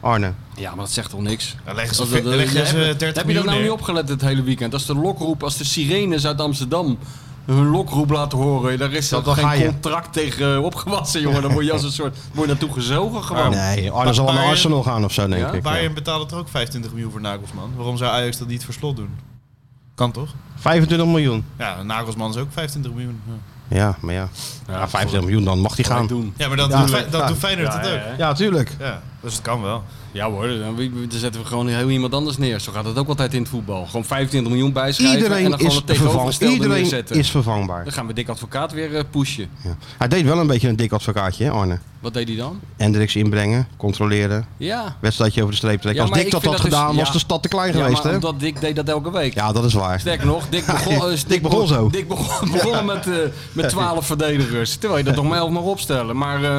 [SPEAKER 2] Arne.
[SPEAKER 3] Ja, maar dat zegt toch niks?
[SPEAKER 4] Dan leggen ze,
[SPEAKER 3] Dat- dat-
[SPEAKER 4] leggen
[SPEAKER 3] dat-
[SPEAKER 4] ze
[SPEAKER 3] heb-
[SPEAKER 4] 30
[SPEAKER 3] heb je dat
[SPEAKER 4] miljoen
[SPEAKER 3] nou
[SPEAKER 4] neer.
[SPEAKER 3] niet opgelet het hele weekend? Als de lokroep, als de sirenes uit Amsterdam hun lokroep laten horen, daar is
[SPEAKER 2] Dat-
[SPEAKER 3] dat
[SPEAKER 2] dan ga
[SPEAKER 3] geen
[SPEAKER 2] je.
[SPEAKER 3] contract tegen eh, opgewassen, jongen. Dan word je als een soort word je naartoe gezogen gewoon.
[SPEAKER 2] Nee, Arne zal wel naar
[SPEAKER 4] Bayern-
[SPEAKER 2] Arsenal gaan of zo, denk
[SPEAKER 3] Ja?
[SPEAKER 2] ik.
[SPEAKER 4] Bayern betaalt er ook 25 miljoen voor Nagelsman. Waarom zou Ajax dat niet voor slot doen? Kan toch?
[SPEAKER 2] 25 miljoen.
[SPEAKER 4] Ja, Nagelsman is ook 25 miljoen. Ja.
[SPEAKER 2] Ja, maar ja.
[SPEAKER 3] Ja,
[SPEAKER 2] ja 50 miljoen, dan mag die
[SPEAKER 3] Gaan.
[SPEAKER 2] gaan.
[SPEAKER 3] doen.
[SPEAKER 4] Ja, maar dat,
[SPEAKER 2] Ja,
[SPEAKER 4] doet, Fe-
[SPEAKER 2] ja.
[SPEAKER 4] dat doet Feyenoord
[SPEAKER 3] Ja,
[SPEAKER 4] het
[SPEAKER 3] ja,
[SPEAKER 4] ook.
[SPEAKER 3] ja.
[SPEAKER 2] Ja, tuurlijk.
[SPEAKER 4] Ja, dus het kan wel.
[SPEAKER 3] Ja hoor, dan, dan zetten we gewoon heel iemand anders neer. Zo gaat het ook altijd in het voetbal. Gewoon 25 miljoen bijschrijven en
[SPEAKER 2] Iedereen
[SPEAKER 3] dan gewoon
[SPEAKER 2] is,
[SPEAKER 3] het
[SPEAKER 2] vervang,
[SPEAKER 3] tegenovergestelde
[SPEAKER 2] Iedereen
[SPEAKER 3] neerzetten.
[SPEAKER 2] is vervangbaar.
[SPEAKER 3] Dan gaan we dik advocaat weer eh, pushen.
[SPEAKER 2] Ja. Hij deed wel een beetje een dik advocaatje, hè, Arne.
[SPEAKER 3] Wat deed hij dan?
[SPEAKER 2] Hendricks inbrengen, controleren,
[SPEAKER 3] ja.
[SPEAKER 2] wedstrijdje over de streep trekken.
[SPEAKER 3] Ja,
[SPEAKER 2] Als
[SPEAKER 3] maar
[SPEAKER 2] Dick
[SPEAKER 3] ik
[SPEAKER 2] dat
[SPEAKER 3] vind
[SPEAKER 2] had
[SPEAKER 3] dat dus-
[SPEAKER 2] gedaan, was
[SPEAKER 3] ja.
[SPEAKER 2] de stad te klein
[SPEAKER 3] ja,
[SPEAKER 2] geweest,
[SPEAKER 3] maar
[SPEAKER 2] hè?
[SPEAKER 3] omdat Dick deed dat elke week.
[SPEAKER 2] Ja, dat is waar.
[SPEAKER 3] Sterk nog, Dick begon, eh,
[SPEAKER 2] Dick begon zo.
[SPEAKER 3] Dick begon, begon met, eh met 12 verdedigers. Terwijl je dat nog maar 11 mag opstellen. Maar, eh,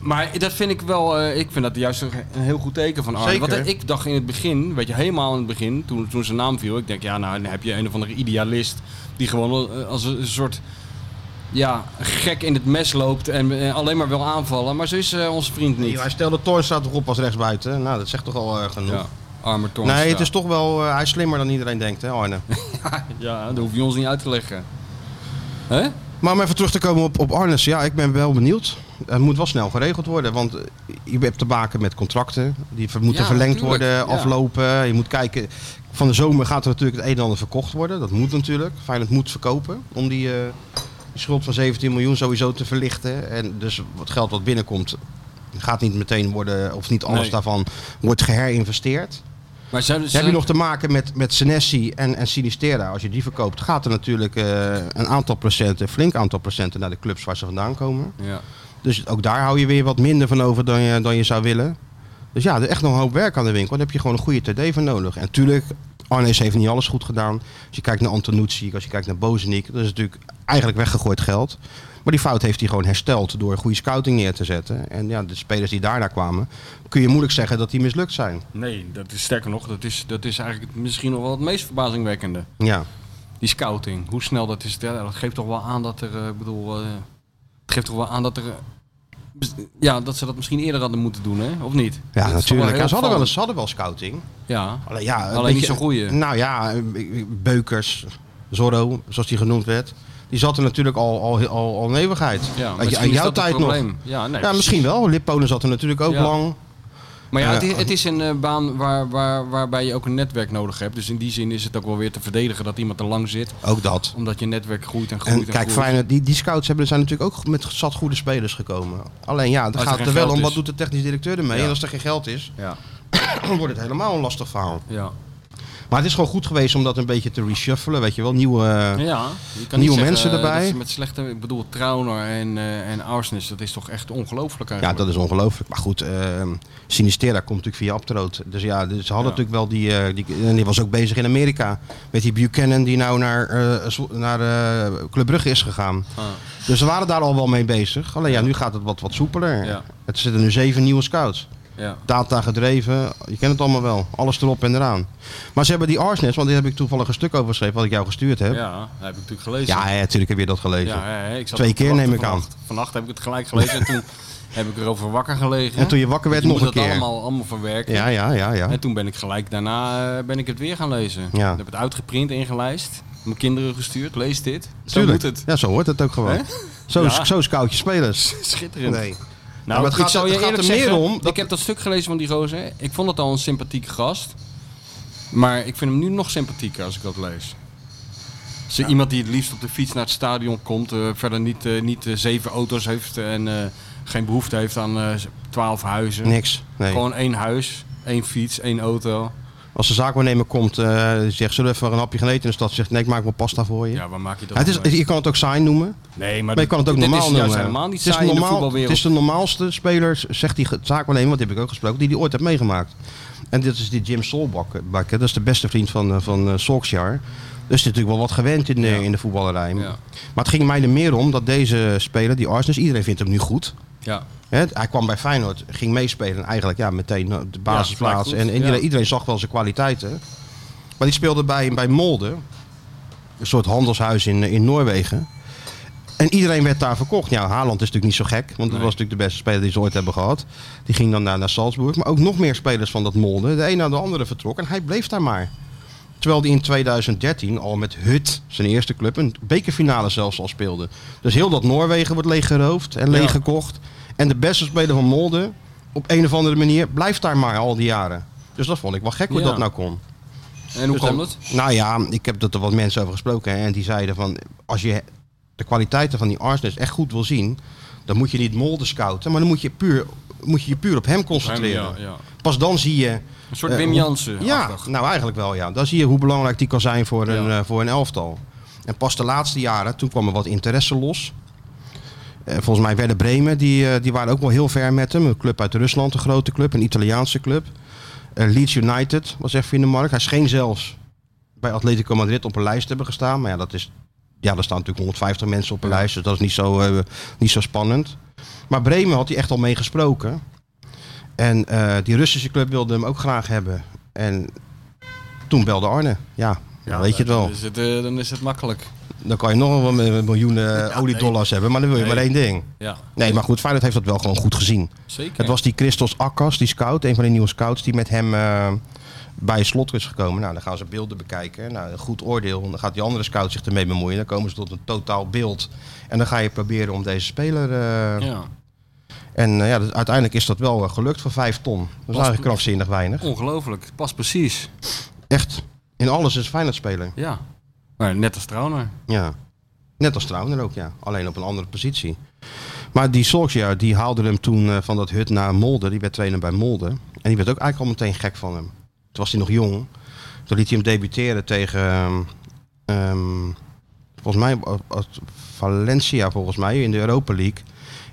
[SPEAKER 3] maar dat vind ik wel, eh, ik vind dat juist een een heel goed teken van Arne.
[SPEAKER 2] Zeker.
[SPEAKER 3] Want eh, ik dacht in het begin, weet je, helemaal in het begin, toen, toen zijn naam viel. Ik denk, ja, nou dan heb je een of andere idealist die gewoon eh, als een soort... Ja, gek in het mes loopt en eh, alleen maar wil aanvallen. Maar zo is eh, onze vriend
[SPEAKER 2] Nee, hij
[SPEAKER 3] niet.
[SPEAKER 2] stelde Toornstra toch op als rechtsbuiten. Nou, dat zegt toch al eh, genoeg.
[SPEAKER 3] Ja, arme Toornstra.
[SPEAKER 2] nee, het is toch wel... eh, hij is slimmer dan iedereen denkt, hè Arne?
[SPEAKER 3] Ja, dat hoef je ons niet uit te leggen. Hè?
[SPEAKER 2] maar om even terug te komen op, op Arnes. Ja, ik ben wel benieuwd. Het moet wel snel geregeld worden. Want eh, je hebt te maken met contracten. Die ver- moeten
[SPEAKER 3] Ja,
[SPEAKER 2] verlengd
[SPEAKER 3] tuurlijk,
[SPEAKER 2] worden,
[SPEAKER 3] ja.
[SPEAKER 2] aflopen. Je moet kijken... Van de zomer gaat er natuurlijk het een en ander verkocht worden. Dat moet natuurlijk. Feyenoord moet verkopen. Om die, eh, die schuld van 17 miljoen sowieso te verlichten. En dus het geld wat binnenkomt... Gaat niet meteen worden, of niet alles
[SPEAKER 3] Nee.
[SPEAKER 2] daarvan wordt geherinvesteerd.
[SPEAKER 3] Maar zou,
[SPEAKER 2] Dan
[SPEAKER 3] zou,
[SPEAKER 2] heb je nog te maken met, met Senesi en, en Sinistera. Als je die verkoopt, gaat er natuurlijk eh, een aantal procenten, een flink aantal procenten naar de clubs waar ze vandaan komen.
[SPEAKER 3] Ja.
[SPEAKER 2] Dus ook daar hou je weer wat minder van over dan je, dan je zou willen. Dus ja, er is echt nog een hoop werk aan de winkel. Dan heb je gewoon een goede TD voor nodig. En natuurlijk, Arnees heeft niet alles goed gedaan. Als je kijkt naar Antonucci, als je kijkt naar Bozenik, dat is natuurlijk eigenlijk weggegooid geld. Maar die fout heeft hij gewoon hersteld door goede scouting neer te zetten. En ja, de spelers die daarna kwamen, kun je moeilijk zeggen dat die mislukt zijn.
[SPEAKER 3] Nee, dat is sterker nog, dat is, dat is eigenlijk misschien nog wel het meest verbazingwekkende.
[SPEAKER 2] Ja.
[SPEAKER 3] Die scouting, hoe snel dat is. Ja, dat geeft toch wel aan dat er, eh, ik bedoel, eh, het geeft toch wel aan dat er, eh, bes- ja, dat ze dat misschien eerder hadden moeten doen, hè? Of niet?
[SPEAKER 2] Ja,
[SPEAKER 3] Dat is toch
[SPEAKER 2] natuurlijk.
[SPEAKER 3] heel
[SPEAKER 2] Ja, ze, hadden wel,
[SPEAKER 3] opvallend.
[SPEAKER 2] ze hadden wel scouting.
[SPEAKER 3] Ja,
[SPEAKER 2] Alleen, ja, een
[SPEAKER 3] Alleen niet zo'n goeie.
[SPEAKER 2] Nou ja, Beukers, Zorro, zoals die genoemd werd. Die zat er natuurlijk al, al, al, al een eeuwigheid.
[SPEAKER 3] ja.
[SPEAKER 2] Uit,
[SPEAKER 3] misschien
[SPEAKER 2] uit
[SPEAKER 3] is
[SPEAKER 2] jouw
[SPEAKER 3] dat het
[SPEAKER 2] tijd nog.
[SPEAKER 3] probleem. Ja, nee,
[SPEAKER 2] Ja, misschien wel. Lipponen zat er natuurlijk ook
[SPEAKER 3] Ja.
[SPEAKER 2] lang.
[SPEAKER 3] Maar ja,
[SPEAKER 2] Eh,
[SPEAKER 3] het is, het is een eh, baan waar, waar, waarbij je ook een netwerk nodig hebt. Dus in die zin is het ook wel weer te verdedigen dat iemand er lang zit.
[SPEAKER 2] Ook dat.
[SPEAKER 3] Omdat je netwerk groeit en groeit en,
[SPEAKER 2] En kijk,
[SPEAKER 3] groeit.
[SPEAKER 2] Feyenoord, die, die scouts hebben, zijn natuurlijk ook met zat goede spelers gekomen. Alleen ja, dan
[SPEAKER 3] er
[SPEAKER 2] gaat
[SPEAKER 3] geen
[SPEAKER 2] het er wel
[SPEAKER 3] geld
[SPEAKER 2] om, wat
[SPEAKER 3] is.
[SPEAKER 2] doet de technisch directeur ermee?
[SPEAKER 3] Ja.
[SPEAKER 2] En als er geen geld is,
[SPEAKER 3] Ja,
[SPEAKER 2] dan wordt het helemaal een lastig verhaal.
[SPEAKER 3] ja.
[SPEAKER 2] Maar het is gewoon goed geweest om dat een beetje te reshuffelen, weet je wel. Nieuwe, eh,
[SPEAKER 3] Ja, je kan
[SPEAKER 2] Nieuwe
[SPEAKER 3] niet
[SPEAKER 2] mensen
[SPEAKER 3] zeggen
[SPEAKER 2] erbij.
[SPEAKER 3] dat ze met slechte, ik bedoel, Trauner en, eh en Arsnes, dat is toch echt ongelooflijk
[SPEAKER 2] Ja,
[SPEAKER 3] eigenlijk.
[SPEAKER 2] dat is ongelooflijk. Maar goed, eh, Sinistera komt natuurlijk via Abtroot. Dus ja, dus ze hadden
[SPEAKER 3] Ja.
[SPEAKER 2] natuurlijk wel die, eh, die... En die was ook bezig in Amerika. Met die Buchanan die nou naar, eh, Zwo- naar eh, Club Brugge is gegaan.
[SPEAKER 3] Ah.
[SPEAKER 2] Dus ze waren daar al wel mee bezig. Alleen ja, nu gaat het wat, wat soepeler.
[SPEAKER 3] Ja.
[SPEAKER 2] Het zitten nu zeven nieuwe scouts.
[SPEAKER 3] Ja.
[SPEAKER 2] Data gedreven, je kent het allemaal wel. Alles erop en eraan. Maar ze hebben die Arsnes, want daar heb ik toevallig een stuk over geschreven... wat ik jou gestuurd heb. Ja,
[SPEAKER 3] Ja, dat heb ik natuurlijk gelezen.
[SPEAKER 2] ja, natuurlijk heb je dat gelezen.
[SPEAKER 3] Ja, ja, ja, ik zat
[SPEAKER 2] Twee
[SPEAKER 3] op te
[SPEAKER 2] keer
[SPEAKER 3] wachten
[SPEAKER 2] neem ik aan.
[SPEAKER 3] vannacht. Vannacht heb ik het gelijk gelezen en toen heb ik erover wakker gelegen.
[SPEAKER 2] En toen je wakker werd,
[SPEAKER 3] Ik
[SPEAKER 2] nog
[SPEAKER 3] moest
[SPEAKER 2] een keer.
[SPEAKER 3] dat allemaal, allemaal verwerken.
[SPEAKER 2] Ja, ja, ja, ja.
[SPEAKER 3] En toen ben ik gelijk daarna eh, ben ik het weer gaan lezen.
[SPEAKER 2] Ja.
[SPEAKER 3] Ik heb het uitgeprint, ingelijst. Mijn kinderen gestuurd, lees dit. Zo
[SPEAKER 2] Tuurlijk.
[SPEAKER 3] moet het.
[SPEAKER 2] Ja, zo hoort het ook gewoon.
[SPEAKER 3] Hè?
[SPEAKER 2] Zo,
[SPEAKER 3] Ja.
[SPEAKER 2] zo scout je spelers.
[SPEAKER 3] Schitterend.
[SPEAKER 2] Nee.
[SPEAKER 3] Nou,
[SPEAKER 2] Ja, maar het
[SPEAKER 3] ik
[SPEAKER 2] gaat-
[SPEAKER 3] zou je
[SPEAKER 2] het gaat
[SPEAKER 3] eerlijk
[SPEAKER 2] er meer
[SPEAKER 3] zeggen,
[SPEAKER 2] om dat-
[SPEAKER 3] ik heb dat stuk gelezen van die gozer. Ik vond het al een sympathieke gast. Maar ik vind hem nu nog sympathieker als ik dat lees. Is er Iemand die het liefst op de fiets naar het stadion komt. eh, verder niet, eh, niet eh, zeven auto's heeft en eh, geen behoefte heeft aan eh, twaalf huizen.
[SPEAKER 2] Niks. Nee.
[SPEAKER 3] Gewoon één huis, één fiets, één auto.
[SPEAKER 2] Als de zaakwaarnemer komt, eh, die zegt, zullen we even een hapje gaan eten in de stad? Zegt, nee, ik maak wel pasta voor je.
[SPEAKER 3] Ja, waar maak je dat
[SPEAKER 2] Ja, het is,
[SPEAKER 3] van mee?
[SPEAKER 2] je kan het ook saai noemen,
[SPEAKER 3] Nee, maar,
[SPEAKER 2] maar je kan het ook
[SPEAKER 3] dit
[SPEAKER 2] normaal
[SPEAKER 3] is
[SPEAKER 2] noemen.
[SPEAKER 3] juist helemaal niet
[SPEAKER 2] het is
[SPEAKER 3] saai in de
[SPEAKER 2] normaal- Het
[SPEAKER 3] voetbalwereld.
[SPEAKER 2] is de normaalste speler, zegt die ge- zaakwaarnemer, want die heb ik ook gesproken, die die ooit heeft meegemaakt. En dit is die Jim Solbak, Bak, hè, dat is de beste vriend van, eh, van eh, Solskjaer. Dus is natuurlijk wel wat gewend in, de-
[SPEAKER 3] Ja.
[SPEAKER 2] in de voetballerij.
[SPEAKER 3] Ja.
[SPEAKER 2] Maar het ging mij er meer om dat deze speler, die Arsenis, iedereen vindt hem nu goed.
[SPEAKER 3] Ja.
[SPEAKER 2] Hè, hij kwam bij Feyenoord, ging meespelen en eigenlijk ja, meteen op de basisplaats.
[SPEAKER 3] Ja,
[SPEAKER 2] en
[SPEAKER 3] gelijk goed.
[SPEAKER 2] en iedereen,
[SPEAKER 3] Ja.
[SPEAKER 2] iedereen zag wel zijn kwaliteiten. Maar die speelde bij, bij Molde, een soort handelshuis in, in Noorwegen. En iedereen werd daar verkocht. Ja, Haaland is natuurlijk niet zo gek, want dat was natuurlijk de beste speler die ze ooit hebben gehad. Die ging dan naar, naar Salzburg. Maar ook nog meer spelers van dat Molde. De een naar de andere vertrok en hij bleef daar maar. Terwijl hij in 2013 al met Hut, zijn eerste club, een bekerfinale zelfs al speelde. Dus heel dat Noorwegen wordt leeggeroofd en leeggekocht. En de beste speler van Molde, op een of andere manier, blijft daar maar al die jaren. Dus dat vond ik wel gek hoe
[SPEAKER 3] Ja.
[SPEAKER 2] dat nou kon.
[SPEAKER 3] En hoe
[SPEAKER 2] Dus
[SPEAKER 3] kwam
[SPEAKER 2] dan-
[SPEAKER 3] dat?
[SPEAKER 2] Nou ja, ik heb er wat mensen over gesproken. hè, En die zeiden van, als je de de kwaliteiten van die Arsenis echt goed wil zien, dan moet je niet molden scouten, maar dan moet je puur, moet je, je puur op hem concentreren.
[SPEAKER 3] Ja, ja.
[SPEAKER 2] Pas dan zie je.
[SPEAKER 3] Een soort
[SPEAKER 2] eh,
[SPEAKER 3] Wim
[SPEAKER 2] hoe-
[SPEAKER 3] Jansen.
[SPEAKER 2] Ja, nou eigenlijk wel ja. Dan zie je hoe belangrijk die kan zijn voor een,
[SPEAKER 3] Ja.
[SPEAKER 2] eh, voor een elftal. En pas de laatste jaren, toen kwam er wat interesse los. Eh, volgens mij werden Bremen, die, eh, die waren ook wel heel ver met hem. Een club uit Rusland, een grote club, een Italiaanse club. Eh, Leeds United was even in de markt. Hij scheen zelfs bij Atletico Madrid op een lijst te hebben gestaan. Maar ja, dat is, ja, er staan natuurlijk 150 mensen op een lijst. Dus dat is niet zo, eh, niet zo spannend. Maar Bremen had hij echt al meegesproken. En eh, die Russische club wilde hem ook graag hebben. En toen belde Arne. Ja, dan weet je het wel.
[SPEAKER 3] Dan is het, eh, dan is het makkelijk.
[SPEAKER 2] Dan kan je nog wel met miljoenen eh, oliedollars hebben, maar dan wil je maar
[SPEAKER 3] Nee.
[SPEAKER 2] één ding.
[SPEAKER 3] Ja,
[SPEAKER 2] Nee, maar goed, Feyenoord heeft dat wel gewoon goed gezien.
[SPEAKER 3] zeker.
[SPEAKER 2] Het was die Christos Akkas, die scout, een van de nieuwe scouts, die met hem eh, bij slot is gekomen. Nou, dan gaan ze beelden bekijken. Nou, een goed oordeel. En Dan gaat die andere scout zich ermee bemoeien. Dan komen ze tot een totaal beeld. En dan ga je proberen om deze speler. eh,
[SPEAKER 3] ja.
[SPEAKER 2] En eh, ja, dat- uiteindelijk is dat wel eh, gelukt voor vijf ton. Dat is eigenlijk krankzinnig weinig.
[SPEAKER 3] Ongelooflijk. Pas precies.
[SPEAKER 2] Echt. In alles is Feyenoord speler.
[SPEAKER 3] Ja. Maar net als Trauner.
[SPEAKER 2] Ja. Net als Trauner ook, ja. Alleen op een andere positie. Maar die Solskjaer, die haalde hem toen eh, van dat hut naar Molde. Die werd trainer bij Molde. En die werd ook eigenlijk al meteen gek van hem. Toen was hij nog jong. Toen liet hij hem debuteren tegen... ehm, ehm, volgens mij eh, eh, Valencia, volgens mij, in de Europa League.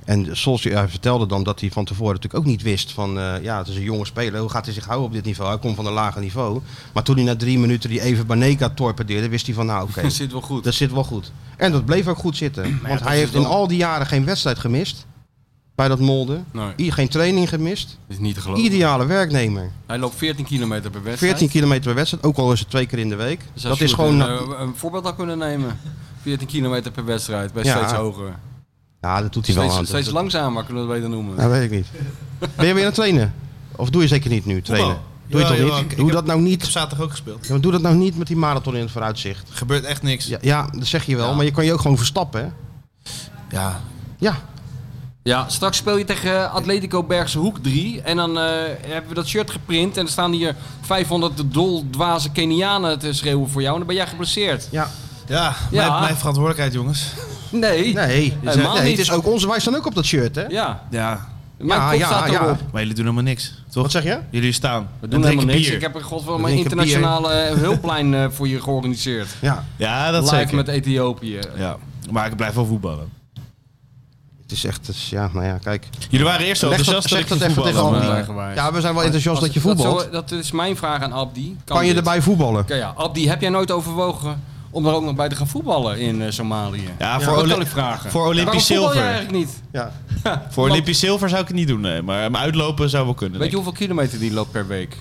[SPEAKER 2] En Solskjaer vertelde dan dat hij van tevoren natuurlijk ook niet wist van... eh, ja, het is een jonge speler. Hoe gaat hij zich houden op dit niveau? Hij komt van een lager niveau. Maar toen hij na drie minuten die even Baneka torpedeerde... wist hij van, nou oké,
[SPEAKER 3] Dat zit wel goed.
[SPEAKER 2] dat zit wel goed. En dat bleef ook goed zitten. Want hij heeft in al die jaren geen wedstrijd gemist. Bij dat molde.
[SPEAKER 3] Nee. Oh.
[SPEAKER 2] I- Geen training gemist.
[SPEAKER 3] Dat is niet te geloven.
[SPEAKER 2] Ideale werknemer.
[SPEAKER 3] Hij loopt 14 kilometer per wedstrijd.
[SPEAKER 2] 14 kilometer per wedstrijd. Ook al is het twee keer in de week.
[SPEAKER 3] Dus als
[SPEAKER 2] dat is
[SPEAKER 3] je
[SPEAKER 2] gewoon...
[SPEAKER 3] Een, eh, een voorbeeld had kunnen nemen. 14 kilometer per wedstrijd. Bij
[SPEAKER 2] Ja.
[SPEAKER 3] steeds hoger.
[SPEAKER 2] ja, dat doet hij wel
[SPEAKER 3] Steeds,
[SPEAKER 2] aan.
[SPEAKER 3] steeds
[SPEAKER 2] Dat-
[SPEAKER 3] langzamer kunnen we het beter noemen.
[SPEAKER 2] Nou, weet ik niet. Ben je weer aan het trainen? Of doe je zeker niet nu, trainen? Doe je
[SPEAKER 4] Jawel,
[SPEAKER 2] toch
[SPEAKER 4] jawel,
[SPEAKER 2] niet?
[SPEAKER 4] ik- ik
[SPEAKER 2] Doe
[SPEAKER 4] heb-
[SPEAKER 2] dat nou
[SPEAKER 4] Ik heb
[SPEAKER 2] niet.
[SPEAKER 4] zaterdag ook gespeeld.
[SPEAKER 2] Ja, maar doe dat nou niet met die marathon in het vooruitzicht.
[SPEAKER 4] Gebeurt echt niks.
[SPEAKER 2] Ja, ja dat zeg je wel. Maar je kan je ook gewoon verstappen, hè?
[SPEAKER 4] Ja.
[SPEAKER 2] Ja.
[SPEAKER 3] Ja, straks speel je tegen eh, Atletico Bergse Hoek 3. En dan eh, hebben we dat shirt geprint. En er staan hier 500 doldwaze Kenianen te schreeuwen voor jou. En dan ben jij geblesseerd.
[SPEAKER 2] Ja.
[SPEAKER 4] Ja,
[SPEAKER 3] Ja.
[SPEAKER 4] Mijn, mijn verantwoordelijkheid, jongens.
[SPEAKER 3] Nee.
[SPEAKER 2] Nee.
[SPEAKER 3] Helemaal
[SPEAKER 2] nee, het
[SPEAKER 3] niet.
[SPEAKER 2] is ook onze. Wij staan ook op dat shirt, hè?
[SPEAKER 3] Ja.
[SPEAKER 4] Ja.
[SPEAKER 3] Mijn
[SPEAKER 2] Ja,
[SPEAKER 3] kop
[SPEAKER 2] ja,
[SPEAKER 3] staat
[SPEAKER 2] ja.
[SPEAKER 3] erop.
[SPEAKER 4] Maar jullie doen helemaal niks, toch?
[SPEAKER 2] Wat zeg je?
[SPEAKER 4] Jullie staan.
[SPEAKER 3] We
[SPEAKER 4] en
[SPEAKER 3] doen
[SPEAKER 4] drinken
[SPEAKER 3] helemaal niks.
[SPEAKER 4] bier.
[SPEAKER 3] Ik heb er godverdomme
[SPEAKER 2] We
[SPEAKER 3] een
[SPEAKER 2] drinken bier.
[SPEAKER 3] internationale eh, hulplijn eh, voor je georganiseerd.
[SPEAKER 2] Ja.
[SPEAKER 4] Ja, dat
[SPEAKER 3] Live
[SPEAKER 4] zeker.
[SPEAKER 3] met Ethiopië.
[SPEAKER 4] Ja. Maar ik blijf wel voetballen.
[SPEAKER 2] Het is echt, het is- ja, nou ja, kijk.
[SPEAKER 4] Jullie waren eerst zo
[SPEAKER 2] Leg dat-
[SPEAKER 4] enthousiast
[SPEAKER 2] zeg
[SPEAKER 4] ik
[SPEAKER 2] dat
[SPEAKER 4] ging
[SPEAKER 2] even tegen
[SPEAKER 4] voetballen,
[SPEAKER 2] Andy.
[SPEAKER 4] maar-
[SPEAKER 3] Eigenwijs.
[SPEAKER 2] Ja, we zijn wel enthousiast dat Oh, je
[SPEAKER 3] Als-
[SPEAKER 2] voetbalt.
[SPEAKER 3] zo- Dat, is mijn vraag aan Abdi.
[SPEAKER 2] kan, je
[SPEAKER 3] dit?
[SPEAKER 2] erbij voetballen?
[SPEAKER 3] Oké, ja, Abdi, heb jij nooit overwogen om er ook nog bij te gaan voetballen in eh, Somalië?
[SPEAKER 4] Ja,
[SPEAKER 3] dat
[SPEAKER 4] voor, Oli-
[SPEAKER 3] kan ik vragen.
[SPEAKER 4] voor Olympisch
[SPEAKER 3] Waarom voetbal je
[SPEAKER 4] zilver.
[SPEAKER 3] eigenlijk niet?
[SPEAKER 2] Ja.
[SPEAKER 4] Voor
[SPEAKER 3] Want-
[SPEAKER 4] Olympisch zilver zou ik het niet doen, nee. Maar, maar uitlopen zou wel kunnen.
[SPEAKER 3] Weet je
[SPEAKER 4] denk ik.
[SPEAKER 3] hoeveel kilometer die loopt per week?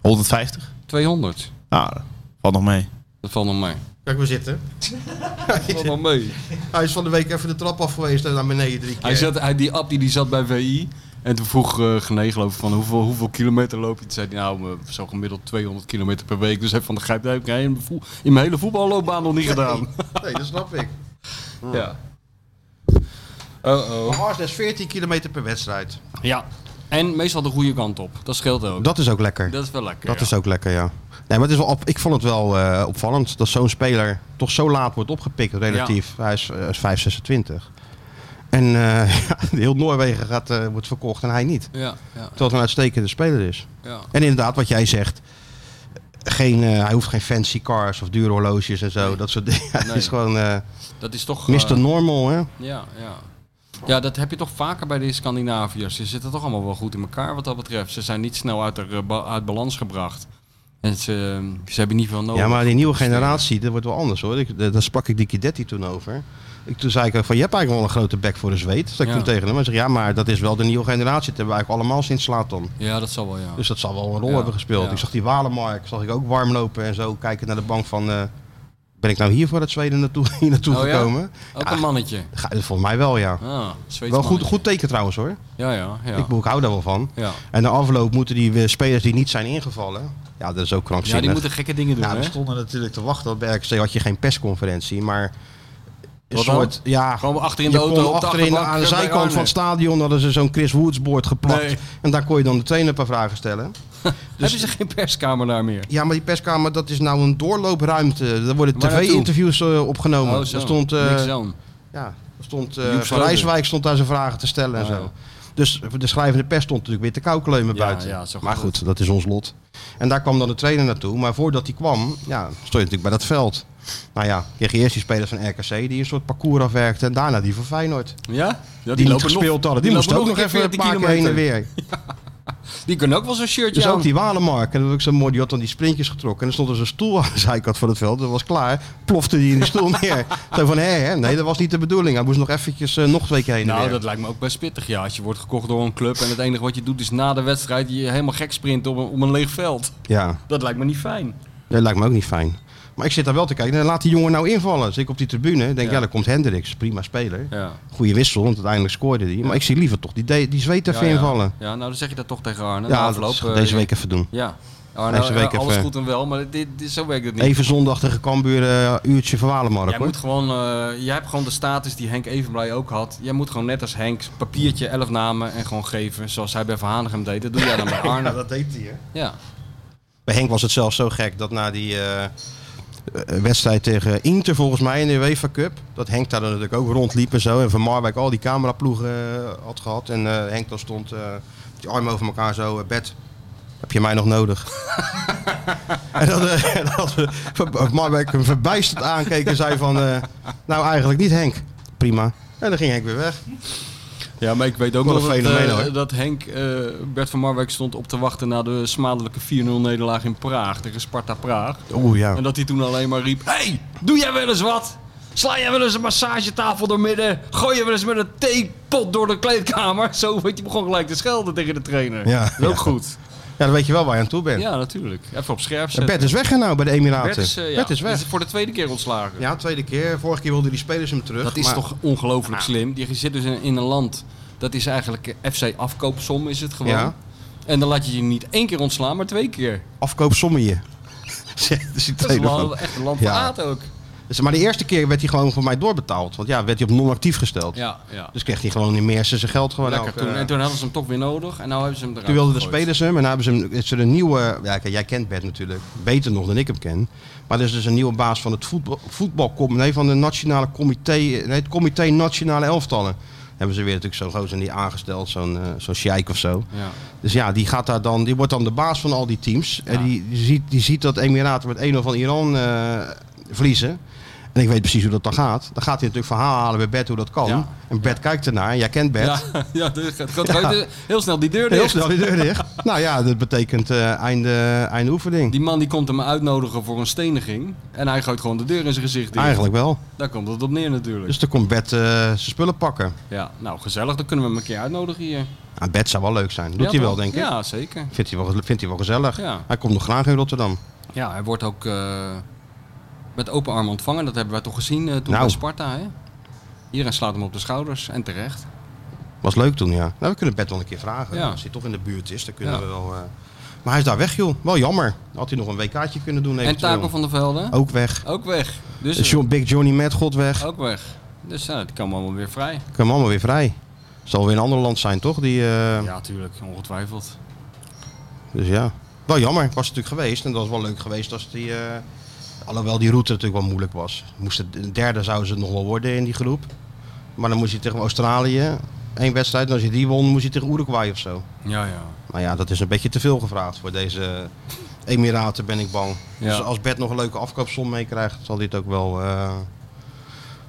[SPEAKER 4] 150?
[SPEAKER 3] 200.
[SPEAKER 4] Nou, dat valt nog mee.
[SPEAKER 3] Dat valt nog mee.
[SPEAKER 2] Kijk, we zitten.
[SPEAKER 3] Dat valt nog mee.
[SPEAKER 2] Hij is van de week even de trap af geweest en naar beneden drie keer.
[SPEAKER 3] Hij zat, hij, die Abdi die zat bij VI. En toen vroeg eh Gené geloof ik van hoeveel, hoeveel kilometer loop je? Toen zei hij nou eh, zo gemiddeld 200 kilometer per week. Dus hij van de grijp, dat heb ik in mijn voet- in mijn hele voetballoopbaan nog niet gedaan.
[SPEAKER 2] Nee, dat snap ik.
[SPEAKER 3] Ja. Oh oh.
[SPEAKER 2] Maar Arsenal is 14 kilometer per wedstrijd.
[SPEAKER 3] Ja. En meestal de goede kant op. Dat scheelt ook.
[SPEAKER 2] Dat is ook lekker.
[SPEAKER 3] Dat is wel lekker.
[SPEAKER 2] Dat
[SPEAKER 3] ja.
[SPEAKER 2] is ook lekker, ja. Nee, maar het is wel op, ik vond het wel eh, opvallend dat zo'n speler toch zo laat wordt opgepikt, relatief. Hij is, eh, is 5, 26. En eh, ja, heel Noorwegen gaat, eh, wordt verkocht en hij niet.
[SPEAKER 3] Ja, ja,
[SPEAKER 2] Terwijl het een uitstekende speler is.
[SPEAKER 3] ja.
[SPEAKER 2] En inderdaad, wat jij zegt. Geen, eh, hij hoeft geen fancy cars of dure horloges en zo.
[SPEAKER 3] Nee.
[SPEAKER 2] Dat soort dingen. Hij
[SPEAKER 3] Nee.
[SPEAKER 2] is gewoon eh
[SPEAKER 3] Dat is toch... eh,
[SPEAKER 2] Mr. Normal, hè?
[SPEAKER 3] ja, ja. Ja, dat heb je toch vaker bij de Scandinaviërs. Ze zitten toch allemaal wel goed in elkaar wat dat betreft. Ze zijn niet snel uit, de, eh, uit balans gebracht. En ze, ze hebben niet veel nodig.
[SPEAKER 2] Ja, maar die nieuwe generatie, dat wordt wel anders hoor. Ik, daar sprak ik die Kidetti toen over. Ik, toen zei ik ook van, je hebt eigenlijk wel een grote bek voor een zweet. Dat ik
[SPEAKER 3] Ja.
[SPEAKER 2] toen tegen hem. Hij zei, ja, maar dat is wel de nieuwe generatie. Dat hebben we eigenlijk allemaal sinds Slatan.
[SPEAKER 3] Ja, dat zal wel, ja.
[SPEAKER 2] Dus dat zal wel een rol
[SPEAKER 3] Ja,
[SPEAKER 2] hebben gespeeld.
[SPEAKER 3] ja.
[SPEAKER 2] Ik zag die Walemark, zag ik ook warm lopen en zo. Kijken naar de bank van, eh, ben ik nou hier voor het Zweden naartoe, hier naartoe
[SPEAKER 3] Oh ja?
[SPEAKER 2] gekomen?
[SPEAKER 3] Ook
[SPEAKER 2] Ja.
[SPEAKER 3] een mannetje.
[SPEAKER 2] Ga- Volgens mij wel, ja.
[SPEAKER 3] Ah,
[SPEAKER 2] Ah.
[SPEAKER 3] Zweeds
[SPEAKER 2] Wel goed,
[SPEAKER 3] mannetje.
[SPEAKER 2] goed teken trouwens hoor.
[SPEAKER 3] Ja, ja, ja.
[SPEAKER 2] Ik, bedoel, ik hou daar wel van.
[SPEAKER 3] ja.
[SPEAKER 2] En de afloop moeten die eh, spelers die niet zijn ingevallen. Ja, dat is ook krankzinnig. Nou,
[SPEAKER 3] ja, die moeten gekke dingen doen,
[SPEAKER 2] Ja, we
[SPEAKER 3] hè?
[SPEAKER 2] stonden natuurlijk te wachten. want Bij RKC had je geen persconferentie. Maar
[SPEAKER 3] Wat dan?
[SPEAKER 2] soort, ja,
[SPEAKER 3] Gewoon achterin
[SPEAKER 2] je
[SPEAKER 3] de auto.
[SPEAKER 2] kon
[SPEAKER 3] op de
[SPEAKER 2] achterin
[SPEAKER 3] achterbank, eh,
[SPEAKER 2] aan de
[SPEAKER 3] bij
[SPEAKER 2] zijkant
[SPEAKER 3] Arne.
[SPEAKER 2] van het stadion hadden ze zo'n Chris Woods board geplakt.
[SPEAKER 3] Nee.
[SPEAKER 2] En daar kon je dan de trainer een paar vragen stellen. dus-
[SPEAKER 3] Hebben ze geen perskamer daar meer?
[SPEAKER 2] Ja, maar die perskamer, dat is nou een doorloopruimte. Daar worden
[SPEAKER 3] Waar naartoe? Oh,
[SPEAKER 2] tv-interviews eh, opgenomen.
[SPEAKER 3] zo.
[SPEAKER 2] Daar stond, eh,
[SPEAKER 3] Niks aan.
[SPEAKER 2] ja, daar stond eh,
[SPEAKER 3] Joep
[SPEAKER 2] Van
[SPEAKER 3] Schreuder.
[SPEAKER 2] Rijswijk stond daar zijn vragen te stellen en
[SPEAKER 3] Ah,
[SPEAKER 2] zo.
[SPEAKER 3] ja.
[SPEAKER 2] Dus de schrijvende pers stond natuurlijk weer te koukleumen
[SPEAKER 3] Ja,
[SPEAKER 2] buiten.
[SPEAKER 3] ja, zo gaat
[SPEAKER 2] maar goed, dat is ons lot. En daar kwam dan de trainer naartoe. Maar voordat hij kwam, ja, stond je natuurlijk bij dat veld. Nou ja, kreeg je eerst die spelers van RKC die een soort parcours afwerkten. En daarna die van Feyenoord.
[SPEAKER 3] Ja? ja die,
[SPEAKER 2] die niet
[SPEAKER 3] lopen
[SPEAKER 2] gespeeld
[SPEAKER 3] nog,
[SPEAKER 2] hadden. Die, moesten ook
[SPEAKER 3] lopen
[SPEAKER 2] nog even een
[SPEAKER 3] 14
[SPEAKER 2] paar keer
[SPEAKER 3] kilometer.
[SPEAKER 2] heen en weer.
[SPEAKER 3] Die kunnen ook wel zo'n shirtje
[SPEAKER 2] Dus
[SPEAKER 3] aan.
[SPEAKER 2] ook die Walemark. En dat was ook zo mooi. Die had dan die sprintjes getrokken. En er stond dus een stoel aan de zijkant van het veld. Dat was klaar. Plofte die in die stoel neer. Zo van, hé, hè? nee, dat was niet de bedoeling. Hij moest nog eventjes eh, nog twee keer heen en
[SPEAKER 3] Nou,
[SPEAKER 2] weer.
[SPEAKER 3] dat lijkt me ook best pittig. Ja, als je wordt gekocht door een club en het enige wat je doet is na de wedstrijd je helemaal gek sprinten op een, op een leeg veld.
[SPEAKER 2] Ja,
[SPEAKER 3] Dat lijkt me niet fijn.
[SPEAKER 2] dat lijkt me ook niet fijn. Maar ik zit daar wel te kijken. En laat die jongen nou invallen. Dus ik op die tribune denk, ja,
[SPEAKER 3] Ja.
[SPEAKER 2] daar komt Hendricks. Prima speler.
[SPEAKER 3] Ja.
[SPEAKER 2] Goeie wissel, want uiteindelijk scoorde hij. Maar ik zie liever toch die, de- die zweet even
[SPEAKER 3] ja, ja.
[SPEAKER 2] invallen.
[SPEAKER 3] Ja, nou dan zeg je dat toch tegen Arne.
[SPEAKER 2] Ja,
[SPEAKER 3] na
[SPEAKER 2] dat
[SPEAKER 3] afloop,
[SPEAKER 2] is-
[SPEAKER 3] eh,
[SPEAKER 2] deze week even doen.
[SPEAKER 3] Ja. Arne,
[SPEAKER 2] Deze week
[SPEAKER 3] eh, alles
[SPEAKER 2] even-
[SPEAKER 3] goed en wel, maar dit, dit, zo werkt het niet.
[SPEAKER 2] Even zondag tegen Cambuur, eh, uurtje van Walemark.
[SPEAKER 3] Jij,
[SPEAKER 2] hoor.
[SPEAKER 3] moet gewoon, eh, jij hebt gewoon de status die Henk Evenblij ook had. Jij moet gewoon net als Henk papiertje, elf namen en gewoon geven. Zoals hij bij Van Hanegem deed. Dat doe jij dan bij Arne.
[SPEAKER 2] dat deed hij, hè?
[SPEAKER 3] Ja.
[SPEAKER 2] Bij Henk was het zelfs zo gek dat na die eh, eh, wedstrijd tegen Inter, volgens mij in de UEFA Cup, dat Henk daar dan natuurlijk ook rondliep en zo. En Van Marwijk al die cameraploegen eh, had gehad. En eh, Henk dan stond eh, met die armen over elkaar zo, eh, bed. Heb je mij nog nodig? en dat, eh, en dat eh, Van Marwijk hem verbijsterd aankeek en zei van... eh, nou, eigenlijk niet Henk. Prima. En dan ging Henk weer weg.
[SPEAKER 3] ja, maar ik weet ook
[SPEAKER 2] Wat
[SPEAKER 3] nog
[SPEAKER 2] een
[SPEAKER 3] dat,
[SPEAKER 2] fenomeen,
[SPEAKER 3] eh,
[SPEAKER 2] hoor.
[SPEAKER 3] dat Henk eh, Bert van Marwijk stond op te wachten na de smadelijke 4-0 nederlaag in Praag. Tegen Sparta Praag.
[SPEAKER 2] Oeh, ja.
[SPEAKER 3] En dat hij toen alleen maar riep: hey, doe jij wel eens wat? Sla jij wel eens een massagetafel door midden? Gooi je wel eens met een theepot door de kleedkamer? Zo, weet je, begon gelijk te schelden tegen de trainer.
[SPEAKER 2] Ja.
[SPEAKER 3] Dat is ook
[SPEAKER 2] Ja.
[SPEAKER 3] goed.
[SPEAKER 2] Ja, dan weet je wel waar je aan toe bent.
[SPEAKER 3] Ja, natuurlijk. Even op scherp
[SPEAKER 2] En
[SPEAKER 3] zetten.
[SPEAKER 2] Bert is weg hè, nou bij de Emiraten.
[SPEAKER 3] Bert is, eh, ja,
[SPEAKER 2] Bert is
[SPEAKER 3] is
[SPEAKER 2] weg.
[SPEAKER 3] voor de tweede keer ontslagen.
[SPEAKER 2] Ja, tweede keer. Vorige keer wilden die spelers hem terug.
[SPEAKER 3] dat is
[SPEAKER 2] maar- Nou.
[SPEAKER 3] toch ongelooflijk slim. Je zit dus in, in een land, dat is eigenlijk eh, FC afkoopsom is het gewoon.
[SPEAKER 2] Ja.
[SPEAKER 3] En dan laat je je niet één keer ontslaan, maar twee keer.
[SPEAKER 2] afkoop sommige. Zegt de
[SPEAKER 3] Dat is
[SPEAKER 2] Citadel
[SPEAKER 3] wel
[SPEAKER 2] van.
[SPEAKER 3] echt een land van
[SPEAKER 2] Ja.
[SPEAKER 3] haat ook.
[SPEAKER 2] Dus- Maar de eerste keer werd hij gewoon voor mij doorbetaald. Want ja, werd hij op non-actief gesteld.
[SPEAKER 3] Ja, ja.
[SPEAKER 2] Dus kreeg hij gewoon in meer zijn geld gewoon
[SPEAKER 3] Lekker.
[SPEAKER 2] elke-
[SPEAKER 3] Toen, en toen hadden ze hem toch weer nodig en nu hebben ze hem eruit
[SPEAKER 2] Nou, eh, Toen wilden de
[SPEAKER 3] gegooid.
[SPEAKER 2] spelers hem en hebben ze hem, is er een nieuwe... Ja, kijk, jij kent Bert natuurlijk. Beter nog dan ik hem ken. Maar er is dus een nieuwe baas van het voetbal, voetbalcom... Nee, van de nationale comité... Nee, het comité Nationale Elftallen. Hebben ze weer natuurlijk zo'n gozer niet aangesteld. Zo'n eh, zo'n sheik of zo.
[SPEAKER 3] Ja.
[SPEAKER 2] Dus ja, die, gaat daar dan, die wordt dan de baas van al die teams. En die, die, ziet, die ziet dat Emiraten met 1-0 van Iran eh, verliezen. En ik weet precies hoe dat dan gaat. Dan gaat hij natuurlijk verhalen halen bij Bert hoe dat kan.
[SPEAKER 3] Ja.
[SPEAKER 2] En Bert kijkt ernaar. Jij kent Bert.
[SPEAKER 3] Ja, ja, dus het gaat gewoon heel snel die deur dicht.
[SPEAKER 2] Heel snel die deur dicht. nou ja, dat betekent eh, einde, einde oefening.
[SPEAKER 3] Die man die komt hem uitnodigen voor een steniging. En hij gooit gewoon de deur in zijn gezicht dicht.
[SPEAKER 2] Eigenlijk wel.
[SPEAKER 3] Daar komt het op neer natuurlijk.
[SPEAKER 2] Dus dan komt Bert eh, zijn spullen pakken.
[SPEAKER 3] Ja, nou gezellig, dan kunnen we hem een keer uitnodigen hier.
[SPEAKER 2] Nou, Bert zou wel leuk zijn. Doet
[SPEAKER 3] Ja,
[SPEAKER 2] hij wel,
[SPEAKER 3] toch?
[SPEAKER 2] denk ik.
[SPEAKER 3] Ja, zeker.
[SPEAKER 2] Vindt, hij wel, vindt hij wel gezellig.
[SPEAKER 3] Ja.
[SPEAKER 2] Hij komt nog graag in Rotterdam.
[SPEAKER 3] Ja, hij wordt ook eh, met open armen ontvangen. Dat hebben wij toch gezien eh, toen
[SPEAKER 2] Nou.
[SPEAKER 3] bij Sparta, hè? Iedereen slaat hem op de schouders en terecht.
[SPEAKER 2] Was leuk toen, ja. Nou, we kunnen Bert wel een keer vragen.
[SPEAKER 3] Ja.
[SPEAKER 2] Als hij toch in de buurt is, dan kunnen
[SPEAKER 3] Ja.
[SPEAKER 2] we wel... eh, Maar hij is daar weg, joh. Wel jammer. Had hij nog een WK'tje kunnen doen
[SPEAKER 3] En
[SPEAKER 2] eventueel.
[SPEAKER 3] Taco van der Velde,
[SPEAKER 2] Ook weg.
[SPEAKER 3] ook weg. Dus eh,
[SPEAKER 2] Eh, John, Big Johnny Madgod weg.
[SPEAKER 3] ook weg. Dus nou, die kan allemaal weer vrij.
[SPEAKER 2] Kan allemaal weer vrij. Zal weer een ander land zijn, toch? Die, eh,
[SPEAKER 3] Ja, tuurlijk, ongetwijfeld.
[SPEAKER 2] Dus ja. Wel jammer. Was het natuurlijk geweest. En dat was wel leuk geweest als die... eh, Alhoewel die route natuurlijk wel moeilijk was. Moest het, een derde zouden ze het nog wel worden in die groep. Maar dan moest hij tegen Australië één wedstrijd. En als je die won, moest hij tegen Uruguay of zo.
[SPEAKER 3] Ja, ja.
[SPEAKER 2] Nou ja, dat is een beetje te veel gevraagd voor deze Emiraten, ben ik bang.
[SPEAKER 3] Ja.
[SPEAKER 2] Dus als Bert nog een leuke afkoopsom meekrijgt, zal hij het ook wel, eh,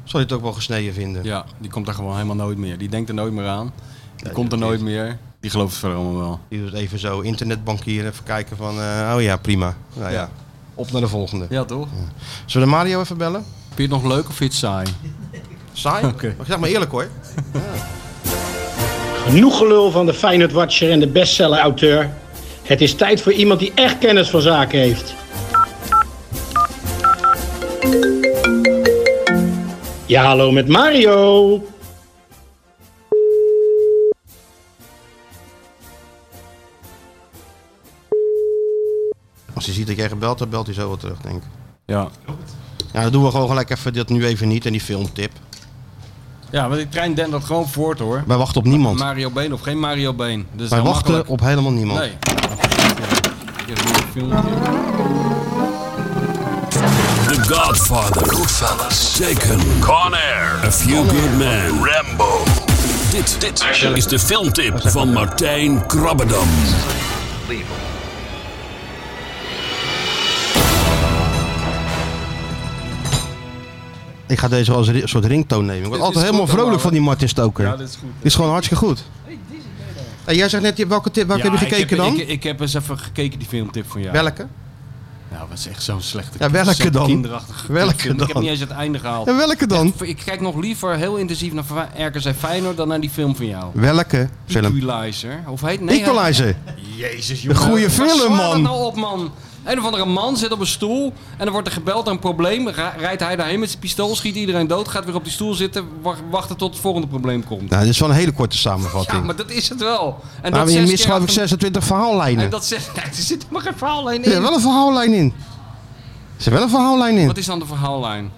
[SPEAKER 2] zal hij het ook wel gesneden vinden.
[SPEAKER 3] Ja, die komt daar gewoon helemaal nooit meer. Die denkt er nooit meer aan. Die
[SPEAKER 2] Nee,
[SPEAKER 3] komt er
[SPEAKER 2] dat
[SPEAKER 3] nooit
[SPEAKER 2] niet.
[SPEAKER 3] meer. Die gelooft het verder allemaal wel.
[SPEAKER 2] Die doet even zo internetbankieren, even kijken van, eh, oh ja, prima. Nou ja.
[SPEAKER 3] Ja.
[SPEAKER 2] op naar de volgende.
[SPEAKER 3] Ja, toch?
[SPEAKER 2] Zullen we Mario even bellen?
[SPEAKER 3] Vind je het nog leuk of vind je het saai?
[SPEAKER 2] Saai?
[SPEAKER 3] Oké.
[SPEAKER 2] Maar zeg maar eerlijk hoor.
[SPEAKER 8] Genoeg gelul van de Feyenoord Watcher en de bestseller-auteur. Het is tijd voor iemand die echt kennis van zaken heeft. Ja, hallo met Mario.
[SPEAKER 2] Als hij ziet dat jij gebeld hebt, belt hij zo wel terug, denk ik.
[SPEAKER 3] Ja.
[SPEAKER 2] Ja, dan doen we gewoon gelijk even dat nu even niet en die filmtip.
[SPEAKER 3] Ja, want die trein dendert dat gewoon voort hoor.
[SPEAKER 2] Wij wachten op niemand.
[SPEAKER 3] Mario Been of geen Mario Been. Dat is
[SPEAKER 2] Wij
[SPEAKER 3] heel
[SPEAKER 2] wachten
[SPEAKER 3] makkelijk.
[SPEAKER 2] op helemaal niemand.
[SPEAKER 3] Nee. Ik heb hier een filmpje.
[SPEAKER 9] The Godfather. Goodfellas. Taken. Con Air. A Few Good Men. Rambo. Dit, dit is de filmtip van Martijn Krabbedam.
[SPEAKER 2] Ik ga deze als ri- soort ringtoon nemen. Ik word
[SPEAKER 3] Dit
[SPEAKER 2] altijd
[SPEAKER 3] is
[SPEAKER 2] helemaal
[SPEAKER 3] goed
[SPEAKER 2] vrolijk
[SPEAKER 3] allemaal,
[SPEAKER 2] van die Martin Stoker.
[SPEAKER 3] Ja,
[SPEAKER 2] dit
[SPEAKER 3] dit is goed.
[SPEAKER 2] is gewoon hartstikke goed. En jij zegt net, je- welke tip welke
[SPEAKER 3] Ja,
[SPEAKER 2] heb je gekeken
[SPEAKER 3] ik heb,
[SPEAKER 2] dan?
[SPEAKER 3] Ik, ik heb eens even gekeken die filmtip van jou.
[SPEAKER 2] welke?
[SPEAKER 3] Nou, dat is echt zo'n slechte
[SPEAKER 2] Ja, welke
[SPEAKER 3] zo'n
[SPEAKER 2] dan?
[SPEAKER 3] kinderachtige
[SPEAKER 2] Welke
[SPEAKER 3] film. Ik
[SPEAKER 2] dan?
[SPEAKER 3] heb niet eens het einde gehaald.
[SPEAKER 2] En welke dan?
[SPEAKER 3] Ik kijk nog liever heel intensief naar Fa- RKC Feyenoord dan naar die film van jou.
[SPEAKER 2] Welke film?
[SPEAKER 3] Equalizer. Of heet nee,
[SPEAKER 2] Equalizer.
[SPEAKER 3] hij- Jezus jongen.
[SPEAKER 2] goeie
[SPEAKER 3] Waar
[SPEAKER 2] film,
[SPEAKER 3] slaat
[SPEAKER 2] man.
[SPEAKER 3] het nou op man. Een of andere man zit op een stoel en er wordt er gebeld aan een probleem. Ra- rijdt hij daarheen met zijn pistool, schiet iedereen dood, gaat weer op die stoel zitten, wa- wachten tot het volgende probleem komt.
[SPEAKER 2] Nou, dit is wel een hele korte
[SPEAKER 3] Ja,
[SPEAKER 2] samenvatting.
[SPEAKER 3] maar dat is het wel. En
[SPEAKER 2] maar
[SPEAKER 3] dat
[SPEAKER 2] je
[SPEAKER 3] zes
[SPEAKER 2] mist
[SPEAKER 3] keer
[SPEAKER 2] geloof ik
[SPEAKER 3] achter-
[SPEAKER 2] 26
[SPEAKER 3] En
[SPEAKER 2] verhaallijnen.
[SPEAKER 3] dat zegt, er zit helemaal geen verhaallijn
[SPEAKER 2] Er
[SPEAKER 3] in.
[SPEAKER 2] zit wel een verhaallijn in. Er zit wel een verhaallijn in.
[SPEAKER 3] Wat is dan de verhaallijn?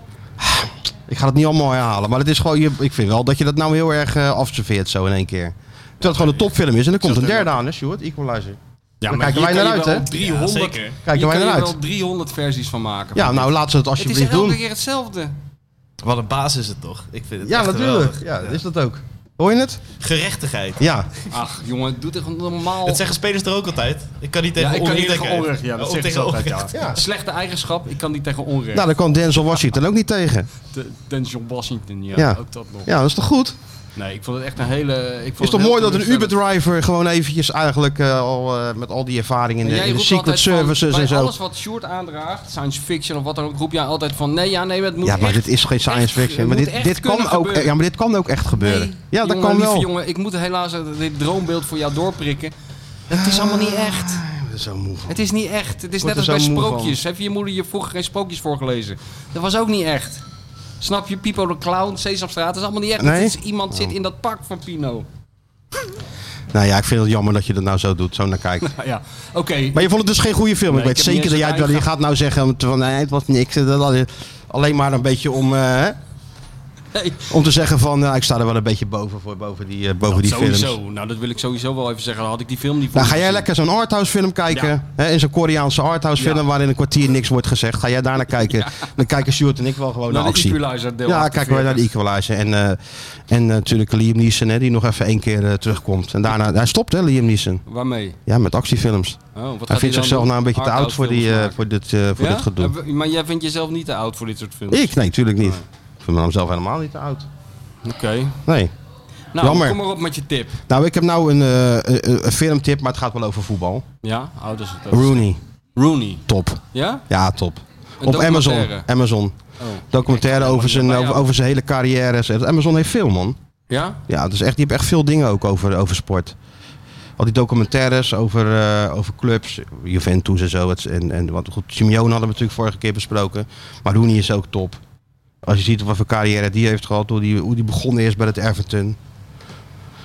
[SPEAKER 2] Ik ga het niet allemaal herhalen, maar het is gewoon, je- ik vind wel dat je dat nou heel erg eh afserveert zo in één keer. Terwijl het gewoon een topfilm is en er komt een derde aan, hè, Stuart? Equalizer.
[SPEAKER 4] Ja,
[SPEAKER 2] Dan kijken wij naar uit, hè?
[SPEAKER 4] Ja,
[SPEAKER 3] 300,
[SPEAKER 4] zeker.
[SPEAKER 2] Kijken
[SPEAKER 3] Hier
[SPEAKER 2] wij
[SPEAKER 3] kan
[SPEAKER 2] naar uit.
[SPEAKER 3] je wel 300 versies van maken.
[SPEAKER 2] Ja, nou laten ze het
[SPEAKER 3] het is
[SPEAKER 2] alsjeblieft
[SPEAKER 3] elke
[SPEAKER 2] doen.
[SPEAKER 3] keer hetzelfde.
[SPEAKER 4] Wat een baas is het toch? Ik vind het
[SPEAKER 2] Ja,
[SPEAKER 4] echt
[SPEAKER 2] natuurlijk.
[SPEAKER 4] geweldig.
[SPEAKER 2] Ja, dat is dat ook. Hoor je het?
[SPEAKER 4] Gerechtigheid.
[SPEAKER 2] Ja.
[SPEAKER 3] Ach, jongen, doe toch normaal.
[SPEAKER 4] Dat zeggen spelers er ook altijd. Ik kan niet tegen
[SPEAKER 3] ja, ik kan niet
[SPEAKER 4] onrecht.
[SPEAKER 3] tegen onrecht. Ja, dat
[SPEAKER 4] Of
[SPEAKER 3] zeggen ze
[SPEAKER 4] tegen
[SPEAKER 3] altijd.
[SPEAKER 4] onrecht.
[SPEAKER 3] Ja. Slechte eigenschap, ik kan niet tegen onrecht.
[SPEAKER 2] Nou, daar kan Denzel Washington ook niet tegen.
[SPEAKER 3] De- Denzel Washington, ja,
[SPEAKER 2] Ja.
[SPEAKER 3] ook dat nog.
[SPEAKER 2] Ja, dat is toch goed?
[SPEAKER 3] Nee, ik vond het echt een hele... Ik vond
[SPEAKER 2] Is
[SPEAKER 3] het
[SPEAKER 2] toch
[SPEAKER 3] heel
[SPEAKER 2] mooi dat een
[SPEAKER 3] teleurstellend.
[SPEAKER 2] Uber-driver gewoon eventjes eigenlijk eh, al eh, met al die ervaring in
[SPEAKER 3] En
[SPEAKER 2] de,
[SPEAKER 3] jij
[SPEAKER 2] in de
[SPEAKER 3] roept
[SPEAKER 2] secret
[SPEAKER 3] altijd van,
[SPEAKER 2] services
[SPEAKER 3] bij
[SPEAKER 2] en zo.
[SPEAKER 3] alles wat Short aandraagt, science fiction of wat dan ook, roep jij altijd van... Nee, ja, nee, het moet
[SPEAKER 2] Ja, maar
[SPEAKER 3] echt-
[SPEAKER 2] dit is geen
[SPEAKER 3] echt-
[SPEAKER 2] science
[SPEAKER 3] het
[SPEAKER 2] fiction. Maar
[SPEAKER 3] moet
[SPEAKER 2] dit,
[SPEAKER 3] echt
[SPEAKER 2] dit kan
[SPEAKER 3] kunnen
[SPEAKER 2] ook,
[SPEAKER 3] gebeuren.
[SPEAKER 2] ja, maar dit kan ook echt gebeuren.
[SPEAKER 3] Nee,
[SPEAKER 2] ja, dat
[SPEAKER 3] jongen,
[SPEAKER 2] kan
[SPEAKER 3] lieve
[SPEAKER 2] wel.
[SPEAKER 3] jongen, ik moet helaas dit droombeeld voor jou doorprikken. Het is allemaal niet echt.
[SPEAKER 2] Ik ben Ah, zo moe van.
[SPEAKER 3] Het is niet echt. Het is
[SPEAKER 2] word
[SPEAKER 3] net als
[SPEAKER 2] er
[SPEAKER 3] bij
[SPEAKER 2] zo moe
[SPEAKER 3] sprookjes. Heb je je moeder je vroeger geen sprookjes voorgelezen? Dat was ook niet echt. Snap je? Pipo de Clown, Sesamstraat, dat is allemaal niet echt.
[SPEAKER 2] Nee? Oh.
[SPEAKER 3] Het is, iemand zit in dat pak van Pino.
[SPEAKER 2] Nou ja, ik vind het jammer dat je dat nou zo doet, zo naar kijkt.
[SPEAKER 3] Nou ja, oké.
[SPEAKER 2] Maar je vond het dus geen goede film. ik
[SPEAKER 3] Nee,
[SPEAKER 2] weet
[SPEAKER 3] ik heb
[SPEAKER 2] zeker
[SPEAKER 3] niet
[SPEAKER 2] dat
[SPEAKER 3] eens
[SPEAKER 2] jij
[SPEAKER 3] het
[SPEAKER 2] wel- je
[SPEAKER 3] eind
[SPEAKER 2] gaat nou zeggen van nee, het was niks. Dat had- Alleen maar een beetje om, eh, hè,
[SPEAKER 3] Nee,
[SPEAKER 2] om te zeggen van nou, ik sta er wel een beetje boven voor, boven die, eh, boven die films.
[SPEAKER 3] sowieso. Nou, dat wil ik sowieso wel even zeggen. Dan had ik die film niet voor.
[SPEAKER 2] Nou, ga jij lekker zo'n arthouse film kijken?
[SPEAKER 3] Ja.
[SPEAKER 2] Hè, in zo'n Koreaanse arthouse film waarin een kwartier niks wordt gezegd. Ga jij daar naar kijken? Dan kijken Stuart en ik wel gewoon naar,
[SPEAKER 3] naar de
[SPEAKER 2] actie.
[SPEAKER 3] Equalizer deel
[SPEAKER 2] Ja, kijken wij naar de
[SPEAKER 3] 48.
[SPEAKER 2] Equalizer. En, eh, en eh, natuurlijk Liam Neeson, hè, die nog even één keer eh, terugkomt. En daarna, hij stopt hè, Liam Neeson.
[SPEAKER 3] Waarmee?
[SPEAKER 2] Ja, met actiefilms.
[SPEAKER 3] Oh, wat gaat
[SPEAKER 2] Hij vindt
[SPEAKER 3] dan
[SPEAKER 2] zichzelf
[SPEAKER 3] doen?
[SPEAKER 2] nou een beetje te oud voor, die, eh,
[SPEAKER 3] Arthouse films
[SPEAKER 2] voor, dit, eh, voor
[SPEAKER 3] maken.
[SPEAKER 2] dit gedoe.
[SPEAKER 3] Ja? Maar jij vindt jezelf niet te oud voor dit soort films?
[SPEAKER 2] Ik? Nee, natuurlijk niet. Ik vind mezelf helemaal niet te oud.
[SPEAKER 3] Oké.
[SPEAKER 2] Nee.
[SPEAKER 3] Nou,
[SPEAKER 2] Jammer.
[SPEAKER 3] kom maar op met je tip.
[SPEAKER 2] Nou, ik heb nou een, eh, een, een filmtip, maar het gaat wel over voetbal.
[SPEAKER 3] Ja, ouders het ook.
[SPEAKER 2] Rooney,
[SPEAKER 3] Rooney.
[SPEAKER 2] top.
[SPEAKER 3] Ja?
[SPEAKER 2] Ja, top.
[SPEAKER 3] Een
[SPEAKER 2] Op Amazon.
[SPEAKER 3] documentaire.
[SPEAKER 2] Amazon.
[SPEAKER 3] Oh.
[SPEAKER 2] Documentaire over zijn, eh,
[SPEAKER 3] Ja, ja.
[SPEAKER 2] over, over zijn hele carrière. Amazon heeft veel, man.
[SPEAKER 3] Ja?
[SPEAKER 2] Ja, dus echt, die hebben echt veel dingen ook over, over sport. Al die documentaires over, eh, over clubs, Juventus en zo. Het, en, en wat goed, Simeone hadden we natuurlijk vorige keer besproken. Maar Rooney is ook top. Als je ziet wat voor carrière die heeft gehad, hoe die, hoe die begonnen is bij het Everton.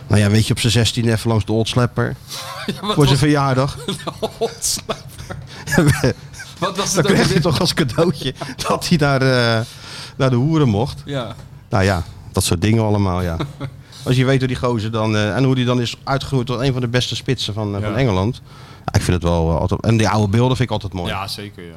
[SPEAKER 2] Nou ja, weet je, op zijn 16 even langs de Old Slapper.
[SPEAKER 3] wat
[SPEAKER 2] voor zijn
[SPEAKER 3] was-
[SPEAKER 2] verjaardag.
[SPEAKER 3] Wat was
[SPEAKER 2] Dan
[SPEAKER 3] het ook
[SPEAKER 2] kreeg hij
[SPEAKER 3] alweer?
[SPEAKER 2] toch als cadeautje dat hij naar, eh, naar de hoeren mocht.
[SPEAKER 3] Ja.
[SPEAKER 2] Nou ja, dat soort dingen allemaal, ja. Als je weet hoe die gozer dan... eh, en hoe die dan is uitgegroeid tot een van de beste spitsen van, eh,
[SPEAKER 3] Ja.
[SPEAKER 2] van Engeland. Ja, ik vind het wel eh, altijd... En die oude beelden vind ik altijd mooi.
[SPEAKER 3] ja, zeker ja.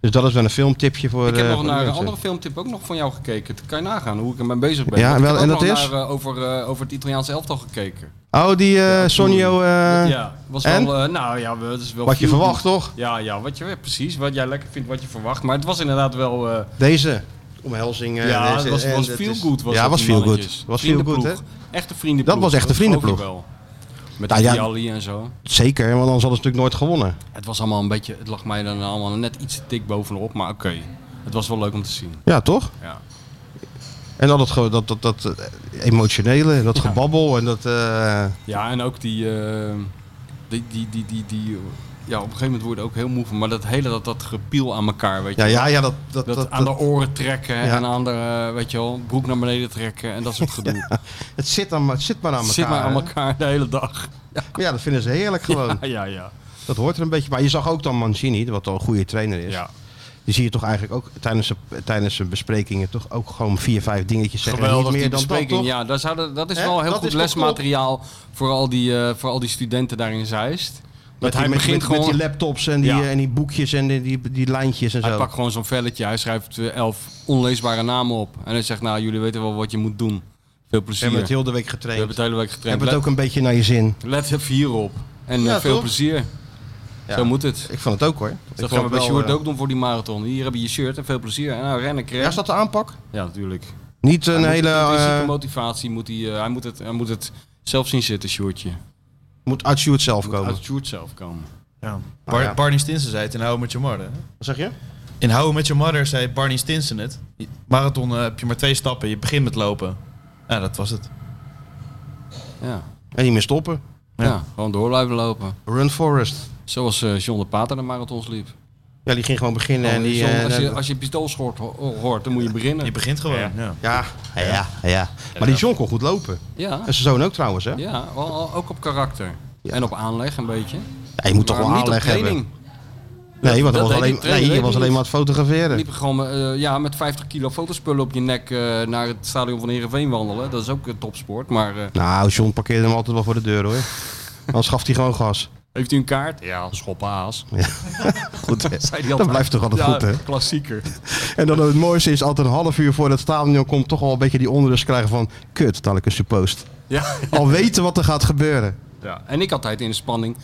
[SPEAKER 2] Dus dat is wel een filmtipje voor...
[SPEAKER 3] Ik heb
[SPEAKER 2] eh,
[SPEAKER 3] nog
[SPEAKER 2] voor de
[SPEAKER 3] naar een
[SPEAKER 2] mensen.
[SPEAKER 3] andere filmtip ook nog van jou gekeken. Dat kan je nagaan hoe ik ermee bezig ben.
[SPEAKER 2] Ja,
[SPEAKER 3] Want ik
[SPEAKER 2] wel,
[SPEAKER 3] heb
[SPEAKER 2] en
[SPEAKER 3] ook
[SPEAKER 2] dat
[SPEAKER 3] nog
[SPEAKER 2] is?
[SPEAKER 3] Naar, eh, over, eh, over het Italiaanse elftal gekeken.
[SPEAKER 2] Oh, die eh Sonio... eh,
[SPEAKER 3] ja, was
[SPEAKER 2] en?
[SPEAKER 3] wel... eh, nou ja, we- dat is wel...
[SPEAKER 2] Wat je
[SPEAKER 3] viel-
[SPEAKER 2] verwacht, toch?
[SPEAKER 3] Ja, ja, wat je, precies. Wat jij lekker vindt, wat je verwacht. Maar het was inderdaad wel... eh,
[SPEAKER 2] Deze omhelzing. eh,
[SPEAKER 3] ja,
[SPEAKER 2] deze-
[SPEAKER 3] het was,
[SPEAKER 2] eh,
[SPEAKER 3] was
[SPEAKER 2] dat
[SPEAKER 3] feel
[SPEAKER 2] is-
[SPEAKER 3] good. Was
[SPEAKER 2] ja,
[SPEAKER 3] dat,
[SPEAKER 2] was
[SPEAKER 3] die
[SPEAKER 2] feel
[SPEAKER 3] mannetjes.
[SPEAKER 2] good. Was feel good, hè?
[SPEAKER 3] Vriendenploeg. Echte vriendenploeg.
[SPEAKER 2] Dat was echt een
[SPEAKER 3] geloof ik
[SPEAKER 2] vriendenploeg.
[SPEAKER 3] wel. Met
[SPEAKER 2] Nou ja,
[SPEAKER 3] Dialli en zo.
[SPEAKER 2] Zeker, want anders hadden ze natuurlijk nooit gewonnen.
[SPEAKER 3] Het was allemaal een beetje... Het lag mij dan allemaal net iets te dik bovenop. Maar oké. Het was wel leuk om te zien.
[SPEAKER 2] Ja, toch?
[SPEAKER 3] Ja.
[SPEAKER 2] En dan dat, ge- dat, dat, dat eh, emotionele, en dat gebabbel en dat... eh,
[SPEAKER 3] Ja, en ook die, eh, die, die, die, die, die, ja, op een gegeven moment word je er ook heel moe van, maar dat hele, dat, dat gepiel aan elkaar, weet je
[SPEAKER 2] ja,
[SPEAKER 3] wel.
[SPEAKER 2] ja, ja, dat... dat,
[SPEAKER 3] Dat,
[SPEAKER 2] dat-
[SPEAKER 3] aan
[SPEAKER 2] dat-
[SPEAKER 3] de oren trekken
[SPEAKER 2] Ja.
[SPEAKER 3] en aan de, eh, weet je wel, broek naar beneden trekken en dat soort gedoe.
[SPEAKER 2] het, zit aan, het zit maar aan elkaar.
[SPEAKER 3] Zit maar aan
[SPEAKER 2] hè?
[SPEAKER 3] elkaar de hele dag.
[SPEAKER 2] Ja, dat vinden ze heerlijk gewoon.
[SPEAKER 3] Ja, ja, ja.
[SPEAKER 2] Dat hoort er een beetje bij. Je zag ook dan Mancini, wat al een goede trainer is.
[SPEAKER 3] ja.
[SPEAKER 2] Die zie je toch eigenlijk ook tijdens, de- tijdens de besprekingen toch ook gewoon vier, vijf dingetjes zeggen. en
[SPEAKER 3] Geweldig,
[SPEAKER 2] niet
[SPEAKER 3] die
[SPEAKER 2] meer dan dat,
[SPEAKER 3] bespreking.
[SPEAKER 2] toch?
[SPEAKER 3] ja, daar zouden, dat is
[SPEAKER 2] Hè?
[SPEAKER 3] wel heel
[SPEAKER 2] Dat
[SPEAKER 3] goed
[SPEAKER 2] is toch top?
[SPEAKER 3] lesmateriaal voor al, die, eh, voor al die studenten daar in Zeist.
[SPEAKER 2] Met,
[SPEAKER 3] Dat hij
[SPEAKER 2] die, met,
[SPEAKER 3] begint
[SPEAKER 2] met- met
[SPEAKER 3] gewoon...
[SPEAKER 2] die laptops en die,
[SPEAKER 3] Ja.
[SPEAKER 2] eh, en die boekjes en die, die, die lijntjes en
[SPEAKER 3] Hij
[SPEAKER 2] zo.
[SPEAKER 3] pakt gewoon zo'n velletje, hij schrijft eh, elf onleesbare namen op. En hij zegt, nou, jullie weten wel wat je moet doen. Veel plezier.
[SPEAKER 2] hebben het heel de week getraind.
[SPEAKER 3] We hebben het hele week getraind.
[SPEAKER 2] Heb het ook een beetje naar je zin.
[SPEAKER 3] Let, let even hierop. En eh,
[SPEAKER 2] Ja,
[SPEAKER 3] veel
[SPEAKER 2] toch?
[SPEAKER 3] plezier.
[SPEAKER 2] Ja.
[SPEAKER 3] Zo moet het.
[SPEAKER 2] Ik vond het ook hoor.
[SPEAKER 3] Dat
[SPEAKER 2] Ik
[SPEAKER 3] gaan we
[SPEAKER 2] vond het
[SPEAKER 3] bij
[SPEAKER 2] wel,
[SPEAKER 3] Sjoerd
[SPEAKER 2] eh,
[SPEAKER 3] ook doen voor die marathon. Hier heb je je shirt en veel plezier. En nou, rennen,
[SPEAKER 2] Ja,
[SPEAKER 3] krijg.
[SPEAKER 2] is dat de aanpak?
[SPEAKER 3] Ja, natuurlijk.
[SPEAKER 2] Niet een
[SPEAKER 3] Hij moet-
[SPEAKER 2] hele...
[SPEAKER 3] intrinsieke
[SPEAKER 2] eh,
[SPEAKER 3] motivatie moet hij, eh, hij, moet het, hij moet het zelf zien zitten, Sjoerdje.
[SPEAKER 2] moet uit Sjoerd zelf komen.
[SPEAKER 3] Uit Sjoerd zelf komen.
[SPEAKER 4] Ja.
[SPEAKER 2] Nou ja.
[SPEAKER 4] Barney Stinson zei het in How Met Your Mother. hè?
[SPEAKER 2] Wat zeg je?
[SPEAKER 4] In How Met Your Mother zei Barney Stinson het. Marathon eh, heb je maar twee stappen. Je begint met lopen. Ja, dat was het.
[SPEAKER 3] Ja.
[SPEAKER 2] En niet meer stoppen.
[SPEAKER 3] Ja. gewoon door blijven lopen.
[SPEAKER 2] Run Forest.
[SPEAKER 3] Zoals eh, John de Pater de marathons liep.
[SPEAKER 2] Ja, die ging gewoon beginnen en die...
[SPEAKER 3] John,
[SPEAKER 2] eh,
[SPEAKER 3] als, je, als je pistoolschort ho- hoort, dan moet je beginnen.
[SPEAKER 4] Je begint gewoon. Ja.
[SPEAKER 2] Ja, ja, ja, ja. Maar die John kon goed lopen.
[SPEAKER 3] Ja,
[SPEAKER 2] En zijn zoon ook trouwens, hè?
[SPEAKER 3] ja wel- wel- ook op karakter.
[SPEAKER 2] Ja.
[SPEAKER 3] En op aanleg een beetje.
[SPEAKER 2] Ja, je moet toch
[SPEAKER 3] Maar
[SPEAKER 2] wel
[SPEAKER 3] niet op
[SPEAKER 2] aanleg hebben.
[SPEAKER 3] training.
[SPEAKER 2] Nee, want
[SPEAKER 3] dat
[SPEAKER 2] er was
[SPEAKER 3] deed
[SPEAKER 2] alleen,
[SPEAKER 3] die trainer
[SPEAKER 2] nee, je
[SPEAKER 3] ook
[SPEAKER 2] was
[SPEAKER 3] niet.
[SPEAKER 2] alleen maar aan het fotograferen.
[SPEAKER 3] Liepen gewoon eh, ja, met 50 kilo fotospullen op je nek eh, naar het stadion van Heerenveen wandelen. Dat is ook een topsport. Maar eh,
[SPEAKER 2] Nou, John parkeerde hem altijd wel voor de deur, hoor. Anders gaf hij gewoon gas.
[SPEAKER 3] heeft u een kaart? Ja, schoppaas.
[SPEAKER 2] Goed, hè?
[SPEAKER 3] Zei die
[SPEAKER 2] dat
[SPEAKER 3] altijd.
[SPEAKER 2] blijft toch altijd
[SPEAKER 3] Ja,
[SPEAKER 2] goed, hè?
[SPEAKER 3] Klassieker.
[SPEAKER 2] En dan het mooiste is, altijd een half uur voor het stadion komt, toch al een beetje die onrust krijgen van... Kut, dadelijk is de post.
[SPEAKER 3] Ja.
[SPEAKER 2] Al weten wat er gaat gebeuren.
[SPEAKER 3] ja. En ik had tijd in de spanning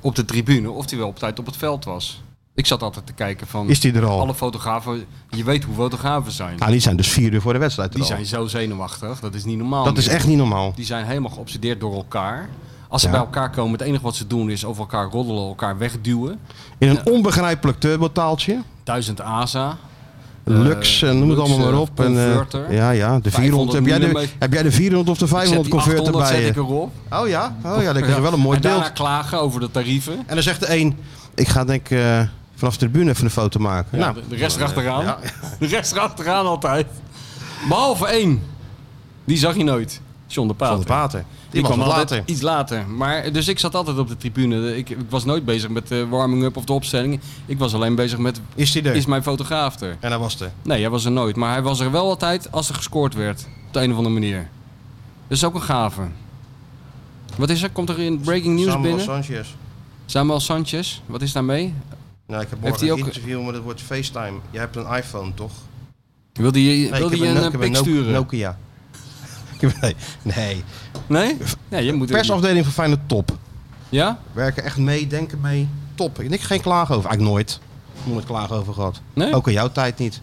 [SPEAKER 3] op de tribune of hij wel op tijd op het veld was. Ik zat altijd te kijken van
[SPEAKER 2] Is die er al?
[SPEAKER 3] alle fotografen. Je weet hoe fotografen zijn.
[SPEAKER 2] Nou, die zijn dus vier uur voor de wedstrijd er
[SPEAKER 3] Die
[SPEAKER 2] al.
[SPEAKER 3] zijn zo zenuwachtig. Dat is niet normaal.
[SPEAKER 2] Dat is
[SPEAKER 3] meer.
[SPEAKER 2] echt niet normaal.
[SPEAKER 3] Die zijn helemaal geobsedeerd door elkaar. Als ze
[SPEAKER 2] Ja.
[SPEAKER 3] bij elkaar komen, het enige wat ze doen is over elkaar roddelen, elkaar wegduwen.
[SPEAKER 2] In een onbegrijpelijk turbotaaltje.
[SPEAKER 3] Duizend ASA.
[SPEAKER 2] Lux en noem het
[SPEAKER 3] Lux,
[SPEAKER 2] allemaal maar
[SPEAKER 3] eh,
[SPEAKER 2] op. En, eh,
[SPEAKER 3] converter.
[SPEAKER 2] ja, ja, de 400. Heb jij de,
[SPEAKER 3] millimeter.
[SPEAKER 2] heb jij de 400 of de
[SPEAKER 3] Ik zet
[SPEAKER 2] 500
[SPEAKER 3] die
[SPEAKER 2] converter
[SPEAKER 3] 800
[SPEAKER 2] bij
[SPEAKER 3] zet
[SPEAKER 2] je?
[SPEAKER 3] ik erop.
[SPEAKER 2] Oh ja, oh ja, dat is wel een mooi beeld.
[SPEAKER 3] en daarna klagen over de tarieven.
[SPEAKER 2] En dan zegt de een, ik ga denk ik eh, vanaf de tribune even een foto maken.
[SPEAKER 3] Ja,
[SPEAKER 2] nou,
[SPEAKER 3] de, de rest erachteraan. De rest erachteraan altijd. Behalve één. Die zag je nooit. John de Pater.
[SPEAKER 2] van de Pater. Die, kwam
[SPEAKER 3] altijd
[SPEAKER 2] later.
[SPEAKER 3] iets later. Maar, dus ik zat altijd op de tribune. Ik, ik was nooit bezig met de warming-up of de opstelling. Ik was alleen bezig met,
[SPEAKER 2] Is die er?
[SPEAKER 3] is mijn fotograaf er?
[SPEAKER 2] En dat was de.
[SPEAKER 3] Nee, hij was er nooit. Maar hij was er wel altijd als er gescoord werd. Op de een of andere manier. Dat is ook een gave. Wat is er? Komt er in breaking news binnen?
[SPEAKER 2] Sanchez.
[SPEAKER 3] Samuel Sanchez. Wat is daarmee?
[SPEAKER 2] Nou, ik heb
[SPEAKER 3] Heeft hij
[SPEAKER 2] morgen een
[SPEAKER 3] ook-
[SPEAKER 2] interview, maar dat wordt FaceTime. Je hebt een iPhone, toch?
[SPEAKER 3] Wil hij
[SPEAKER 2] Nee, ik heb
[SPEAKER 3] je
[SPEAKER 2] no-
[SPEAKER 3] een,
[SPEAKER 2] ik
[SPEAKER 3] een
[SPEAKER 2] heb
[SPEAKER 3] pik
[SPEAKER 2] No-
[SPEAKER 3] sturen?
[SPEAKER 2] Nokia. Ik heb- nee, nee.
[SPEAKER 3] Nee? Ja, je moet
[SPEAKER 2] Persafdeling van Feyenoord top.
[SPEAKER 3] Ja?
[SPEAKER 2] Werken echt mee, denken mee. Top. Ik geen klagen over. Eigenlijk nooit. Nooit klagen over gehad.
[SPEAKER 3] Nee? Nou,
[SPEAKER 2] Ook in jouw tijd niet.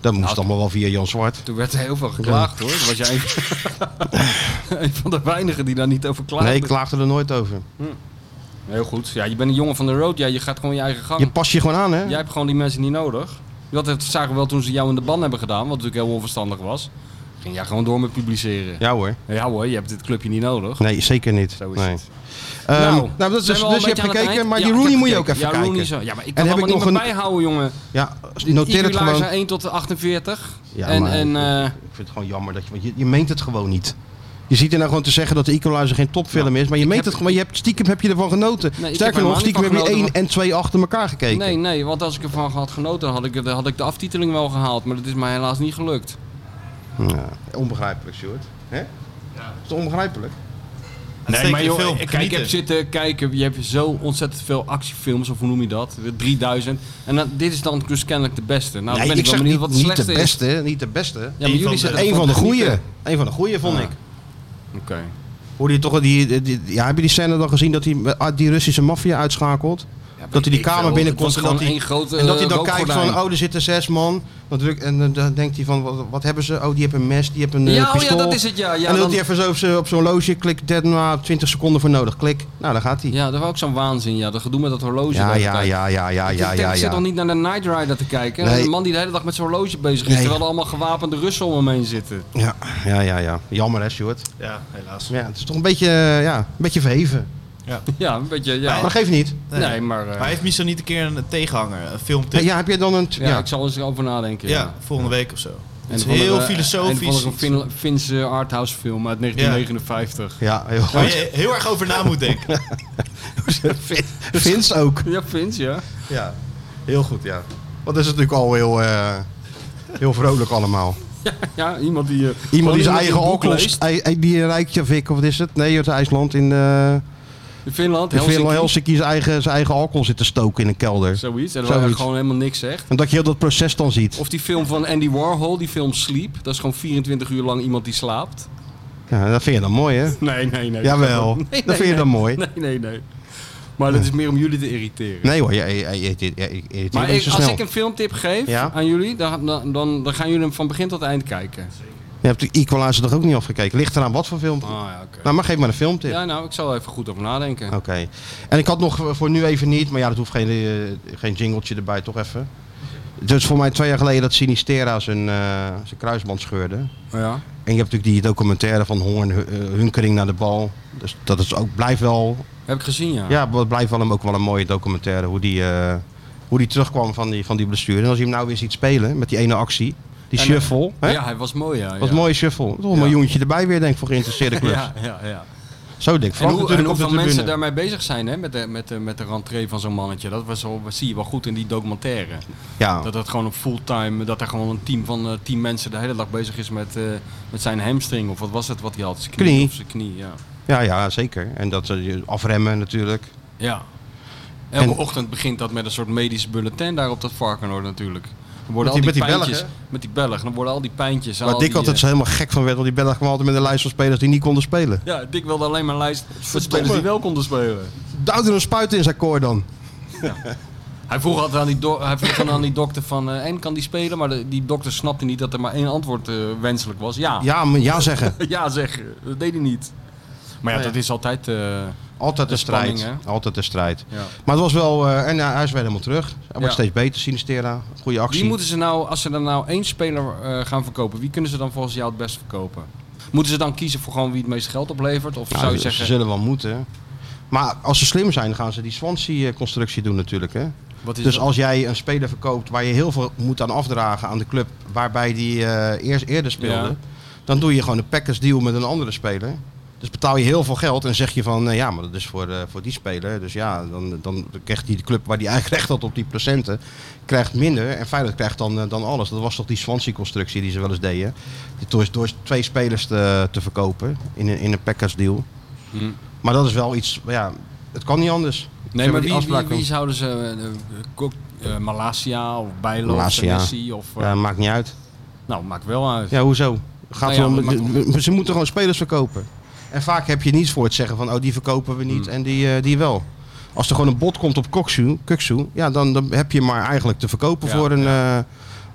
[SPEAKER 2] Dat moest allemaal wel via Jan Zwart.
[SPEAKER 3] Toen werd er heel veel geklaagd hoor. Toen was jij een, een van de weinigen die daar niet over klaagde.
[SPEAKER 2] Nee, ik klaagde er nooit over.
[SPEAKER 3] Heel goed. Ja, je bent een jongen van de road. Ja, je gaat gewoon je eigen gang.
[SPEAKER 2] Je pas je gewoon aan, hè?
[SPEAKER 3] Jij hebt gewoon die mensen niet nodig. Dat het- zagen we wel toen ze jou in de ban hebben gedaan, wat natuurlijk heel onverstandig was. Ging jij gewoon door met publiceren.
[SPEAKER 2] Ja hoor.
[SPEAKER 3] Ja, hoor, je hebt dit clubje niet nodig.
[SPEAKER 2] Nee, zeker niet.
[SPEAKER 3] Zo is
[SPEAKER 2] nee.
[SPEAKER 3] het.
[SPEAKER 2] Ehm,
[SPEAKER 3] Nou,
[SPEAKER 2] nou, dat is,
[SPEAKER 3] zijn
[SPEAKER 2] dus
[SPEAKER 3] we al een
[SPEAKER 2] je hebt
[SPEAKER 3] beetje aan het
[SPEAKER 2] gekeken,
[SPEAKER 3] eind?
[SPEAKER 2] maar
[SPEAKER 3] Ja,
[SPEAKER 2] die
[SPEAKER 3] ik
[SPEAKER 2] Rooney
[SPEAKER 3] heb
[SPEAKER 2] moet je ook even
[SPEAKER 3] gekeken. ja,
[SPEAKER 2] kijken.
[SPEAKER 3] Rooney zo. Ja, maar ik
[SPEAKER 2] En
[SPEAKER 3] kan
[SPEAKER 2] heb
[SPEAKER 3] hem
[SPEAKER 2] ik
[SPEAKER 3] niet meer
[SPEAKER 2] nog een-
[SPEAKER 3] bijhouden, jongen.
[SPEAKER 2] Ja, noteer het
[SPEAKER 3] Ivory
[SPEAKER 2] gewoon.
[SPEAKER 3] Laarzen 1 tot 48.
[SPEAKER 2] Ja,
[SPEAKER 3] en
[SPEAKER 2] maar-
[SPEAKER 3] en eh,
[SPEAKER 2] Ik vind het gewoon jammer, dat je, want je, je meent het gewoon niet. Je ziet er nou gewoon te zeggen dat de Equalizer geen topfilm is, maar je meent
[SPEAKER 3] heb-
[SPEAKER 2] het gewoon. Je hebt, stiekem heb je ervan genoten.
[SPEAKER 3] ik heb er
[SPEAKER 2] Sterker
[SPEAKER 3] helemaal
[SPEAKER 2] nog,
[SPEAKER 3] niet
[SPEAKER 2] stiekem
[SPEAKER 3] van
[SPEAKER 2] heb je één
[SPEAKER 3] genoten,
[SPEAKER 2] en twee achter elkaar gekeken.
[SPEAKER 3] nee, nee, want als ik ervan had genoten, had ik, het- had ik de aftiteling wel gehaald. Maar dat is mij helaas niet gelukt.
[SPEAKER 2] Ja, onbegrijpelijk, Sjoerd. Hè? Is het onbegrijpelijk?
[SPEAKER 4] Nee, maar joh,
[SPEAKER 3] ik kijk, ik heb zitten kijken, je hebt zo ontzettend veel actiefilms, of hoe noem je dat? 3000. En dan, dit is dan dus kennelijk de beste. Nou,
[SPEAKER 2] nee,
[SPEAKER 3] dan ben
[SPEAKER 2] ik
[SPEAKER 3] ik wel
[SPEAKER 2] zeg
[SPEAKER 3] benieuwd
[SPEAKER 2] niet,
[SPEAKER 3] wat de
[SPEAKER 2] niet de
[SPEAKER 3] slechtste is.
[SPEAKER 2] beste, niet de beste.
[SPEAKER 3] Ja, maar jullie zitten
[SPEAKER 2] Eén
[SPEAKER 3] ervan
[SPEAKER 2] van de
[SPEAKER 3] te
[SPEAKER 2] goeie.
[SPEAKER 3] genieten.
[SPEAKER 2] Eén van de goeie, vond
[SPEAKER 3] Ah.
[SPEAKER 2] ik.
[SPEAKER 3] Oké.
[SPEAKER 2] Hoorde je toch al die, die- die- ja, heb je die scène dan gezien dat hij eh, die Russische maffia uitschakelt? dat hij die
[SPEAKER 3] ik veel.
[SPEAKER 2] kamer
[SPEAKER 3] Het was
[SPEAKER 2] binnenkomt en
[SPEAKER 3] gewoon
[SPEAKER 2] dat, hij,
[SPEAKER 3] één grote,
[SPEAKER 2] en dat hij
[SPEAKER 3] eh,
[SPEAKER 2] dan kijkt
[SPEAKER 3] rookgordijn.
[SPEAKER 2] van, oh, er zitten zes man. Dan druk, en eh, dan denkt hij van, wat, wat hebben ze? Oh, die hebben een mes, die hebben een eh,
[SPEAKER 3] Ja, oh ja,
[SPEAKER 2] pistool.
[SPEAKER 3] dat is het, ja. Ja,
[SPEAKER 2] en dan
[SPEAKER 3] dan-
[SPEAKER 2] doet hij even zo op z'n- op zo'n loge, klik, dead, nou, 20 seconden voor nodig, klik. Nou, daar gaat hij.
[SPEAKER 3] Ja, dus dat was ook zo'n waanzin, ja. Dat gedoe met dat horloge. de
[SPEAKER 2] Ja,
[SPEAKER 3] hele
[SPEAKER 2] ja,
[SPEAKER 3] tijd.
[SPEAKER 2] ja, ja, ja,
[SPEAKER 3] Ik
[SPEAKER 2] ja,
[SPEAKER 3] denk,
[SPEAKER 2] ja,
[SPEAKER 3] Ik zit nog
[SPEAKER 2] ja.
[SPEAKER 3] niet naar de Night Rider te kijken.
[SPEAKER 2] Nee.
[SPEAKER 3] Een man die de hele dag met zijn horloge bezig is,
[SPEAKER 2] Nee.
[SPEAKER 3] terwijl er allemaal gewapende Russen om hem heen zitten.
[SPEAKER 2] Ja, ja, ja, ja. Jammer hè, Stuart.
[SPEAKER 4] Ja, helaas.
[SPEAKER 2] Ja, het is toch een beetje, eh, ja, een beetje verheven.
[SPEAKER 3] Ja, een beetje, ja.
[SPEAKER 2] Maar dat geeft niet.
[SPEAKER 3] nee, maar... eh,
[SPEAKER 4] Maar hij heeft misschien niet een keer een tegenhanger, een filmtip.
[SPEAKER 2] Hey, ja, heb je dan een...
[SPEAKER 3] ja,
[SPEAKER 2] ja.
[SPEAKER 3] ik zal eens over nadenken.
[SPEAKER 4] Ja, volgende week of zo. Het is
[SPEAKER 3] van de-
[SPEAKER 4] heel
[SPEAKER 3] eh, En
[SPEAKER 4] filosofisch.
[SPEAKER 3] van een Fin- Finse arthouse film uit 1959.
[SPEAKER 2] Ja, heel
[SPEAKER 4] Waar
[SPEAKER 2] goed.
[SPEAKER 4] je heel erg over na moet denken.
[SPEAKER 2] Vins ook.
[SPEAKER 3] Ja, Fins, ja.
[SPEAKER 2] Ja, heel goed, ja. Want dat is natuurlijk al heel, eh, heel vrolijk allemaal.
[SPEAKER 3] Ja, ja, iemand die... eh, gewoon
[SPEAKER 2] Iemand die zijn
[SPEAKER 3] een
[SPEAKER 2] eigen
[SPEAKER 3] boek
[SPEAKER 2] alcohol...
[SPEAKER 3] leest.
[SPEAKER 2] ei- ei- Die Reykjavik, of wat is het? Nee, uit IJsland in... eh
[SPEAKER 3] In Finland,
[SPEAKER 2] in
[SPEAKER 3] Helsinki.
[SPEAKER 2] Finland, Helsinki zijn eigen, zijn eigen alcohol zit te stoken in een kelder.
[SPEAKER 3] Zoiets. En waar hij
[SPEAKER 2] Zoiets.
[SPEAKER 3] gewoon helemaal niks zegt.
[SPEAKER 2] En dat je heel dat proces dan ziet.
[SPEAKER 3] Of die film van Andy Warhol, die film Sleep. Dat is gewoon 24 uur lang iemand die slaapt.
[SPEAKER 2] Ja, dat vind je dan mooi, hè?
[SPEAKER 3] Nee, nee, nee.
[SPEAKER 2] Jawel. Dat vind je dan mooi.
[SPEAKER 3] Nee, nee, nee. Maar dat is meer om jullie te irriteren.
[SPEAKER 2] Nee hoor, je eet
[SPEAKER 3] Maar
[SPEAKER 2] niet
[SPEAKER 3] ik-
[SPEAKER 2] zo
[SPEAKER 3] als
[SPEAKER 2] snel.
[SPEAKER 3] ik een filmtip geef
[SPEAKER 2] Ja.
[SPEAKER 3] aan jullie, dan, dan, dan, dan gaan jullie hem van begin tot eind kijken.
[SPEAKER 2] Je hebt de Equalizer toch ook niet afgekeken? Ligt eraan wat voor film?
[SPEAKER 3] Ah ja, oké.
[SPEAKER 2] Nou, maar geef maar een filmtip.
[SPEAKER 3] Ja, nou, ik zal er even goed over nadenken.
[SPEAKER 2] Oké. En ik had nog eh, voor- voor nu even niet, maar ja, dat hoeft geen, eh, geen jingletje erbij, toch even. Dus voor mij twee jaar geleden dat Sinistera zijn, eh, zijn kruisband scheurde.
[SPEAKER 3] Oh, Ja.
[SPEAKER 2] En je hebt natuurlijk die documentaire van Hoorn, hu- eh, Hunkering naar de bal. Dus dat is ook, blijft wel,
[SPEAKER 3] Heb ik gezien, ja.
[SPEAKER 2] ja, dat blijft wel hem ook wel een mooie documentaire. Hoe die, eh, hoe die terugkwam van die, van die blessure. En als je hem nou weer ziet spelen met die ene actie, die
[SPEAKER 3] En, eh,
[SPEAKER 2] shuffle. Hè?
[SPEAKER 3] Ja, hij was mooi, ja.
[SPEAKER 2] Wat
[SPEAKER 3] ja.
[SPEAKER 2] een mooie shuffle. Toch een
[SPEAKER 3] Ja.
[SPEAKER 2] miljoentje erbij weer, denk ik, voor geïnteresseerde clubs.
[SPEAKER 3] Ja, ja, ja.
[SPEAKER 2] Zo dik.
[SPEAKER 3] En,
[SPEAKER 2] Frank
[SPEAKER 3] hoe, en
[SPEAKER 2] natuurlijk op de
[SPEAKER 3] hoeveel
[SPEAKER 2] tribune.
[SPEAKER 3] mensen daarmee bezig zijn hè, met, de, met, de, met de rentree van zo'n mannetje. Dat, was al, dat zie je wel goed in die documentaire.
[SPEAKER 2] Ja.
[SPEAKER 3] Dat dat gewoon op fulltime, dat er gewoon een team van eh, tien mensen de hele dag bezig is met, eh, met zijn hamstring. Of wat was het wat hij had? Zijn knie.
[SPEAKER 2] Knie.
[SPEAKER 3] Of zijn knie, ja.
[SPEAKER 2] Ja, ja, zeker. En dat eh, je afremmen natuurlijk.
[SPEAKER 3] ja. Elke
[SPEAKER 2] En-
[SPEAKER 3] ochtend begint dat met een soort medisch bulletin daar op dat Varkenoord natuurlijk. Dan worden
[SPEAKER 2] Met die-
[SPEAKER 3] al die,
[SPEAKER 2] met die Belg,
[SPEAKER 3] pijntjes, met die Belg, dan worden al die pijntjes.
[SPEAKER 2] Waar
[SPEAKER 3] al
[SPEAKER 2] Dick
[SPEAKER 3] die,
[SPEAKER 2] altijd
[SPEAKER 3] eh,
[SPEAKER 2] zo helemaal gek van werd, want die bellen gewoon altijd met een lijst van spelers die niet konden spelen.
[SPEAKER 3] Ja, Dick wilde alleen maar een lijst van spelers die wel konden spelen.
[SPEAKER 2] Duwde er een spuit in zijn koor dan.
[SPEAKER 3] Hij vroeg altijd aan die, do- hij vroeg dan aan die dokter van, eh, en kan die spelen? Maar de- die dokter snapte niet dat er maar één antwoord eh, wenselijk was. Ja.
[SPEAKER 2] Ja, maar ja Oh zeggen.
[SPEAKER 3] Ja, zeg. Dat deed hij niet. Maar ja, dat is altijd... eh,
[SPEAKER 2] Altijd
[SPEAKER 3] De
[SPEAKER 2] een strijd.
[SPEAKER 3] spanning, hè?
[SPEAKER 2] Altijd een strijd.
[SPEAKER 3] Ja.
[SPEAKER 2] Maar het was wel... eh, en ja, hij is weer helemaal terug. Hij
[SPEAKER 3] Ja.
[SPEAKER 2] wordt steeds beter, Sinistera. Goede actie.
[SPEAKER 3] Wie moeten ze nou, als ze dan nou één speler eh, gaan verkopen, wie kunnen ze dan volgens jou het best verkopen? Moeten ze dan kiezen voor gewoon wie het meest geld oplevert? Of
[SPEAKER 2] Nou,
[SPEAKER 3] zou je
[SPEAKER 2] ze-
[SPEAKER 3] zeggen,
[SPEAKER 2] Ze zullen wel moeten. Maar als ze slim zijn, gaan ze die Swansea-constructie doen natuurlijk. Hè?
[SPEAKER 3] wat is
[SPEAKER 2] Dus
[SPEAKER 3] dat?
[SPEAKER 2] als jij een speler verkoopt waar je heel veel moet aan afdragen aan de club waarbij die eh, eerst eerder speelde,
[SPEAKER 3] Ja.
[SPEAKER 2] dan doe je gewoon een package deal met een andere speler. Dus betaal je heel veel geld en zeg je van eh, ja, maar dat is voor, eh, voor die speler. Dus ja, dan, dan krijgt die club waar die eigenlijk recht had op die procenten, krijgt minder. En Feyenoord krijgt dan, eh, dan alles. Dat was toch die Swansea-constructie die ze wel eens deden. Die- Door, door twee spelers te, te verkopen in een, in een package deal.
[SPEAKER 3] Hm.
[SPEAKER 2] Maar dat is wel iets, ja, het kan niet anders. Ze
[SPEAKER 3] Nee,
[SPEAKER 2] hebben
[SPEAKER 3] maar
[SPEAKER 2] die
[SPEAKER 3] wie, wie,
[SPEAKER 2] afspraak-
[SPEAKER 3] wie zouden ze... eh, eh, Kok- eh, Malasia of Bijlo of
[SPEAKER 2] Malasia.
[SPEAKER 3] Senesi of... eh,
[SPEAKER 2] Ja, maakt niet uit.
[SPEAKER 3] nou, maakt wel uit.
[SPEAKER 2] Ja, hoezo? Gaat
[SPEAKER 3] Nou ja,
[SPEAKER 2] wel-
[SPEAKER 3] maar-
[SPEAKER 2] de- de- ze moeten gewoon spelers verkopen. En vaak heb je niets voor het zeggen van, oh, die verkopen we
[SPEAKER 3] Mm.
[SPEAKER 2] niet en die, eh, die wel. Als er gewoon een bod komt op Koksu, Kuksu, ja, dan, dan heb je maar eigenlijk te verkopen
[SPEAKER 3] Ja,
[SPEAKER 2] voor een... eh,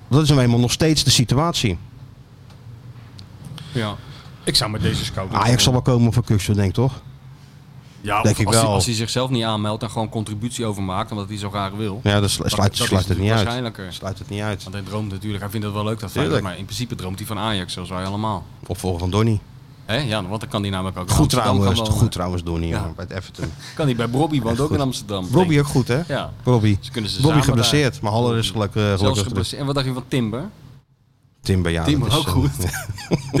[SPEAKER 2] dat is nou eenmaal nog steeds de situatie.
[SPEAKER 3] Ja. Ik zou met deze scout...
[SPEAKER 2] Ajax zal wel komen voor Kuksu, denk ik, toch?
[SPEAKER 3] Ja,
[SPEAKER 2] denk
[SPEAKER 3] of
[SPEAKER 2] ik
[SPEAKER 3] als, Hij,
[SPEAKER 2] wel.
[SPEAKER 3] als hij zichzelf niet aanmeldt en gewoon contributie overmaakt, omdat hij zo graag wil.
[SPEAKER 2] Ja, dat slu-
[SPEAKER 3] Dat-
[SPEAKER 2] sluit,
[SPEAKER 3] dat
[SPEAKER 2] sluit
[SPEAKER 3] is
[SPEAKER 2] het niet uit.
[SPEAKER 3] waarschijnlijker.
[SPEAKER 2] Sluit het niet uit.
[SPEAKER 3] Want hij droomt natuurlijk, hij vindt het wel leuk dat Feyenoord,
[SPEAKER 2] Tuurlijk.
[SPEAKER 3] maar in principe droomt hij van Ajax, zoals wij allemaal.
[SPEAKER 2] Opvolger van Donny.
[SPEAKER 3] Hè? Ja, nou, want dan kan hij namelijk ook in
[SPEAKER 2] Goed
[SPEAKER 3] Amsterdam
[SPEAKER 2] trouwens,
[SPEAKER 3] gaan wonen.
[SPEAKER 2] goed trouwens Donny,
[SPEAKER 3] Ja.
[SPEAKER 2] jongen, bij het Everton.
[SPEAKER 3] Kan hij bij Bobby, woont
[SPEAKER 2] Echt
[SPEAKER 3] ook
[SPEAKER 2] goed.
[SPEAKER 3] in Amsterdam.
[SPEAKER 2] Robbie
[SPEAKER 3] denk
[SPEAKER 2] ook goed, hè?
[SPEAKER 3] ik. Ja.
[SPEAKER 2] Robbie.
[SPEAKER 3] Dus kunnen ze
[SPEAKER 2] Robbie
[SPEAKER 3] samen
[SPEAKER 2] geblesseerd,
[SPEAKER 3] daar-
[SPEAKER 2] maar Haller is gelukkig, eh,
[SPEAKER 3] Zelfs
[SPEAKER 2] gelukkig terug.
[SPEAKER 3] geblesseerd. En wat dacht je van Timber?
[SPEAKER 2] Timber, ja.
[SPEAKER 3] Timber
[SPEAKER 2] dat
[SPEAKER 3] ook
[SPEAKER 2] is, eh,
[SPEAKER 3] goed.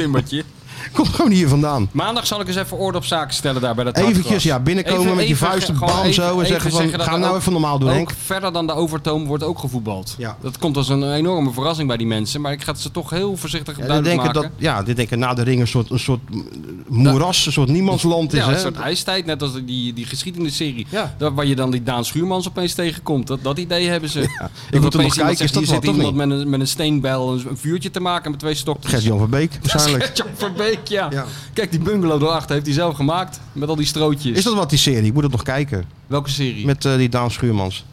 [SPEAKER 3] Timbertje.
[SPEAKER 2] Kom gewoon hier vandaan.
[SPEAKER 3] Maandag zal ik eens even orde op zaken stellen daar bij dat
[SPEAKER 2] Eventjes,
[SPEAKER 3] dakgras.
[SPEAKER 2] ja, binnenkomen
[SPEAKER 3] Even-
[SPEAKER 2] met je
[SPEAKER 3] even
[SPEAKER 2] vuisten,
[SPEAKER 3] gewoon
[SPEAKER 2] bam
[SPEAKER 3] even-
[SPEAKER 2] zo. En
[SPEAKER 3] even
[SPEAKER 2] zeggen van,
[SPEAKER 3] dat
[SPEAKER 2] ga
[SPEAKER 3] er
[SPEAKER 2] nou
[SPEAKER 3] ook-
[SPEAKER 2] even normaal doen,
[SPEAKER 3] ook
[SPEAKER 2] Henk.
[SPEAKER 3] verder dan de overtoom wordt ook gevoetbald.
[SPEAKER 2] Ja.
[SPEAKER 3] Dat komt als een enorme verrassing bij die mensen. Maar ik ga het ze toch heel voorzichtig
[SPEAKER 2] Ja, die
[SPEAKER 3] duidelijk
[SPEAKER 2] denken
[SPEAKER 3] maken.
[SPEAKER 2] dat, ja, die denken na de ring een soort, een soort mm, moeras, een soort niemandsland is.
[SPEAKER 3] ja, een
[SPEAKER 2] hè?
[SPEAKER 3] soort ijstijd, net als die, die geschiedenisserie.
[SPEAKER 2] Ja.
[SPEAKER 3] Daar, waar je dan die Daan Schuurmans opeens tegenkomt. Dat, dat idee hebben ze. Dat
[SPEAKER 2] er nog
[SPEAKER 3] opeens iemand
[SPEAKER 2] kijken, is
[SPEAKER 3] zegt,
[SPEAKER 2] dat
[SPEAKER 3] hier
[SPEAKER 2] wat
[SPEAKER 3] zit
[SPEAKER 2] of
[SPEAKER 3] iemand
[SPEAKER 2] niet?
[SPEAKER 3] met een, met een steenbijl een, een vuurtje te maken met twee stokjes.
[SPEAKER 2] Gert-Jan van Beek, waarschijnlijk.
[SPEAKER 3] Gert-Jan Verbeek, ja.
[SPEAKER 2] Ja.
[SPEAKER 3] Kijk, die bungalow daarachter heeft hij zelf gemaakt. Met al die strootjes.
[SPEAKER 2] Is dat wat die serie? Ik moet het nog kijken.
[SPEAKER 3] Welke serie?
[SPEAKER 2] Met eh, die Daan Schuurmans.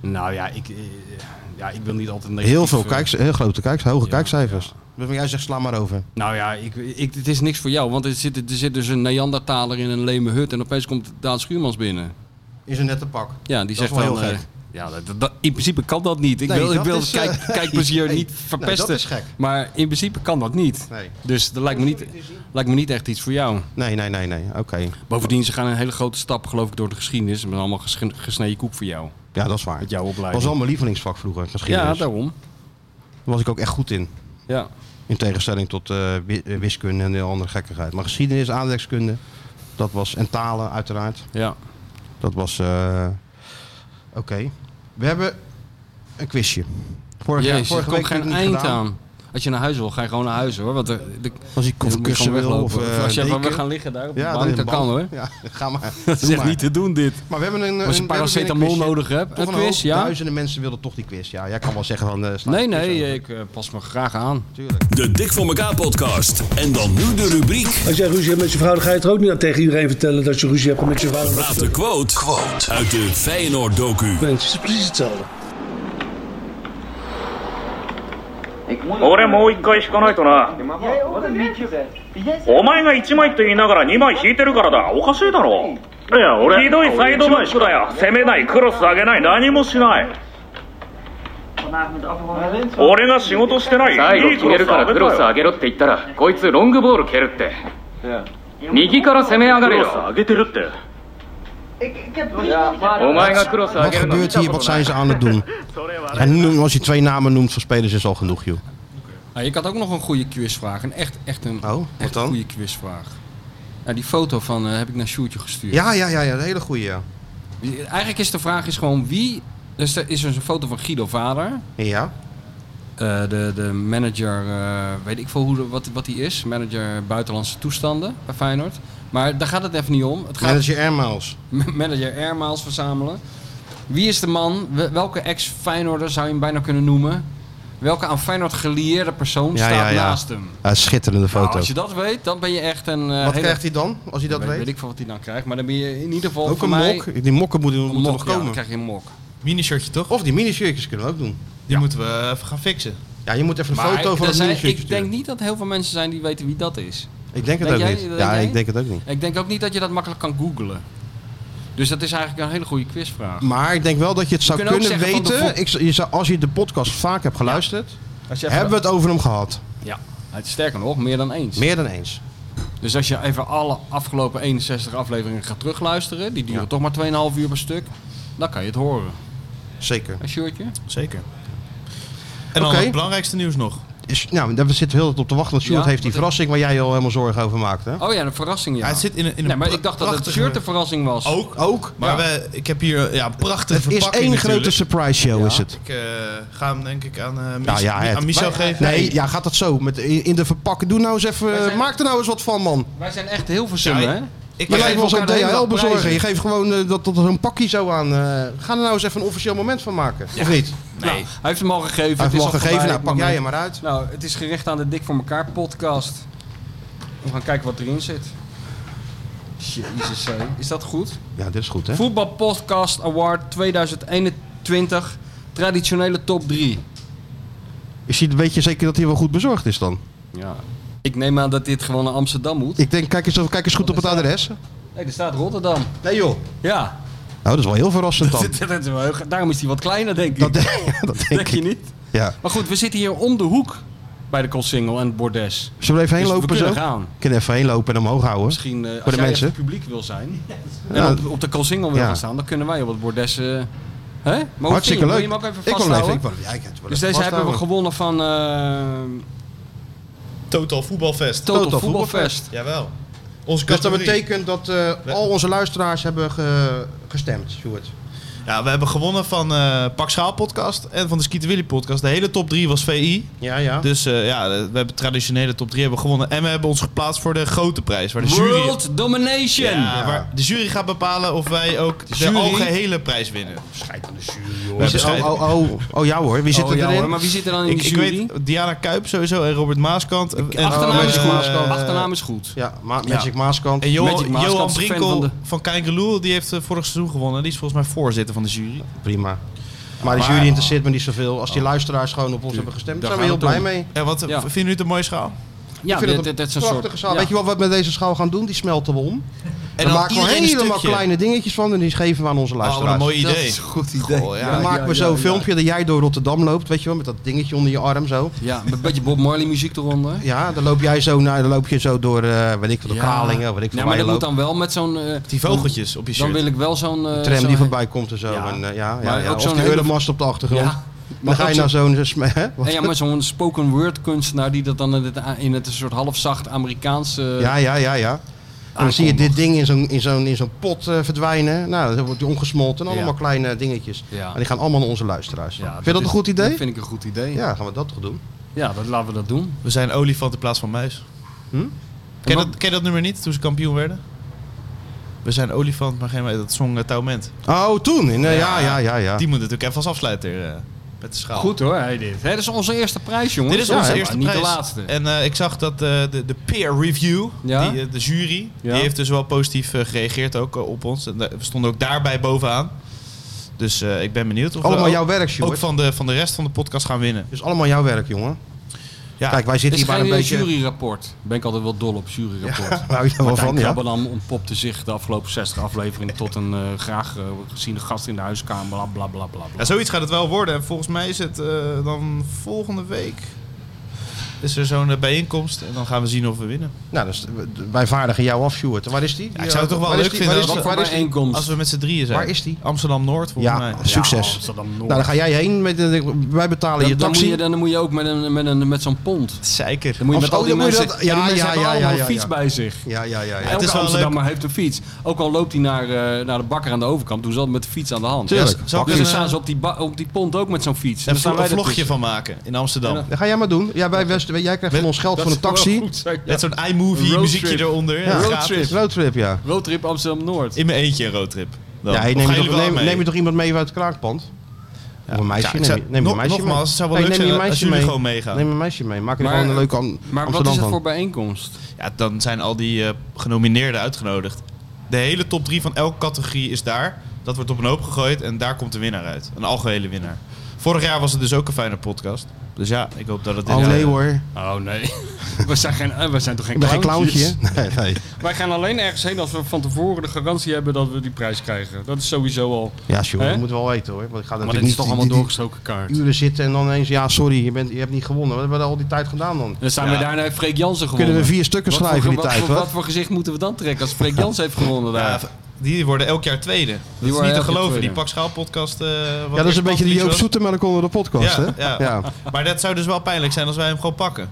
[SPEAKER 3] Nou ja ik, eh, ja, ik wil niet altijd negatief,
[SPEAKER 2] Heel veel
[SPEAKER 3] eh,
[SPEAKER 2] kijks, heel grote kijks, hoge
[SPEAKER 3] ja,
[SPEAKER 2] kijkcijfers. Dus jij zegt, sla maar over.
[SPEAKER 3] Nou ja, ik, ik, het is niks voor jou. Want er zit, er zit dus een Neandertaler in een leme hut. En opeens komt Daan Schuurmans binnen.
[SPEAKER 2] Is een nette pak.
[SPEAKER 3] Ja,
[SPEAKER 2] Dat
[SPEAKER 3] die zegt
[SPEAKER 2] is wel
[SPEAKER 3] dan...
[SPEAKER 2] heel
[SPEAKER 3] eh,
[SPEAKER 2] gek.
[SPEAKER 3] ja, dat, dat- dat- in principe kan dat niet. Ik
[SPEAKER 2] Nee,
[SPEAKER 3] wil, ik
[SPEAKER 2] dat
[SPEAKER 3] wil
[SPEAKER 2] is,
[SPEAKER 3] kijk,
[SPEAKER 2] eh,
[SPEAKER 3] kijkplezier
[SPEAKER 2] nee.
[SPEAKER 3] niet
[SPEAKER 2] Nee,
[SPEAKER 3] verpesten.
[SPEAKER 2] dat is gek.
[SPEAKER 3] Maar in principe kan dat niet.
[SPEAKER 2] Nee.
[SPEAKER 3] Dus dat lijkt me niet, lijkt me niet echt iets voor jou.
[SPEAKER 2] Nee, nee, nee, nee. Oké.
[SPEAKER 3] Bovendien, ze gaan een hele grote stap, geloof ik, door de geschiedenis. Met allemaal gesche- gesneden koek voor jou.
[SPEAKER 2] Ja, dat is waar.
[SPEAKER 3] Met jouw
[SPEAKER 2] Dat
[SPEAKER 3] opleiding.
[SPEAKER 2] was wel mijn lievelingsvak vroeger, geschiedenis.
[SPEAKER 3] ja,
[SPEAKER 2] daar
[SPEAKER 3] daarom.
[SPEAKER 2] was ik ook echt goed in.
[SPEAKER 3] Ja.
[SPEAKER 2] In tegenstelling tot eh, wi- eh, wiskunde en de andere gekkigheid. Maar geschiedenis, aardrijkskunde, dat was, en talen uiteraard.
[SPEAKER 3] ja.
[SPEAKER 2] Dat was. eh, Oké. We hebben een quizje. Vorige,
[SPEAKER 3] Jezus,
[SPEAKER 2] vorige
[SPEAKER 3] er komt
[SPEAKER 2] week heb ik
[SPEAKER 3] geen
[SPEAKER 2] het
[SPEAKER 3] eind
[SPEAKER 2] niet gedaan.
[SPEAKER 3] aan. Als je naar huis wil, ga je gewoon naar huis hoor. Want er- de-
[SPEAKER 2] Als je
[SPEAKER 3] je moet
[SPEAKER 2] kofferkussen
[SPEAKER 3] gewoon
[SPEAKER 2] wil of,
[SPEAKER 3] weglopen.
[SPEAKER 2] eh,
[SPEAKER 3] als je gewoon
[SPEAKER 2] deken.
[SPEAKER 3] weer gaan liggen daar op
[SPEAKER 2] Ja,
[SPEAKER 3] de
[SPEAKER 2] dat
[SPEAKER 3] bank,
[SPEAKER 2] is
[SPEAKER 3] dat
[SPEAKER 2] een
[SPEAKER 3] kan
[SPEAKER 2] bank.
[SPEAKER 3] hoor.
[SPEAKER 2] Ja, ga maar.
[SPEAKER 3] Dat is
[SPEAKER 2] Doe
[SPEAKER 3] echt
[SPEAKER 2] maar.
[SPEAKER 3] niet te doen dit.
[SPEAKER 2] Maar we hebben een.
[SPEAKER 3] Als je
[SPEAKER 2] een- we hebben weer een
[SPEAKER 3] paracetamol
[SPEAKER 2] quizje.
[SPEAKER 3] nodig hebt,
[SPEAKER 2] Toch
[SPEAKER 3] een
[SPEAKER 2] hoop
[SPEAKER 3] quiz, ja.
[SPEAKER 2] Duizenden mensen willen toch die quiz. Ja, jij kan wel zeggen van. eh, slaat
[SPEAKER 3] Nee,
[SPEAKER 2] de quiz
[SPEAKER 3] nee,
[SPEAKER 2] over.
[SPEAKER 3] ik eh, pas me graag aan.
[SPEAKER 2] Tuurlijk.
[SPEAKER 9] De Dik voor elkaar podcast. En dan nu de rubriek.
[SPEAKER 10] Als jij ruzie hebt met je vrouw, dan ga je het ook niet aan tegen iedereen vertellen dat je ruzie hebt met je vrouw.
[SPEAKER 9] Raad de quote, uit de Feyenoord docu.
[SPEAKER 10] Nee, het is precies hetzelfde.
[SPEAKER 11] 俺もう一回引かないとなお前が1枚と言いながら2枚引いてるからだおかしいだろいや
[SPEAKER 12] 俺
[SPEAKER 11] ひどいサイドバックだよ攻めないクロス上げない何もしない俺が仕事してない
[SPEAKER 12] 最後
[SPEAKER 11] いい
[SPEAKER 12] 決めるからクロス上げろって言ったらこいつロングボール蹴るって右から攻め上がれよ
[SPEAKER 11] クロス上
[SPEAKER 12] げてるってお前がクロス上
[SPEAKER 2] Wat
[SPEAKER 12] げるの見
[SPEAKER 2] gebeurt
[SPEAKER 12] た
[SPEAKER 2] hier?
[SPEAKER 12] こと
[SPEAKER 2] Wat
[SPEAKER 12] な
[SPEAKER 2] zijn
[SPEAKER 12] い
[SPEAKER 2] ze aan het doen? Ja, nu, als je twee namen noemt van spelers is dus al genoeg, joh.
[SPEAKER 3] Nou, ik had ook nog een goede quizvraag. Een echt, echt
[SPEAKER 2] Oh,
[SPEAKER 3] een echt goede quizvraag. Nou, die foto van eh, heb ik naar Sjoertje gestuurd.
[SPEAKER 2] Ja, ja, ja, ja een hele goede. Ja.
[SPEAKER 3] Wie- Eigenlijk is de vraag is gewoon wie... Dus er is dus een foto van Guido Vader.
[SPEAKER 2] Ja.
[SPEAKER 3] Eh, de, de manager, eh, weet ik veel hoe, de- wat, wat hij is. Manager buitenlandse toestanden bij Feyenoord. Maar daar gaat het even niet om. Het gaat
[SPEAKER 2] Manager Air Miles.
[SPEAKER 3] manager Air Miles verzamelen. Wie is de man? Wel- Welke ex-Feyenoorder zou je hem bijna kunnen noemen? Welke aan Feyenoord gelieerde persoon
[SPEAKER 2] Ja,
[SPEAKER 3] staat
[SPEAKER 2] ja, ja.
[SPEAKER 3] naast hem?
[SPEAKER 2] Ja, schitterende
[SPEAKER 3] Nou,
[SPEAKER 2] foto.
[SPEAKER 3] als je dat weet, dan ben je echt een... eh,
[SPEAKER 2] Wat krijgt hij dan, als hij dat weet?
[SPEAKER 3] Weet ik van wat hij dan krijgt, maar dan ben je in ieder geval
[SPEAKER 2] Ook
[SPEAKER 3] voor
[SPEAKER 2] een
[SPEAKER 3] mij...
[SPEAKER 2] mok. Die mokken moeten, moeten
[SPEAKER 3] mok,
[SPEAKER 2] nog
[SPEAKER 3] ja,
[SPEAKER 2] komen.
[SPEAKER 3] dan krijg je een mok.
[SPEAKER 2] Minishirtje toch? Of die minishirtjes kunnen we ook doen. Die moeten
[SPEAKER 3] eh,
[SPEAKER 2] we even gaan fixen. Ja, je moet even een
[SPEAKER 3] Maar
[SPEAKER 2] foto van
[SPEAKER 3] er
[SPEAKER 2] het
[SPEAKER 3] zijn-
[SPEAKER 2] minishirtje
[SPEAKER 3] Ik denk niet dat heel veel mensen zijn die weten wie dat is.
[SPEAKER 2] Ik denk het ook
[SPEAKER 3] jij-
[SPEAKER 2] niet.
[SPEAKER 3] denk
[SPEAKER 2] Ja,
[SPEAKER 3] jij?
[SPEAKER 2] ik denk het ook niet.
[SPEAKER 3] Ik denk ook niet dat je dat makkelijk kan googlen. Dus dat is eigenlijk een hele goede quizvraag.
[SPEAKER 2] Maar ik denk wel dat je het
[SPEAKER 3] We
[SPEAKER 2] zou
[SPEAKER 3] kunnen ook
[SPEAKER 2] kunnen
[SPEAKER 3] zeggen van de
[SPEAKER 2] weten.
[SPEAKER 3] vo-
[SPEAKER 2] Ik, zou- je zou, als je de podcast vaak hebt geluisterd, hebben we het over hem gehad.
[SPEAKER 3] Ja, het is sterker nog, meer dan eens.
[SPEAKER 2] Meer dan eens.
[SPEAKER 3] Dus als je even alle afgelopen 61 afleveringen gaat terugluisteren, die duren toch maar 2,5 uur per stuk, dan kan je het horen.
[SPEAKER 2] Zeker.
[SPEAKER 3] Een shirtje?
[SPEAKER 4] Zeker. En dan
[SPEAKER 2] Oké.
[SPEAKER 4] het belangrijkste nieuws nog.
[SPEAKER 2] Is, nou, daar zitten we heel de tijd op te wachten. Want Sjoerd
[SPEAKER 3] Ja,
[SPEAKER 2] heeft die
[SPEAKER 3] wat-
[SPEAKER 2] verrassing waar jij je al helemaal zorgen over maakt. Hè?
[SPEAKER 3] Oh ja, een verrassing ja.
[SPEAKER 4] Ja, het zit in een- in een
[SPEAKER 3] nee, maar ik dacht dat het
[SPEAKER 4] prachtige-
[SPEAKER 3] shirt een verrassing was.
[SPEAKER 2] Oh.
[SPEAKER 4] Ook,
[SPEAKER 2] ook.
[SPEAKER 4] Maar
[SPEAKER 3] Ja.
[SPEAKER 4] we, ik heb hier eh, ja, een prachtige
[SPEAKER 2] Het is
[SPEAKER 4] verpakking
[SPEAKER 2] één grote
[SPEAKER 4] natuurlijk.
[SPEAKER 2] surprise show, is het.
[SPEAKER 4] Ik eh, ga hem denk ik aan, eh Mich-
[SPEAKER 2] Nou ja, het-
[SPEAKER 4] aan Michel
[SPEAKER 2] Wij-
[SPEAKER 4] geven.
[SPEAKER 2] Nee, ja, gaat dat zo. Met, in, in de verpakken. Doe nou eens even. Maak er nou eens wat van, man.
[SPEAKER 3] Wij zijn echt heel verzummen,
[SPEAKER 2] Ja,
[SPEAKER 3] hè?
[SPEAKER 2] Ik je lijkt wel zo'n
[SPEAKER 3] elkaar de hele
[SPEAKER 2] DHL
[SPEAKER 3] dag
[SPEAKER 2] bezorgen.
[SPEAKER 3] prijzen.
[SPEAKER 2] Je geeft gewoon eh, dat, dat er zo'n pakje zo aan. eh, ga er nou eens even een officieel moment van maken. Of niet?
[SPEAKER 3] Nou, hij heeft hem al gegeven.
[SPEAKER 2] Hij heeft
[SPEAKER 3] het is
[SPEAKER 2] hem al gegeven,
[SPEAKER 3] voorbij,
[SPEAKER 2] nou,
[SPEAKER 3] het
[SPEAKER 2] pak
[SPEAKER 3] moment.
[SPEAKER 2] jij hem maar uit.
[SPEAKER 3] Nou, het is gericht aan de Dik voor elkaar podcast. We gaan kijken wat erin zit. Jezus, hé. is dat goed?
[SPEAKER 2] Ja, dit is goed, hè?
[SPEAKER 3] Voetbal Podcast Award 2021, traditionele top 3.
[SPEAKER 2] Je ziet een beetje zeker dat hij wel goed bezorgd is dan.
[SPEAKER 3] Ja. Ik neem aan dat dit gewoon naar Amsterdam moet.
[SPEAKER 2] Ik denk, kijk eens, of- kijk eens goed op het adres.
[SPEAKER 3] Nee, er staat Rotterdam.
[SPEAKER 2] Nee joh.
[SPEAKER 3] Ja.
[SPEAKER 2] Nou, dat is wel heel verrassend dan.
[SPEAKER 3] Dat is wel heel ge- Daarom is hij wat kleiner, denk ik.
[SPEAKER 2] dat denk,
[SPEAKER 3] Denk je niet?
[SPEAKER 2] Ja.
[SPEAKER 3] Maar goed, we zitten hier om de hoek bij de Colsingel en het bordes.
[SPEAKER 2] Zullen we even heen
[SPEAKER 3] Dus we
[SPEAKER 2] lopen zo?
[SPEAKER 3] kunnen gaan.
[SPEAKER 2] Ik kan even heen lopen en omhoog houden.
[SPEAKER 3] Misschien eh,
[SPEAKER 2] Voor
[SPEAKER 3] als
[SPEAKER 2] de
[SPEAKER 3] jij
[SPEAKER 2] mensen.
[SPEAKER 3] even publiek wil zijn en
[SPEAKER 2] Ja.
[SPEAKER 3] op, op de Colsingel wil
[SPEAKER 2] Ja.
[SPEAKER 3] gaan staan, dan kunnen wij op het bordes... eh, hè? Mogen we
[SPEAKER 2] Hartstikke
[SPEAKER 3] zien? Wil
[SPEAKER 2] leuk.
[SPEAKER 3] je hem ook even
[SPEAKER 2] Ik wil hem
[SPEAKER 3] vasthouden?
[SPEAKER 2] even- ik wil- ja, ik kan het wel
[SPEAKER 3] dus
[SPEAKER 2] even
[SPEAKER 3] deze hebben we
[SPEAKER 2] vasthouden.
[SPEAKER 3] gewonnen van eh
[SPEAKER 4] Total Voetbalfest.
[SPEAKER 3] Total, Voetbalfest.
[SPEAKER 4] Jawel. Onze
[SPEAKER 2] Dus dat
[SPEAKER 4] categorie.
[SPEAKER 2] betekent dat eh, al onze luisteraars hebben ge- gestemd, Sjoerd.
[SPEAKER 4] Ja, we hebben gewonnen van eh Pak Schaal podcast en van de Skieten Willy podcast. De hele top 3 was VI.
[SPEAKER 2] Ja, ja.
[SPEAKER 4] Dus eh, ja, we hebben traditionele top 3 hebben we gewonnen. En we hebben ons geplaatst voor de grote prijs. Waar de jury...
[SPEAKER 3] World Domination!
[SPEAKER 4] Ja, waar de jury gaat bepalen of wij ook de
[SPEAKER 3] jury?
[SPEAKER 4] algehele prijs winnen.
[SPEAKER 3] Schijt aan de
[SPEAKER 4] We hebben
[SPEAKER 2] Wie zit-
[SPEAKER 4] schijt.
[SPEAKER 2] oh, oh, oh, oh, ja hoor. Wie zit
[SPEAKER 3] Dus Oh,
[SPEAKER 2] er
[SPEAKER 3] ja
[SPEAKER 2] erin?
[SPEAKER 3] hoor, maar wie zit er dan in
[SPEAKER 4] Ik,
[SPEAKER 3] de
[SPEAKER 4] ik
[SPEAKER 3] jury? Ah,
[SPEAKER 4] weet Diana Kuip sowieso en Robert Maaskant. En,
[SPEAKER 3] Achternaam,
[SPEAKER 4] en,
[SPEAKER 3] is
[SPEAKER 4] eh,
[SPEAKER 3] goed. Achternaam is goed.
[SPEAKER 2] Ja, Ma
[SPEAKER 3] Ja.
[SPEAKER 2] Magic Maaskant.
[SPEAKER 4] En Johan,
[SPEAKER 3] Magic Maaskant
[SPEAKER 4] Johan
[SPEAKER 3] is fan
[SPEAKER 4] Brinkel van,
[SPEAKER 3] van de-
[SPEAKER 4] Kankerloel, die heeft eh, vorig seizoen gewonnen. Die is volgens mij voorzitter van de jury.
[SPEAKER 2] Prima. Maar de jury interesseert me niet zoveel.
[SPEAKER 3] Oh.
[SPEAKER 2] Als die luisteraars gewoon op ons hebben gestemd, daar zijn we heel blij mee.
[SPEAKER 4] En wat
[SPEAKER 3] Ja.
[SPEAKER 4] vinden jullie het een mooie schaal?
[SPEAKER 3] Ja,
[SPEAKER 2] Ik vind
[SPEAKER 3] dit,
[SPEAKER 2] het een
[SPEAKER 3] dit, dit is een
[SPEAKER 2] prachtige
[SPEAKER 3] soort...
[SPEAKER 2] schaal.
[SPEAKER 3] ja.
[SPEAKER 2] Weet je wat we met deze schaal gaan doen? Die smelten we om. En dan
[SPEAKER 4] dan
[SPEAKER 2] maken we
[SPEAKER 4] iedereen een
[SPEAKER 2] helemaal
[SPEAKER 4] stukje.
[SPEAKER 2] kleine dingetjes van en die geven we aan onze
[SPEAKER 4] Oh, wat
[SPEAKER 2] luisteraars.
[SPEAKER 4] een mooi idee.
[SPEAKER 3] goed idee.
[SPEAKER 4] Goh, ja.
[SPEAKER 2] dan maken we
[SPEAKER 3] ja,
[SPEAKER 2] zo'n
[SPEAKER 3] ja.
[SPEAKER 2] filmpje dat jij door Rotterdam loopt, weet je wel, met dat dingetje onder je arm zo.
[SPEAKER 3] Ja, een beetje Bob Marley muziek eronder.
[SPEAKER 2] Ja, dan loop jij zo, naar, dan loop je zo door, eh weet ik veel, de Kralingen, weet ik veel
[SPEAKER 3] Ja,
[SPEAKER 2] waar
[SPEAKER 3] maar
[SPEAKER 2] je
[SPEAKER 3] dat moet
[SPEAKER 2] loopt.
[SPEAKER 3] dan wel met zo'n... eh,
[SPEAKER 4] Die vogeltjes op je shirt.
[SPEAKER 3] dan wil ik wel zo'n... eh,
[SPEAKER 2] De tram
[SPEAKER 3] zo'n-
[SPEAKER 2] die voorbij komt en zo.
[SPEAKER 3] Ja.
[SPEAKER 2] En, eh, ja, ja,
[SPEAKER 3] Maar
[SPEAKER 2] ja.
[SPEAKER 3] ook
[SPEAKER 2] Of
[SPEAKER 3] zo'n
[SPEAKER 2] die
[SPEAKER 3] hele-
[SPEAKER 2] Euromast op de achtergrond.
[SPEAKER 3] Ja.
[SPEAKER 2] Dan ga je naar
[SPEAKER 3] Maar
[SPEAKER 2] zo'n... eh, sm- hè?
[SPEAKER 3] ook zo'n- Ja, maar zo'n spoken word kunstenaar die dat dan in het, in het een soort halfzacht Amerikaanse...
[SPEAKER 2] Ja, ja, ja, ja.
[SPEAKER 3] Oh,
[SPEAKER 2] dan zie je dit ding in zo'n, in zo'n, in zo'n pot eh, verdwijnen. Nou, dan wordt die omgesmolten. Allemaal
[SPEAKER 3] Ja.
[SPEAKER 2] kleine dingetjes.
[SPEAKER 3] Ja.
[SPEAKER 2] En die gaan allemaal naar onze luisteraars.
[SPEAKER 3] Ja,
[SPEAKER 2] Vind je dat
[SPEAKER 3] is-
[SPEAKER 2] een goed idee?
[SPEAKER 3] Dat vind ik een goed idee.
[SPEAKER 2] Ja, gaan we dat toch doen?
[SPEAKER 3] Ja, dat laten we dat doen.
[SPEAKER 4] We zijn olifant in plaats van muis.
[SPEAKER 3] Hm?
[SPEAKER 4] Ken, je dat, ken je dat nummer niet, toen ze kampioen werden? We zijn olifant, maar geen muis. Dat zong uh, Touwment.
[SPEAKER 2] Oh, toen? In, eh, ja, ja, ja, ja.
[SPEAKER 4] Die moet natuurlijk even als afsluiter eh, met de schaal.
[SPEAKER 3] Goed hoor, hey, dit. Hè, dit is onze eerste prijs, jongens.
[SPEAKER 4] Dit is
[SPEAKER 3] Ja,
[SPEAKER 4] onze
[SPEAKER 3] hè,
[SPEAKER 4] eerste
[SPEAKER 3] maar
[SPEAKER 4] prijs.
[SPEAKER 3] Niet de laatste.
[SPEAKER 4] En eh, ik zag dat eh, de, de peer review,
[SPEAKER 3] Ja?
[SPEAKER 4] die, eh, de jury,
[SPEAKER 3] Ja.
[SPEAKER 4] die heeft dus wel positief eh, gereageerd ook eh, op ons. En daar- we stonden ook daarbij bovenaan. Dus eh, ik ben benieuwd of
[SPEAKER 2] Allemaal
[SPEAKER 3] Oh.
[SPEAKER 4] we ook,
[SPEAKER 2] jouw werk, Sjoerd.
[SPEAKER 4] ook van de, van de rest van de podcast gaan winnen.
[SPEAKER 2] Dus allemaal jouw werk, jongen. Kijk, wij
[SPEAKER 3] Dit
[SPEAKER 2] zitten hier
[SPEAKER 3] is
[SPEAKER 2] maar een
[SPEAKER 3] geen eh,
[SPEAKER 2] beetje...
[SPEAKER 3] juryrapport. Ben ik altijd wel dol op juryrapport.
[SPEAKER 2] Ja, hou je wel
[SPEAKER 3] Martijn
[SPEAKER 2] van, ja.
[SPEAKER 3] Krabbenam ontpopte zich de afgelopen 60 afleveringen tot een eh, graag eh, geziene gast in de huiskamer. Bla bla bla bla. bla.
[SPEAKER 4] Ja, zoiets gaat het wel worden. En volgens mij is het eh, dan volgende week. Is er zo'n eh, bijeenkomst en dan gaan we zien of we winnen.
[SPEAKER 2] Nou, dus wij vaardigen jou af, Sjoerd. Waar is die?
[SPEAKER 4] Ja, ik zou het toch wel
[SPEAKER 2] Waar is
[SPEAKER 4] leuk
[SPEAKER 2] die?
[SPEAKER 4] vinden
[SPEAKER 2] Waar is
[SPEAKER 4] als,
[SPEAKER 2] die?
[SPEAKER 4] we-
[SPEAKER 2] Waar is die?
[SPEAKER 4] als we met z'n drieën zijn.
[SPEAKER 2] Waar is die?
[SPEAKER 4] Amsterdam Noord volgens
[SPEAKER 2] Ja,
[SPEAKER 4] mij.
[SPEAKER 2] succes. nou, dan ga jij heen. Met, de- wij betalen je
[SPEAKER 3] Dan, dan, moet
[SPEAKER 2] taxi.
[SPEAKER 3] je, dan moet je ook met, een, met, een, met zo'n pond.
[SPEAKER 4] Zeker.
[SPEAKER 3] Dan moet je
[SPEAKER 2] Of-
[SPEAKER 3] met al
[SPEAKER 2] oh,
[SPEAKER 3] die
[SPEAKER 2] dan moet je
[SPEAKER 3] mensen,
[SPEAKER 2] dat-
[SPEAKER 3] ja,
[SPEAKER 2] ja,
[SPEAKER 3] die mensen
[SPEAKER 2] ja,
[SPEAKER 3] hebben
[SPEAKER 2] ja,
[SPEAKER 3] allemaal
[SPEAKER 2] ja, ja,
[SPEAKER 3] een fiets
[SPEAKER 2] ja.
[SPEAKER 3] bij zich.
[SPEAKER 2] Ja, ja, ja. ja.
[SPEAKER 3] Elke Amsterdammer heeft een fiets. Ook al loopt hij naar, eh, naar de bakker aan de overkant, doen ze altijd met de fiets aan de hand.
[SPEAKER 2] Tuurlijk.
[SPEAKER 3] Ja,
[SPEAKER 2] Zou ik
[SPEAKER 3] dus
[SPEAKER 2] een-
[SPEAKER 3] dan staan ze op die, ba- op die pont ook met zo'n fiets.
[SPEAKER 4] Daar
[SPEAKER 3] Dan staan
[SPEAKER 4] een
[SPEAKER 3] wij
[SPEAKER 4] vlogje
[SPEAKER 3] ertussen.
[SPEAKER 4] van maken in Amsterdam.
[SPEAKER 2] Dat ga jij maar doen. Ja, wij, West- jij krijgt van ons geld
[SPEAKER 4] dat
[SPEAKER 2] voor een
[SPEAKER 4] zou wel
[SPEAKER 2] taxi.
[SPEAKER 4] goed zijn, ja. Met zo'n iMovie
[SPEAKER 3] Roadtrip.
[SPEAKER 4] muziekje eronder.
[SPEAKER 2] Ja,
[SPEAKER 4] Ja.
[SPEAKER 2] roadtrip.
[SPEAKER 4] Gratis.
[SPEAKER 2] Roadtrip, ja.
[SPEAKER 3] Roadtrip Amsterdam-Noord.
[SPEAKER 4] In mijn eentje een roadtrip. Dan.
[SPEAKER 2] ja, hey,
[SPEAKER 4] Of
[SPEAKER 2] neem,
[SPEAKER 4] gaan
[SPEAKER 2] je
[SPEAKER 4] jullie
[SPEAKER 2] toch,
[SPEAKER 4] wel
[SPEAKER 2] neem,
[SPEAKER 4] mee?
[SPEAKER 2] neem je toch iemand mee uit het kraakpand? Of een meisje?
[SPEAKER 4] Ja, ik
[SPEAKER 2] neem,
[SPEAKER 4] zou-
[SPEAKER 2] je- neem je een
[SPEAKER 4] nog-
[SPEAKER 2] meisje
[SPEAKER 4] nogmaals,
[SPEAKER 2] mee.
[SPEAKER 4] het zou wel
[SPEAKER 2] Hey,
[SPEAKER 4] leuk
[SPEAKER 2] neem je
[SPEAKER 4] zijn
[SPEAKER 2] een
[SPEAKER 4] als
[SPEAKER 2] meisje
[SPEAKER 4] jullie
[SPEAKER 2] mee.
[SPEAKER 4] gewoon meegaan.
[SPEAKER 2] Neem een meisje mee. Maak er gewoon een leuke Am-
[SPEAKER 3] maar wat
[SPEAKER 2] Amsterdam
[SPEAKER 3] is het
[SPEAKER 2] van.
[SPEAKER 3] voor bijeenkomst?
[SPEAKER 4] Ja, dan zijn al die eh, genomineerden uitgenodigd. De hele top 3 van elke categorie is daar. Dat wordt op een hoop gegooid en daar komt de winnaar uit. Een algehele winnaar. Vorig jaar was het dus ook een fijne podcast. Dus ja, ik hoop dat het dit
[SPEAKER 2] Oh
[SPEAKER 4] jaar-
[SPEAKER 2] nee hoor.
[SPEAKER 3] Oh nee, we zijn, geen, eh, we zijn toch geen
[SPEAKER 2] Ik ben geen clowntje.
[SPEAKER 3] clowntjes?
[SPEAKER 2] hè? Nee, nee.
[SPEAKER 3] Wij gaan alleen ergens heen als we van tevoren de garantie hebben dat we die prijs krijgen. Dat is sowieso al.
[SPEAKER 2] Ja, sure,
[SPEAKER 3] Hè?
[SPEAKER 2] dat moeten we wel weten hoor. Want ik ga
[SPEAKER 3] Maar dit
[SPEAKER 2] natuurlijk
[SPEAKER 3] is toch
[SPEAKER 2] niet
[SPEAKER 3] allemaal
[SPEAKER 2] die- die-
[SPEAKER 3] doorgestoken kaart.
[SPEAKER 2] uren zitten en dan ineens, ja sorry, je, bent, je hebt niet gewonnen. Wat hebben we al die tijd gedaan dan?
[SPEAKER 3] Dan zijn we daarna heeft Freek Jansen gewonnen.
[SPEAKER 2] Kunnen we vier stukken
[SPEAKER 3] Wat voor-
[SPEAKER 2] schrijven in die
[SPEAKER 3] wat
[SPEAKER 2] tijd,
[SPEAKER 3] voor-
[SPEAKER 2] hoor.
[SPEAKER 3] Wat voor gezicht moeten we dan trekken als Freek Jansen heeft gewonnen daar?
[SPEAKER 4] Ja, die worden elk jaar tweede. Dat is
[SPEAKER 3] worden
[SPEAKER 4] niet
[SPEAKER 3] elk
[SPEAKER 4] te
[SPEAKER 3] jaar
[SPEAKER 4] geloven.
[SPEAKER 3] tweede.
[SPEAKER 4] Die Pak Schaal podcast. eh, wat
[SPEAKER 2] Ja, dat is een
[SPEAKER 4] eerst
[SPEAKER 2] beetje de
[SPEAKER 4] Pantelitsch
[SPEAKER 2] Joop
[SPEAKER 4] was.
[SPEAKER 2] Zoetemelk onder de podcast,
[SPEAKER 4] ja,
[SPEAKER 2] hè?
[SPEAKER 4] ja. Maar dat zou dus wel pijnlijk zijn als wij hem gewoon pakken.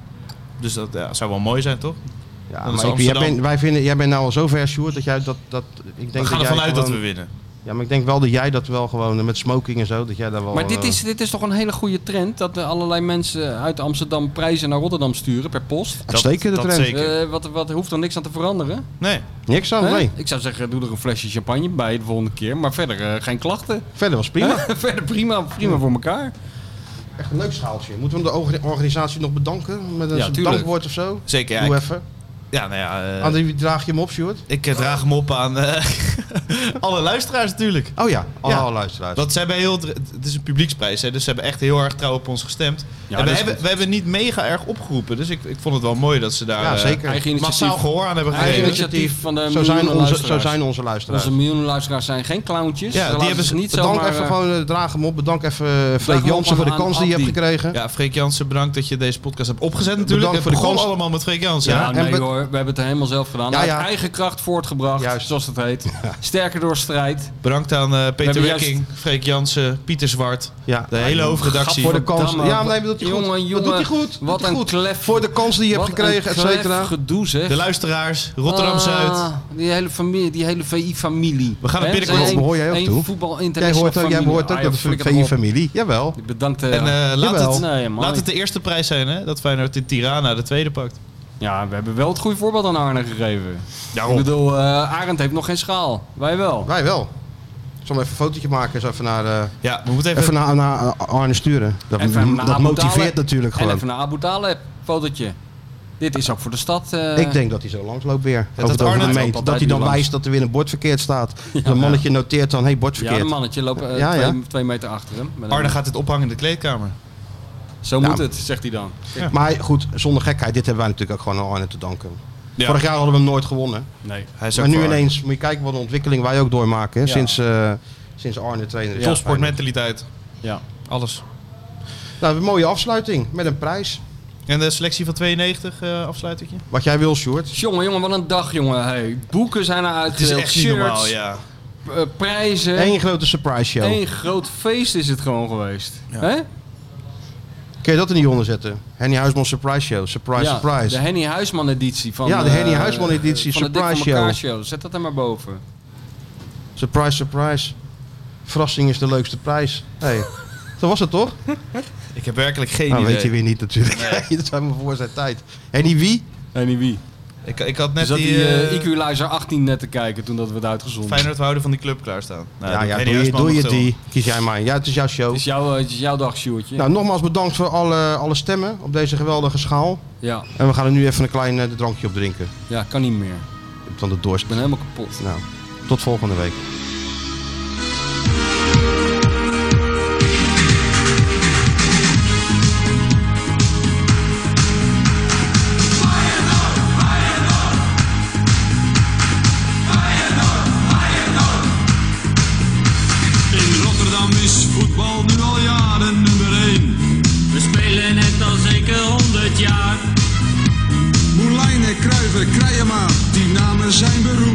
[SPEAKER 4] Dus dat ja, zou wel mooi zijn, toch?
[SPEAKER 2] Ja,
[SPEAKER 4] Dan is
[SPEAKER 2] maar ik- jij,
[SPEAKER 4] Amsterdam-
[SPEAKER 2] bent, wij vinden, jij bent nou al zo ver, Sjoerd, dat jij dat... dat ik denk
[SPEAKER 4] we gaan
[SPEAKER 2] dat jij
[SPEAKER 4] ervan uit dat
[SPEAKER 2] gewoon-
[SPEAKER 4] we winnen.
[SPEAKER 2] Ja, maar ik denk wel dat jij dat wel gewoon eh, met smoking en zo, dat jij daar wel...
[SPEAKER 3] Maar dit
[SPEAKER 2] eh,
[SPEAKER 3] is, dit is toch een hele goede trend dat er allerlei mensen uit Amsterdam prijzen naar Rotterdam sturen per post.
[SPEAKER 2] Uitstekende
[SPEAKER 4] dat
[SPEAKER 2] trend.
[SPEAKER 4] zeker.
[SPEAKER 3] Eh, wat, wat er hoeft er niks aan te veranderen?
[SPEAKER 4] Nee.
[SPEAKER 2] Niks aan,
[SPEAKER 3] Hè?
[SPEAKER 2] Oh, nee.
[SPEAKER 3] Ik zou zeggen, doe er een flesje champagne bij de volgende keer, maar verder eh, geen klachten.
[SPEAKER 2] Verder was prima.
[SPEAKER 3] verder prima, prima voor elkaar.
[SPEAKER 2] Echt een leuk schaaltje. Moeten we de orga- organisatie nog bedanken? Met een
[SPEAKER 4] Ja,
[SPEAKER 2] soort
[SPEAKER 4] tuurlijk.
[SPEAKER 2] dankwoord of zo?
[SPEAKER 4] Zeker, ja,
[SPEAKER 2] Doe
[SPEAKER 4] ik-
[SPEAKER 2] even.
[SPEAKER 4] Ja, nou ja. eh,
[SPEAKER 2] Aan wie draag je hem op, Sjoerd?
[SPEAKER 4] Ik eh, draag hem op aan eh, alle luisteraars natuurlijk.
[SPEAKER 2] Oh ja, alle
[SPEAKER 4] Ja.
[SPEAKER 2] luisteraars.
[SPEAKER 4] Want ze hebben heel, dr- het is een publieksprijs, hè, dus ze hebben echt heel erg trouw op ons gestemd.
[SPEAKER 3] Ja, dus
[SPEAKER 4] en
[SPEAKER 3] dat
[SPEAKER 4] we
[SPEAKER 3] is
[SPEAKER 4] hebben,
[SPEAKER 3] goed.
[SPEAKER 4] we hebben niet mega erg opgeroepen, dus ik, ik vond het wel mooi dat ze daar
[SPEAKER 2] Ja,
[SPEAKER 4] eh,
[SPEAKER 2] zeker.
[SPEAKER 3] Eigen initiatief.
[SPEAKER 4] massaal gehoor aan hebben
[SPEAKER 3] Eigen
[SPEAKER 4] gegeven.
[SPEAKER 3] initiatief van de
[SPEAKER 2] Zo zijn,
[SPEAKER 3] miljoenen
[SPEAKER 2] onze, zo
[SPEAKER 3] luisteraars.
[SPEAKER 2] zijn onze luisteraars.
[SPEAKER 3] Onze miljoenen luisteraars zijn geen clowntjes.
[SPEAKER 4] Ja,
[SPEAKER 3] Ze
[SPEAKER 4] die
[SPEAKER 3] laten
[SPEAKER 4] hebben
[SPEAKER 3] ze
[SPEAKER 4] ze-
[SPEAKER 3] niet
[SPEAKER 2] Bedankt
[SPEAKER 3] zomaar...
[SPEAKER 2] even,
[SPEAKER 3] eh,
[SPEAKER 2] gewoon, eh, draag hem op. Bedankt even eh,
[SPEAKER 3] Draag
[SPEAKER 2] Freek
[SPEAKER 3] hem
[SPEAKER 2] Jansen
[SPEAKER 3] op
[SPEAKER 2] voor de
[SPEAKER 3] aan
[SPEAKER 2] kans die je hebt
[SPEAKER 3] Abdi.
[SPEAKER 2] gekregen.
[SPEAKER 4] Ja, Freek Jansen, bedankt dat je deze podcast hebt opgezet natuurlijk.
[SPEAKER 2] Bedankt
[SPEAKER 4] het
[SPEAKER 2] voor de
[SPEAKER 4] begon
[SPEAKER 2] kans.
[SPEAKER 4] allemaal met Freek Jansen.
[SPEAKER 3] Ja,
[SPEAKER 4] Ja,
[SPEAKER 2] en
[SPEAKER 3] nee
[SPEAKER 2] be-
[SPEAKER 3] hoor, we hebben het er helemaal zelf gedaan.
[SPEAKER 2] Ja,
[SPEAKER 3] Uit
[SPEAKER 2] ja.
[SPEAKER 3] eigen kracht voortgebracht,
[SPEAKER 2] Juist.
[SPEAKER 3] zoals dat heet. Sterker door strijd.
[SPEAKER 4] Bedankt aan eh, Peter
[SPEAKER 3] hebben juist-
[SPEAKER 4] Wekking, Freek Jansen, Pieter Zwart,
[SPEAKER 2] Ja.
[SPEAKER 4] de hele hoofdredactie.
[SPEAKER 2] Voor de kans.
[SPEAKER 3] Gadverdamme.
[SPEAKER 2] Ja, nee, dat doet hij goed.
[SPEAKER 3] Jongen,
[SPEAKER 2] dat doet
[SPEAKER 3] jongen,
[SPEAKER 2] hij goed.
[SPEAKER 3] Wat
[SPEAKER 2] doet hij
[SPEAKER 3] een
[SPEAKER 2] goed.
[SPEAKER 3] klef.
[SPEAKER 2] Voor de kansen die je hebt
[SPEAKER 3] wat
[SPEAKER 2] gekregen,
[SPEAKER 3] een
[SPEAKER 2] et cetera.
[SPEAKER 3] klef gedoe zeg.
[SPEAKER 4] de luisteraars, Rotterdam-Zuid.
[SPEAKER 3] Ah, die hele familie, die hele VI-familie.
[SPEAKER 4] We gaan er binnenkort
[SPEAKER 2] op, hoor jij ook toe.
[SPEAKER 3] voetbal
[SPEAKER 2] Jij
[SPEAKER 3] international
[SPEAKER 2] hoort ook, jij hoort
[SPEAKER 3] Ah,
[SPEAKER 2] ook dat is van je familie. Jawel.
[SPEAKER 3] Bedankt. eh,
[SPEAKER 4] En eh, laat,
[SPEAKER 2] Jawel.
[SPEAKER 4] het,
[SPEAKER 3] Nee, man.
[SPEAKER 4] laat het de eerste prijs zijn, hè? Dat Feyenoord in Tirana de tweede pakt.
[SPEAKER 3] Ja, we hebben wel het goede voorbeeld aan Arne gegeven.
[SPEAKER 4] Daarom.
[SPEAKER 3] Ik bedoel, eh, Arend heeft nog geen schaal. Wij wel.
[SPEAKER 2] Wij wel. Ik zal hem even een fotootje maken. Zo even naar, eh,
[SPEAKER 4] Ja, we moeten even...
[SPEAKER 2] even naar, naar Arne sturen. Dat,
[SPEAKER 3] Even naar
[SPEAKER 2] dat
[SPEAKER 3] Abu
[SPEAKER 2] motiveert
[SPEAKER 3] Taleb.
[SPEAKER 2] natuurlijk
[SPEAKER 3] En
[SPEAKER 2] gewoon.
[SPEAKER 3] even naar Abu Taleb, fotootje. Dit is ook voor de stad. eh,
[SPEAKER 2] Ik denk dat hij zo langs loopt weer.
[SPEAKER 4] dat
[SPEAKER 2] over de,
[SPEAKER 4] Arne
[SPEAKER 2] over de
[SPEAKER 4] loopt
[SPEAKER 2] meent.
[SPEAKER 3] altijd
[SPEAKER 2] Dat hij
[SPEAKER 3] nu
[SPEAKER 2] dan
[SPEAKER 3] langs.
[SPEAKER 2] wijst dat er weer een bord verkeerd staat. dat een mannetje noteert dan, hé, hey, bord
[SPEAKER 3] Ja,
[SPEAKER 2] verkeerd.
[SPEAKER 3] een mannetje loopt eh,
[SPEAKER 2] Ja, ja.
[SPEAKER 3] Twee, twee meter achter hem. Met een-
[SPEAKER 4] Arne gaat dit ophangen in de kleedkamer.
[SPEAKER 3] Zo
[SPEAKER 2] Ja.
[SPEAKER 3] moet het, zegt hij dan.
[SPEAKER 2] Maar goed, zonder gekheid, dit hebben wij natuurlijk ook gewoon aan Arne te danken.
[SPEAKER 4] Ja.
[SPEAKER 2] Vorig jaar hadden we hem nooit gewonnen.
[SPEAKER 3] Nee.
[SPEAKER 4] Hij is
[SPEAKER 2] Maar
[SPEAKER 4] ook
[SPEAKER 2] nu
[SPEAKER 4] voor Arne.
[SPEAKER 2] ineens moet je kijken wat een ontwikkeling wij ook doormaken. hè,
[SPEAKER 3] Ja.
[SPEAKER 2] Sinds, eh, sinds Arne trainer is.
[SPEAKER 4] Topsportmentaliteit.
[SPEAKER 3] Ja.
[SPEAKER 4] Alles.
[SPEAKER 2] Nou, een mooie afsluiting met een prijs.
[SPEAKER 4] En de selectie van 92 eh afsluit ik je?
[SPEAKER 2] Wat jij wil, Sjoerd.
[SPEAKER 3] Jongen, jongen, wat een dag, jongen. Hey, boeken zijn eruit
[SPEAKER 4] Het is
[SPEAKER 3] gedeeld.
[SPEAKER 4] echt niet
[SPEAKER 3] Shirts,
[SPEAKER 4] normaal, ja.
[SPEAKER 3] eh, prijzen.
[SPEAKER 2] Eén grote surprise show.
[SPEAKER 3] Eén groot feest is het gewoon geweest. Hè?
[SPEAKER 2] Kun je dat er niet onder zetten? Henny Huisman Surprise Show. Surprise,
[SPEAKER 13] Ja,
[SPEAKER 2] surprise.
[SPEAKER 13] De Henny Huisman editie van
[SPEAKER 2] Ja, de Henny
[SPEAKER 13] eh,
[SPEAKER 2] Huisman editie,
[SPEAKER 13] van de Dik
[SPEAKER 2] surprise
[SPEAKER 13] van elkaar
[SPEAKER 2] show.
[SPEAKER 13] show. Zet dat er maar boven.
[SPEAKER 2] Surprise, surprise. Verrassing is de leukste prijs. Hey. Zo was het toch?
[SPEAKER 4] Ik heb werkelijk geen
[SPEAKER 2] Nou,
[SPEAKER 4] idee.
[SPEAKER 2] weet je weer niet natuurlijk. dat zijn we voor zijn tijd. En die wie?
[SPEAKER 13] En die wie?
[SPEAKER 4] Ik, ik had
[SPEAKER 13] Net
[SPEAKER 4] net
[SPEAKER 13] zat
[SPEAKER 4] die...
[SPEAKER 13] die eh,
[SPEAKER 4] eh,
[SPEAKER 13] Equalizer 18 net te kijken toen dat werd uitgezonden.
[SPEAKER 4] Feyenoord houden van die club klaarstaan. Nou,
[SPEAKER 2] ja,
[SPEAKER 4] dat-
[SPEAKER 2] ja,
[SPEAKER 4] Henny
[SPEAKER 2] doe je,
[SPEAKER 4] Huisman
[SPEAKER 2] doe je
[SPEAKER 4] mag zo.
[SPEAKER 2] die. Kies jij maar. Ja, het is jouw show.
[SPEAKER 13] Het is jouw, eh, het is jouw dag, Sjoerdje.
[SPEAKER 2] Nou, nogmaals bedankt voor alle, alle stemmen op deze geweldige schaal.
[SPEAKER 13] Ja.
[SPEAKER 2] En we gaan er nu even een klein eh, drankje op drinken.
[SPEAKER 13] ja, kan niet meer.
[SPEAKER 2] Van de dorst. Ik ben
[SPEAKER 13] helemaal kapot.
[SPEAKER 2] Nou, tot volgende week.
[SPEAKER 9] In Rotterdam is voetbal nu al jaren nummer 1. We spelen het al zeker 100 jaar.
[SPEAKER 14] Moulijn en Kruiven, Krijema, die namen zijn beroemd.
[SPEAKER 9] E